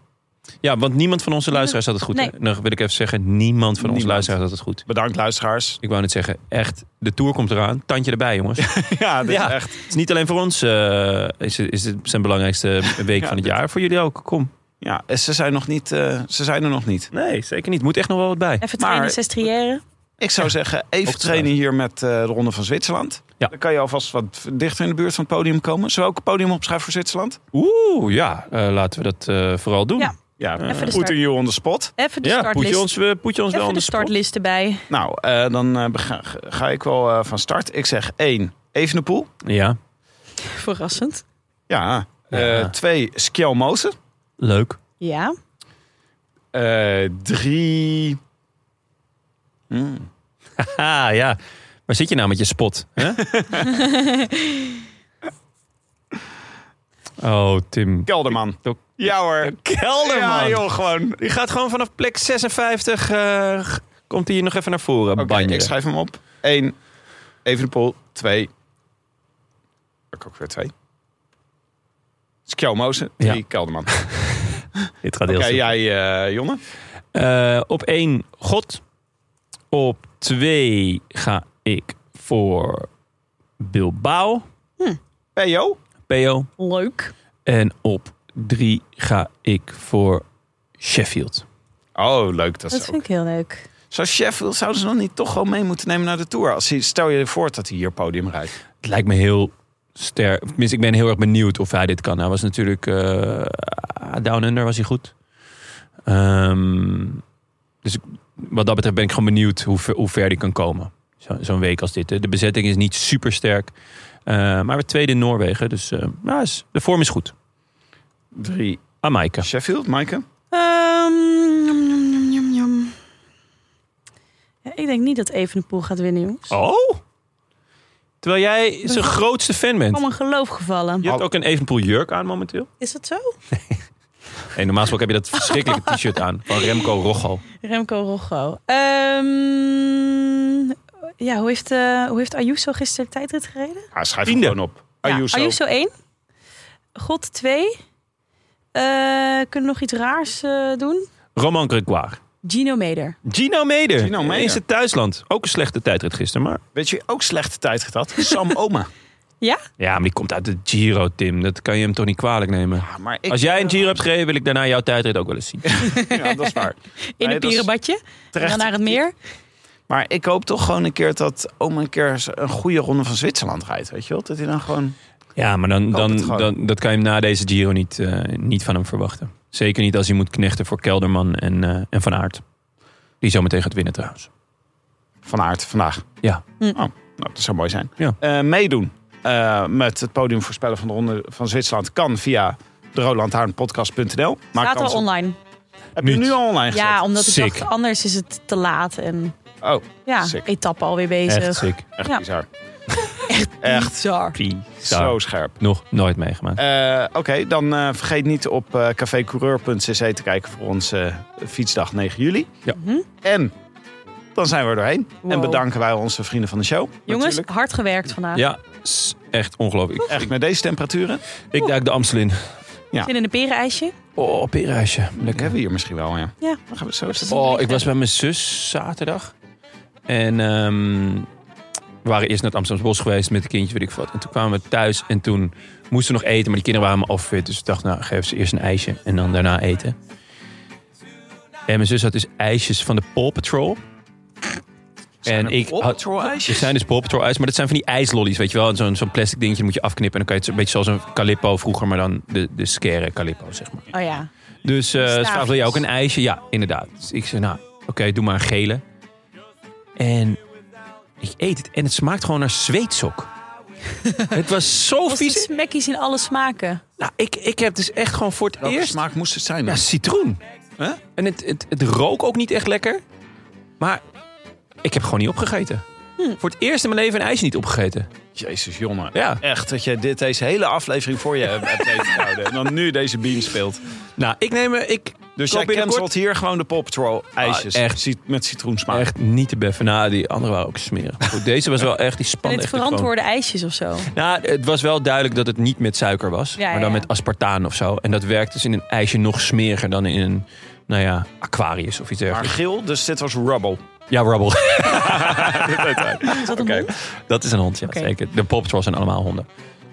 S3: Ja, want niemand van onze luisteraars had het goed.
S1: Nee.
S3: hè? Nou wil ik even zeggen, niemand van onze
S2: Niemand.
S3: luisteraars had het goed.
S2: Bedankt luisteraars.
S3: Ik wou net zeggen, echt, de tour komt eraan. Tandje erbij, jongens.
S2: Ja, dit
S3: Ja.
S2: is echt.
S3: Het is niet alleen voor ons eh, is, is het zijn belangrijkste week
S2: Ja,
S3: van het
S2: dit-
S3: jaar. Voor jullie ook, kom.
S2: Ja, ze zijn, nog niet, eh, ze zijn er nog niet.
S3: Nee, zeker niet. Moet echt nog wel wat bij.
S1: Even
S2: Maar-
S1: trainen, sestriëren.
S2: Ik zou zeggen,
S3: Op
S2: even
S3: te
S2: trainen hier met eh, de Ronde van Zwitserland.
S3: Ja.
S2: Dan kan je alvast wat dichter in de buurt van het podium komen. Zullen we ook een podium opschrijven voor Zwitserland?
S3: Oeh, ja, eh, laten we dat eh, vooral doen.
S1: Ja.
S2: Ja,
S1: Even de
S2: Put
S1: start.
S2: you on the spot.
S1: Even de
S3: Ja,
S1: startlist.
S3: poetje ons, we poetje ons wel
S1: Even de
S3: aan de spot.
S1: startlist erbij.
S2: Nou, eh, dan eh, bega- ga ik wel eh, van start. Ik zeg één, Evenepoel.
S3: Ja,
S1: Verrassend.
S2: Ja.
S3: Ja.
S2: Eh, twee, Skjelmozen.
S3: leuk.
S1: Ja.
S2: Eh drie... Hmm.
S3: Haha, ja. Waar zit je nou met je spot? Hè? oh, Tim.
S2: Kelderman.
S3: Tok.
S2: Ja hoor. Ja joh, gewoon.
S3: Die gaat gewoon vanaf plek 56, eh, g- komt hij nog even naar voren.
S2: Oké,
S3: banjeren.
S2: ik schrijf hem op. Eén, Evenepoel. Twee. Ik ook weer twee. Skjelmozen. Drie,
S3: Ja.
S2: Kelderman.
S3: Dit gaat
S2: Oké,
S3: heel snel.
S2: jij eh, Jonne?
S3: Eh, op één God. Op twee ga ik voor Bilbao,
S2: P.O.
S3: PO.
S1: Leuk.
S3: En op drie ga ik voor Sheffield.
S2: Oh, leuk. Dat,
S1: Dat
S2: is
S1: vind
S2: ook.
S1: ik heel leuk.
S2: Zou Sheffield, zouden ze nog niet toch gewoon mee moeten nemen naar de Tour? Als hij, stel je voor dat hij hier podium rijdt.
S3: Het lijkt me heel sterk. Tenminste, ik ben heel erg benieuwd of hij dit kan. Hij was natuurlijk eh, Down Under, was hij goed. Ehm, dus ik- wat dat betreft ben ik gewoon benieuwd hoe ver, hoe ver hij kan komen. Zo- Zo'n week als dit. hè. De bezetting is niet super sterk. maar we tweede in Noorwegen. Dus eh, ja, is- de vorm is goed.
S2: Drie.
S3: Aan Maaike.
S2: Sheffield, Maaike? Ah,
S1: Ehm, jam, jam, jam, jam, jam. Ja, ik denk niet dat Evenepoel gaat winnen, jongens.
S3: Oh! Terwijl jij zijn grootste fan
S1: Ik
S3: bent.
S1: kwam een geloof gevallen.
S3: Je hebt ook een Evenpoel jurk aan momenteel.
S1: Is dat zo?
S3: Hey, normaal gesproken heb je dat verschrikkelijke t-shirt aan. Van Remco Rochal.
S1: Remco Rocco. Ehm, ja, hoe heeft, eh, hoe heeft Ayuso gisteren de tijdrit gereden?
S2: Ja, schrijf hem
S3: Tiende.
S2: gewoon op. Ayuso.
S1: Ja, Ayuso 1. God 2. kunnen we nog iets raars eh, doen?
S3: Roman Gregoire.
S1: Gino Meder.
S3: Gino Meder.
S2: Gino Meder.
S3: Is het thuisland. Ook een slechte tijdrit gisteren. Maar...
S2: Weet je, ook slechte tijd gehad. Sam Oma.
S1: Ja?
S3: Ja, maar die komt uit de Giro, Tim. Dat kan je hem toch niet kwalijk nemen.
S2: Ja, Ah, maar ik, eh,
S3: Als jij een Giro hebt gegeven, wil ik daarna jouw tijdrit ook wel eens zien.
S2: Ja, dat is waar.
S1: In
S2: Nee,
S1: een
S2: dat is
S1: pierenbadje. En
S2: terecht.
S1: dan naar het meer.
S2: Maar ik hoop toch gewoon een keer dat Oma een keer een goede ronde van Zwitserland rijdt. Weet je wel? Dat hij dan gewoon...
S3: Ja, maar dan,
S2: hoop
S3: dan,
S2: het gewoon.
S3: dan, dat kan je hem na deze Giro niet, eh, niet van hem verwachten. Zeker niet als hij moet knechten voor Kelderman en, eh, en Van Aert. Die zometeen gaat winnen trouwens.
S2: Van aard vandaag.
S3: Ja.
S1: Hm.
S2: Oh, nou, dat zou mooi zijn.
S3: Ja.
S2: Eh, meedoen eh, met het podium voorspellen van de Ronde van Zwitserland kan via de roodlantaarnpodcast.nl. Maar
S1: Staat al online.
S2: Heb je
S3: Niet.
S2: nu al online gezet?
S1: Ja, omdat ik
S3: Sick.
S1: dacht, anders is het te laat. En
S2: Oh,
S1: ja,
S2: Sick.
S1: etappe alweer
S3: Echt
S1: bezig.
S3: sick.
S2: echt
S1: Ja.
S2: bizar. Echt
S1: Bizar.
S2: zo scherp.
S3: Nog nooit meegemaakt.
S2: Eh, Oké, dan eh, vergeet niet op eh cafécoureur.cc te kijken voor onze eh, fietsdag 9 juli.
S3: Ja.
S1: Mhm.
S2: En dan zijn we er doorheen. En
S1: Wow.
S2: bedanken wij onze vrienden van de show.
S1: Jongens,
S2: natuurlijk.
S1: hard gewerkt
S2: Eh.
S1: vandaag.
S3: Ja, s- echt ongelooflijk. Ik,
S2: Echt met deze temperaturen.
S3: ik duik de Amstel in.
S1: Zin in een perenijsje.
S3: Oh, perenhuisje.
S2: Dat
S3: Lekker.
S2: hebben we hier misschien wel, ja.
S1: Ja.
S2: Dan gaan we zo eens
S1: Precies.
S3: Oh, ik was bij mijn zus zaterdag. En ehm, we waren eerst naar het Amsterdamse Bos geweest met de kindjes, weet ik wat. En toen kwamen we thuis en toen moesten we nog eten. Maar die kinderen waren me afwit. Dus ik dacht, nou, geef ze eerst een ijsje en dan daarna eten. En mijn zus had dus ijsjes van de Paw Patrol. En ik
S2: Op
S3: had, er zijn dus Paw Patrol ijs, maar dat zijn van die ijslollies, weet je wel. En Zo'n zo'n plastic dingetje moet je afknippen. En dan kan je het een beetje zoals een Calippo vroeger, maar dan de, de scare Calippo, zeg maar.
S1: Oh ja.
S3: Dus eh ze
S1: Staafjes.
S3: vraagt, wil jij ook een ijsje? Ja, inderdaad. Dus ik zei, nou, oké, doe maar een gele. En ik eet het en het smaakt gewoon naar zweetsok. het was zo
S1: Was de
S3: vies.
S1: smekkies in alle smaken.
S3: Nou, ik, ik heb dus echt gewoon voor het
S2: Welke
S3: eerst...
S2: smaak moest het zijn
S3: Ja,
S2: dan?
S3: citroen.
S2: Huh?
S3: En het, het, het rook ook niet echt lekker. Maar ik heb gewoon niet opgegeten.
S1: Hm.
S3: Voor het eerst in mijn leven een ijsje niet opgegeten.
S2: Jezus, jongen.
S3: Ja.
S2: Echt, dat je dit, deze hele aflevering voor je hebt weten te houden. En dan nu deze beam speelt.
S3: Nou, ik neem... eh, Ik
S2: Dus
S3: koop
S2: jij cancelt
S3: binnenkort-
S2: hier gewoon de Paw Patrol ijsjes.
S3: Ah, echt.
S2: Ci- Met citroensmaak.
S3: Maar echt niet te beffen. Nou, die andere waren ook smerig. Maar Goed, deze was wel echt... Die
S1: En
S3: spande
S1: dit
S3: echt de kroon.
S1: verantwoorde ijsjes of zo.
S3: Nou, het was wel duidelijk dat het niet met suiker was.
S1: Ja,
S3: maar dan
S1: ja, ja.
S3: met aspartaan of zo. En dat werkt dus in een ijsje nog smeriger dan in een... Nou ja, Aquarius of iets
S2: Maar
S3: dergelijks.
S2: geel, dus dit was rubble.
S3: Ja, Rubble.
S1: Is dat een
S2: Oké.
S1: hond?
S3: Dat is een hond, ja,
S1: Oké.
S3: zeker. De Paw Patrol zijn allemaal honden.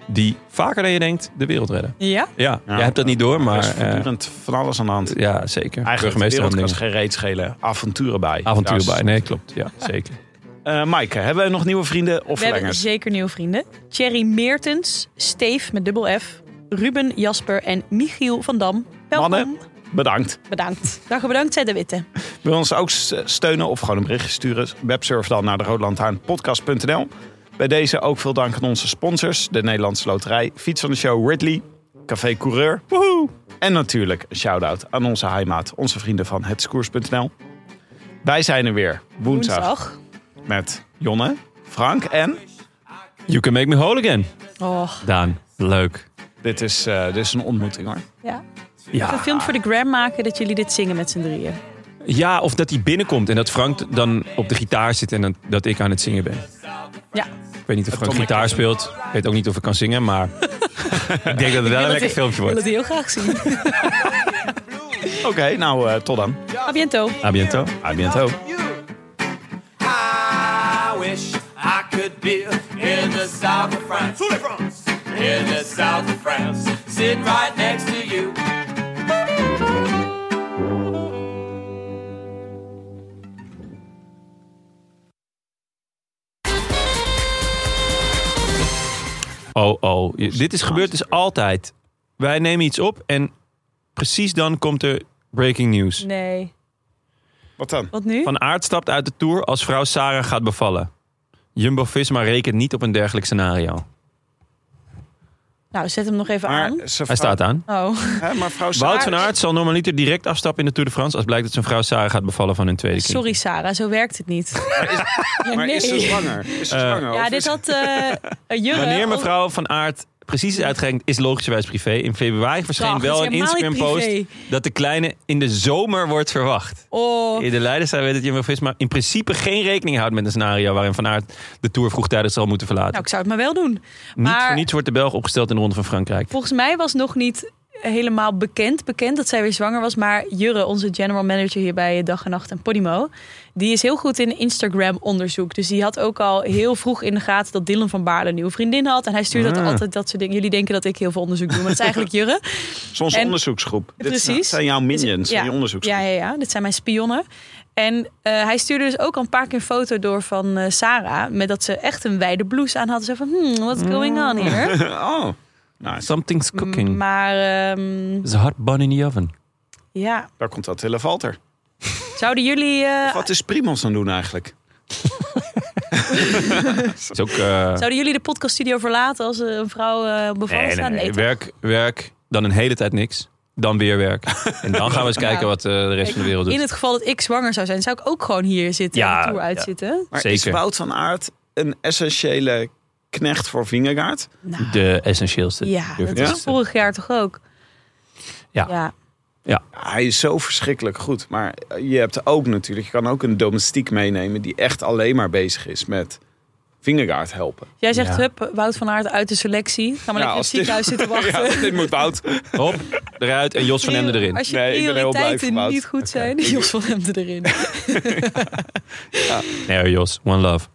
S3: Die vaker dan je denkt de wereld redden.
S1: Ja?
S3: Ja,
S2: Nou,
S3: jij hebt dat niet door,
S2: Er is
S3: maar... eh,
S2: voortdurend van alles aan de hand.
S3: ja, zeker.
S2: Eigenlijk de wereld kan
S3: Hamdingen.
S2: ze geen reet schelen. Avonturen bij.
S3: Avontuur
S2: Daar
S3: bij.
S2: is-
S3: Nee, klopt. Ja, zeker.
S2: Eh, Maaike, hebben we nog nieuwe vrienden of
S1: We hebben
S2: verlengers?
S1: zeker nieuwe vrienden. Thierry Meertens, Steef met dubbel F, Ruben, Jasper en Michiel van Dam. Welkom.
S2: Mannen. Bedankt.
S1: Bedankt. Dag bedankt, zei de Witte.
S2: Wil je ons ook s- steunen of gewoon een berichtje sturen? Websurf dan naar de roodlantaarnpodcast.nl. Bij deze ook veel dank aan onze sponsors. De Nederlandse Loterij, Fiets van de Show Ridley, Café Coureur. Woehoe! En natuurlijk een shout-out aan onze heimaat, onze vrienden van hetskoers.nl. Wij zijn er weer woensdag,
S1: Woensdag.
S2: met Jonne, Frank en...
S3: You can make me whole again.
S1: Oh,
S3: Daan, leuk.
S2: Dit is, eh, dit is een ontmoeting hoor.
S1: ja. Een
S3: Ja.
S1: film voor de gram maken dat jullie dit zingen met z'n drieën.
S3: ja, of dat hij binnenkomt en dat Frank dan op de gitaar zit en dat, dat ik aan het zingen ben.
S1: Ja.
S3: Ik weet niet of Frank
S2: Tom
S3: gitaar
S2: McKenzie.
S3: speelt. Ik weet ook niet of ik kan zingen, maar ik denk dat het wel een
S1: wil
S3: lekker
S1: het-
S3: filmpje
S1: Ik wil
S3: wordt.
S1: het heel graag zien.
S2: Oké, nou eh, tot dan.
S1: A biento.
S3: A bientôt.
S2: A bientôt.
S4: I wish I could be in the south of France. In the south of France. Sitting right next to you.
S3: Oh, oh. Je- dit is gebeurd dus altijd. Wij nemen iets op en precies dan komt er breaking news.
S1: Nee.
S2: Wat dan?
S1: Wat nu?
S3: Van Aert stapt uit de Tour als vrouw Sarah gaat bevallen. Jumbo-Visma rekent niet op een dergelijk scenario.
S1: Nou, zet hem nog even
S2: Maar,
S1: aan.
S2: ze
S3: Hij staat aan.
S1: Oh,
S2: Hè, maar vrouw Saar-
S3: Wout van Aert zal normaliter direct afstappen in de Tour de France... als blijkt dat zijn vrouw Sarah gaat bevallen van hun tweede kind.
S1: sorry Sarah, zo werkt het niet. Ja,
S2: Maar
S1: nee.
S2: is ze zwanger? Is ze zwanger?
S1: Ja,
S2: Of
S1: dit
S2: is-
S1: had eh een jurre.
S3: Wanneer mevrouw van Aert precies is uitgerekend, is logischerwijs privé. In februari verscheen
S1: Dag,
S3: wel
S1: is
S3: een
S1: helemaal niet
S3: Instagram-post...
S1: privé.
S3: dat de kleine in de zomer wordt verwacht.
S1: Oh,
S3: In de leiders zei weet dat Jumbo-Visma in principe geen rekening houdt met een scenario... waarin Van Aert de Tour vroegtijdig zal moeten verlaten.
S1: nou, ik zou het maar wel doen.
S3: Niet
S1: maar-
S3: voor niets wordt de Belg opgesteld in de Ronde van Frankrijk.
S1: Volgens mij was nog niet helemaal bekend, bekend dat zij weer zwanger was. Maar Jurre, onze general manager hier bij Dag en Nacht en Podimo... die is heel goed in Instagram-onderzoek. Dus die had ook al heel vroeg in de gaten... dat Dylan van Baarle een nieuwe vriendin had. En hij stuurde dat
S3: Ah.
S1: altijd dat soort dingen. Jullie denken dat ik heel veel onderzoek doe, maar dat is eigenlijk Jurre.
S2: Soms
S1: En-
S2: onderzoeksgroep. Dit
S1: Precies.
S2: zijn jouw minions,
S1: Ja.
S2: zijn je onderzoeksgroep.
S1: Ja, ja, ja, dit zijn mijn spionnen. En eh, hij stuurde dus ook al een paar keer een foto door van eh, Sarah... met dat ze echt een wijde blouse aan had. Zo van, hmm, what's going on
S3: Mm.
S1: here?
S2: Oh, nice.
S3: Something's cooking.
S1: Maar ehm,
S3: Is een hard bun in the oven.
S1: ja,
S2: daar komt dat hele Walter.
S1: zouden jullie... eh,
S2: Wat is Primos aan doen eigenlijk?
S3: Is ook, eh,
S1: Zouden jullie de podcaststudio verlaten als eh, een vrouw eh bevallen
S3: nee, nee,
S1: staat?
S3: nee.
S1: Nee, toch?
S3: Werk, werk, dan een hele tijd niks. Dan weer werk. En dan gaan we eens kijken
S1: Nou,
S3: wat eh, de rest van de wereld doet.
S1: In het geval dat ik zwanger zou zijn, zou ik ook gewoon hier zitten
S3: Ja,
S1: en de tour
S3: ja.
S1: uitzitten.
S2: Maar is
S3: Zeker.
S2: Wout van Aert een essentiële knecht voor Vingegaard?
S1: Nou,
S3: De essentieelste.
S1: ja,
S3: durf ik
S1: dat
S3: te
S1: was
S3: zeggen.
S1: vorig jaar toch ook?
S3: Ja.
S2: Hij is zo verschrikkelijk goed. Maar je hebt ook natuurlijk, je kan ook een domestiek meenemen die echt alleen maar bezig is met Vingegaard helpen.
S1: Jij zegt,
S3: Ja.
S1: hup, Wout van Aert uit de selectie. Ga maar
S2: Ja,
S1: lekker in het ziekenhuis
S2: als dit-
S1: zitten
S2: Ja,
S1: wachten.
S2: dit moet Wout.
S3: Hop, eruit en Jos van Emden erin.
S1: Als je
S2: Nee, ik ben heel blij
S1: prioriteiten
S2: voor Wout.
S1: niet goed zijn, Jos van Hemden erin.
S3: Nee, Jos, one love.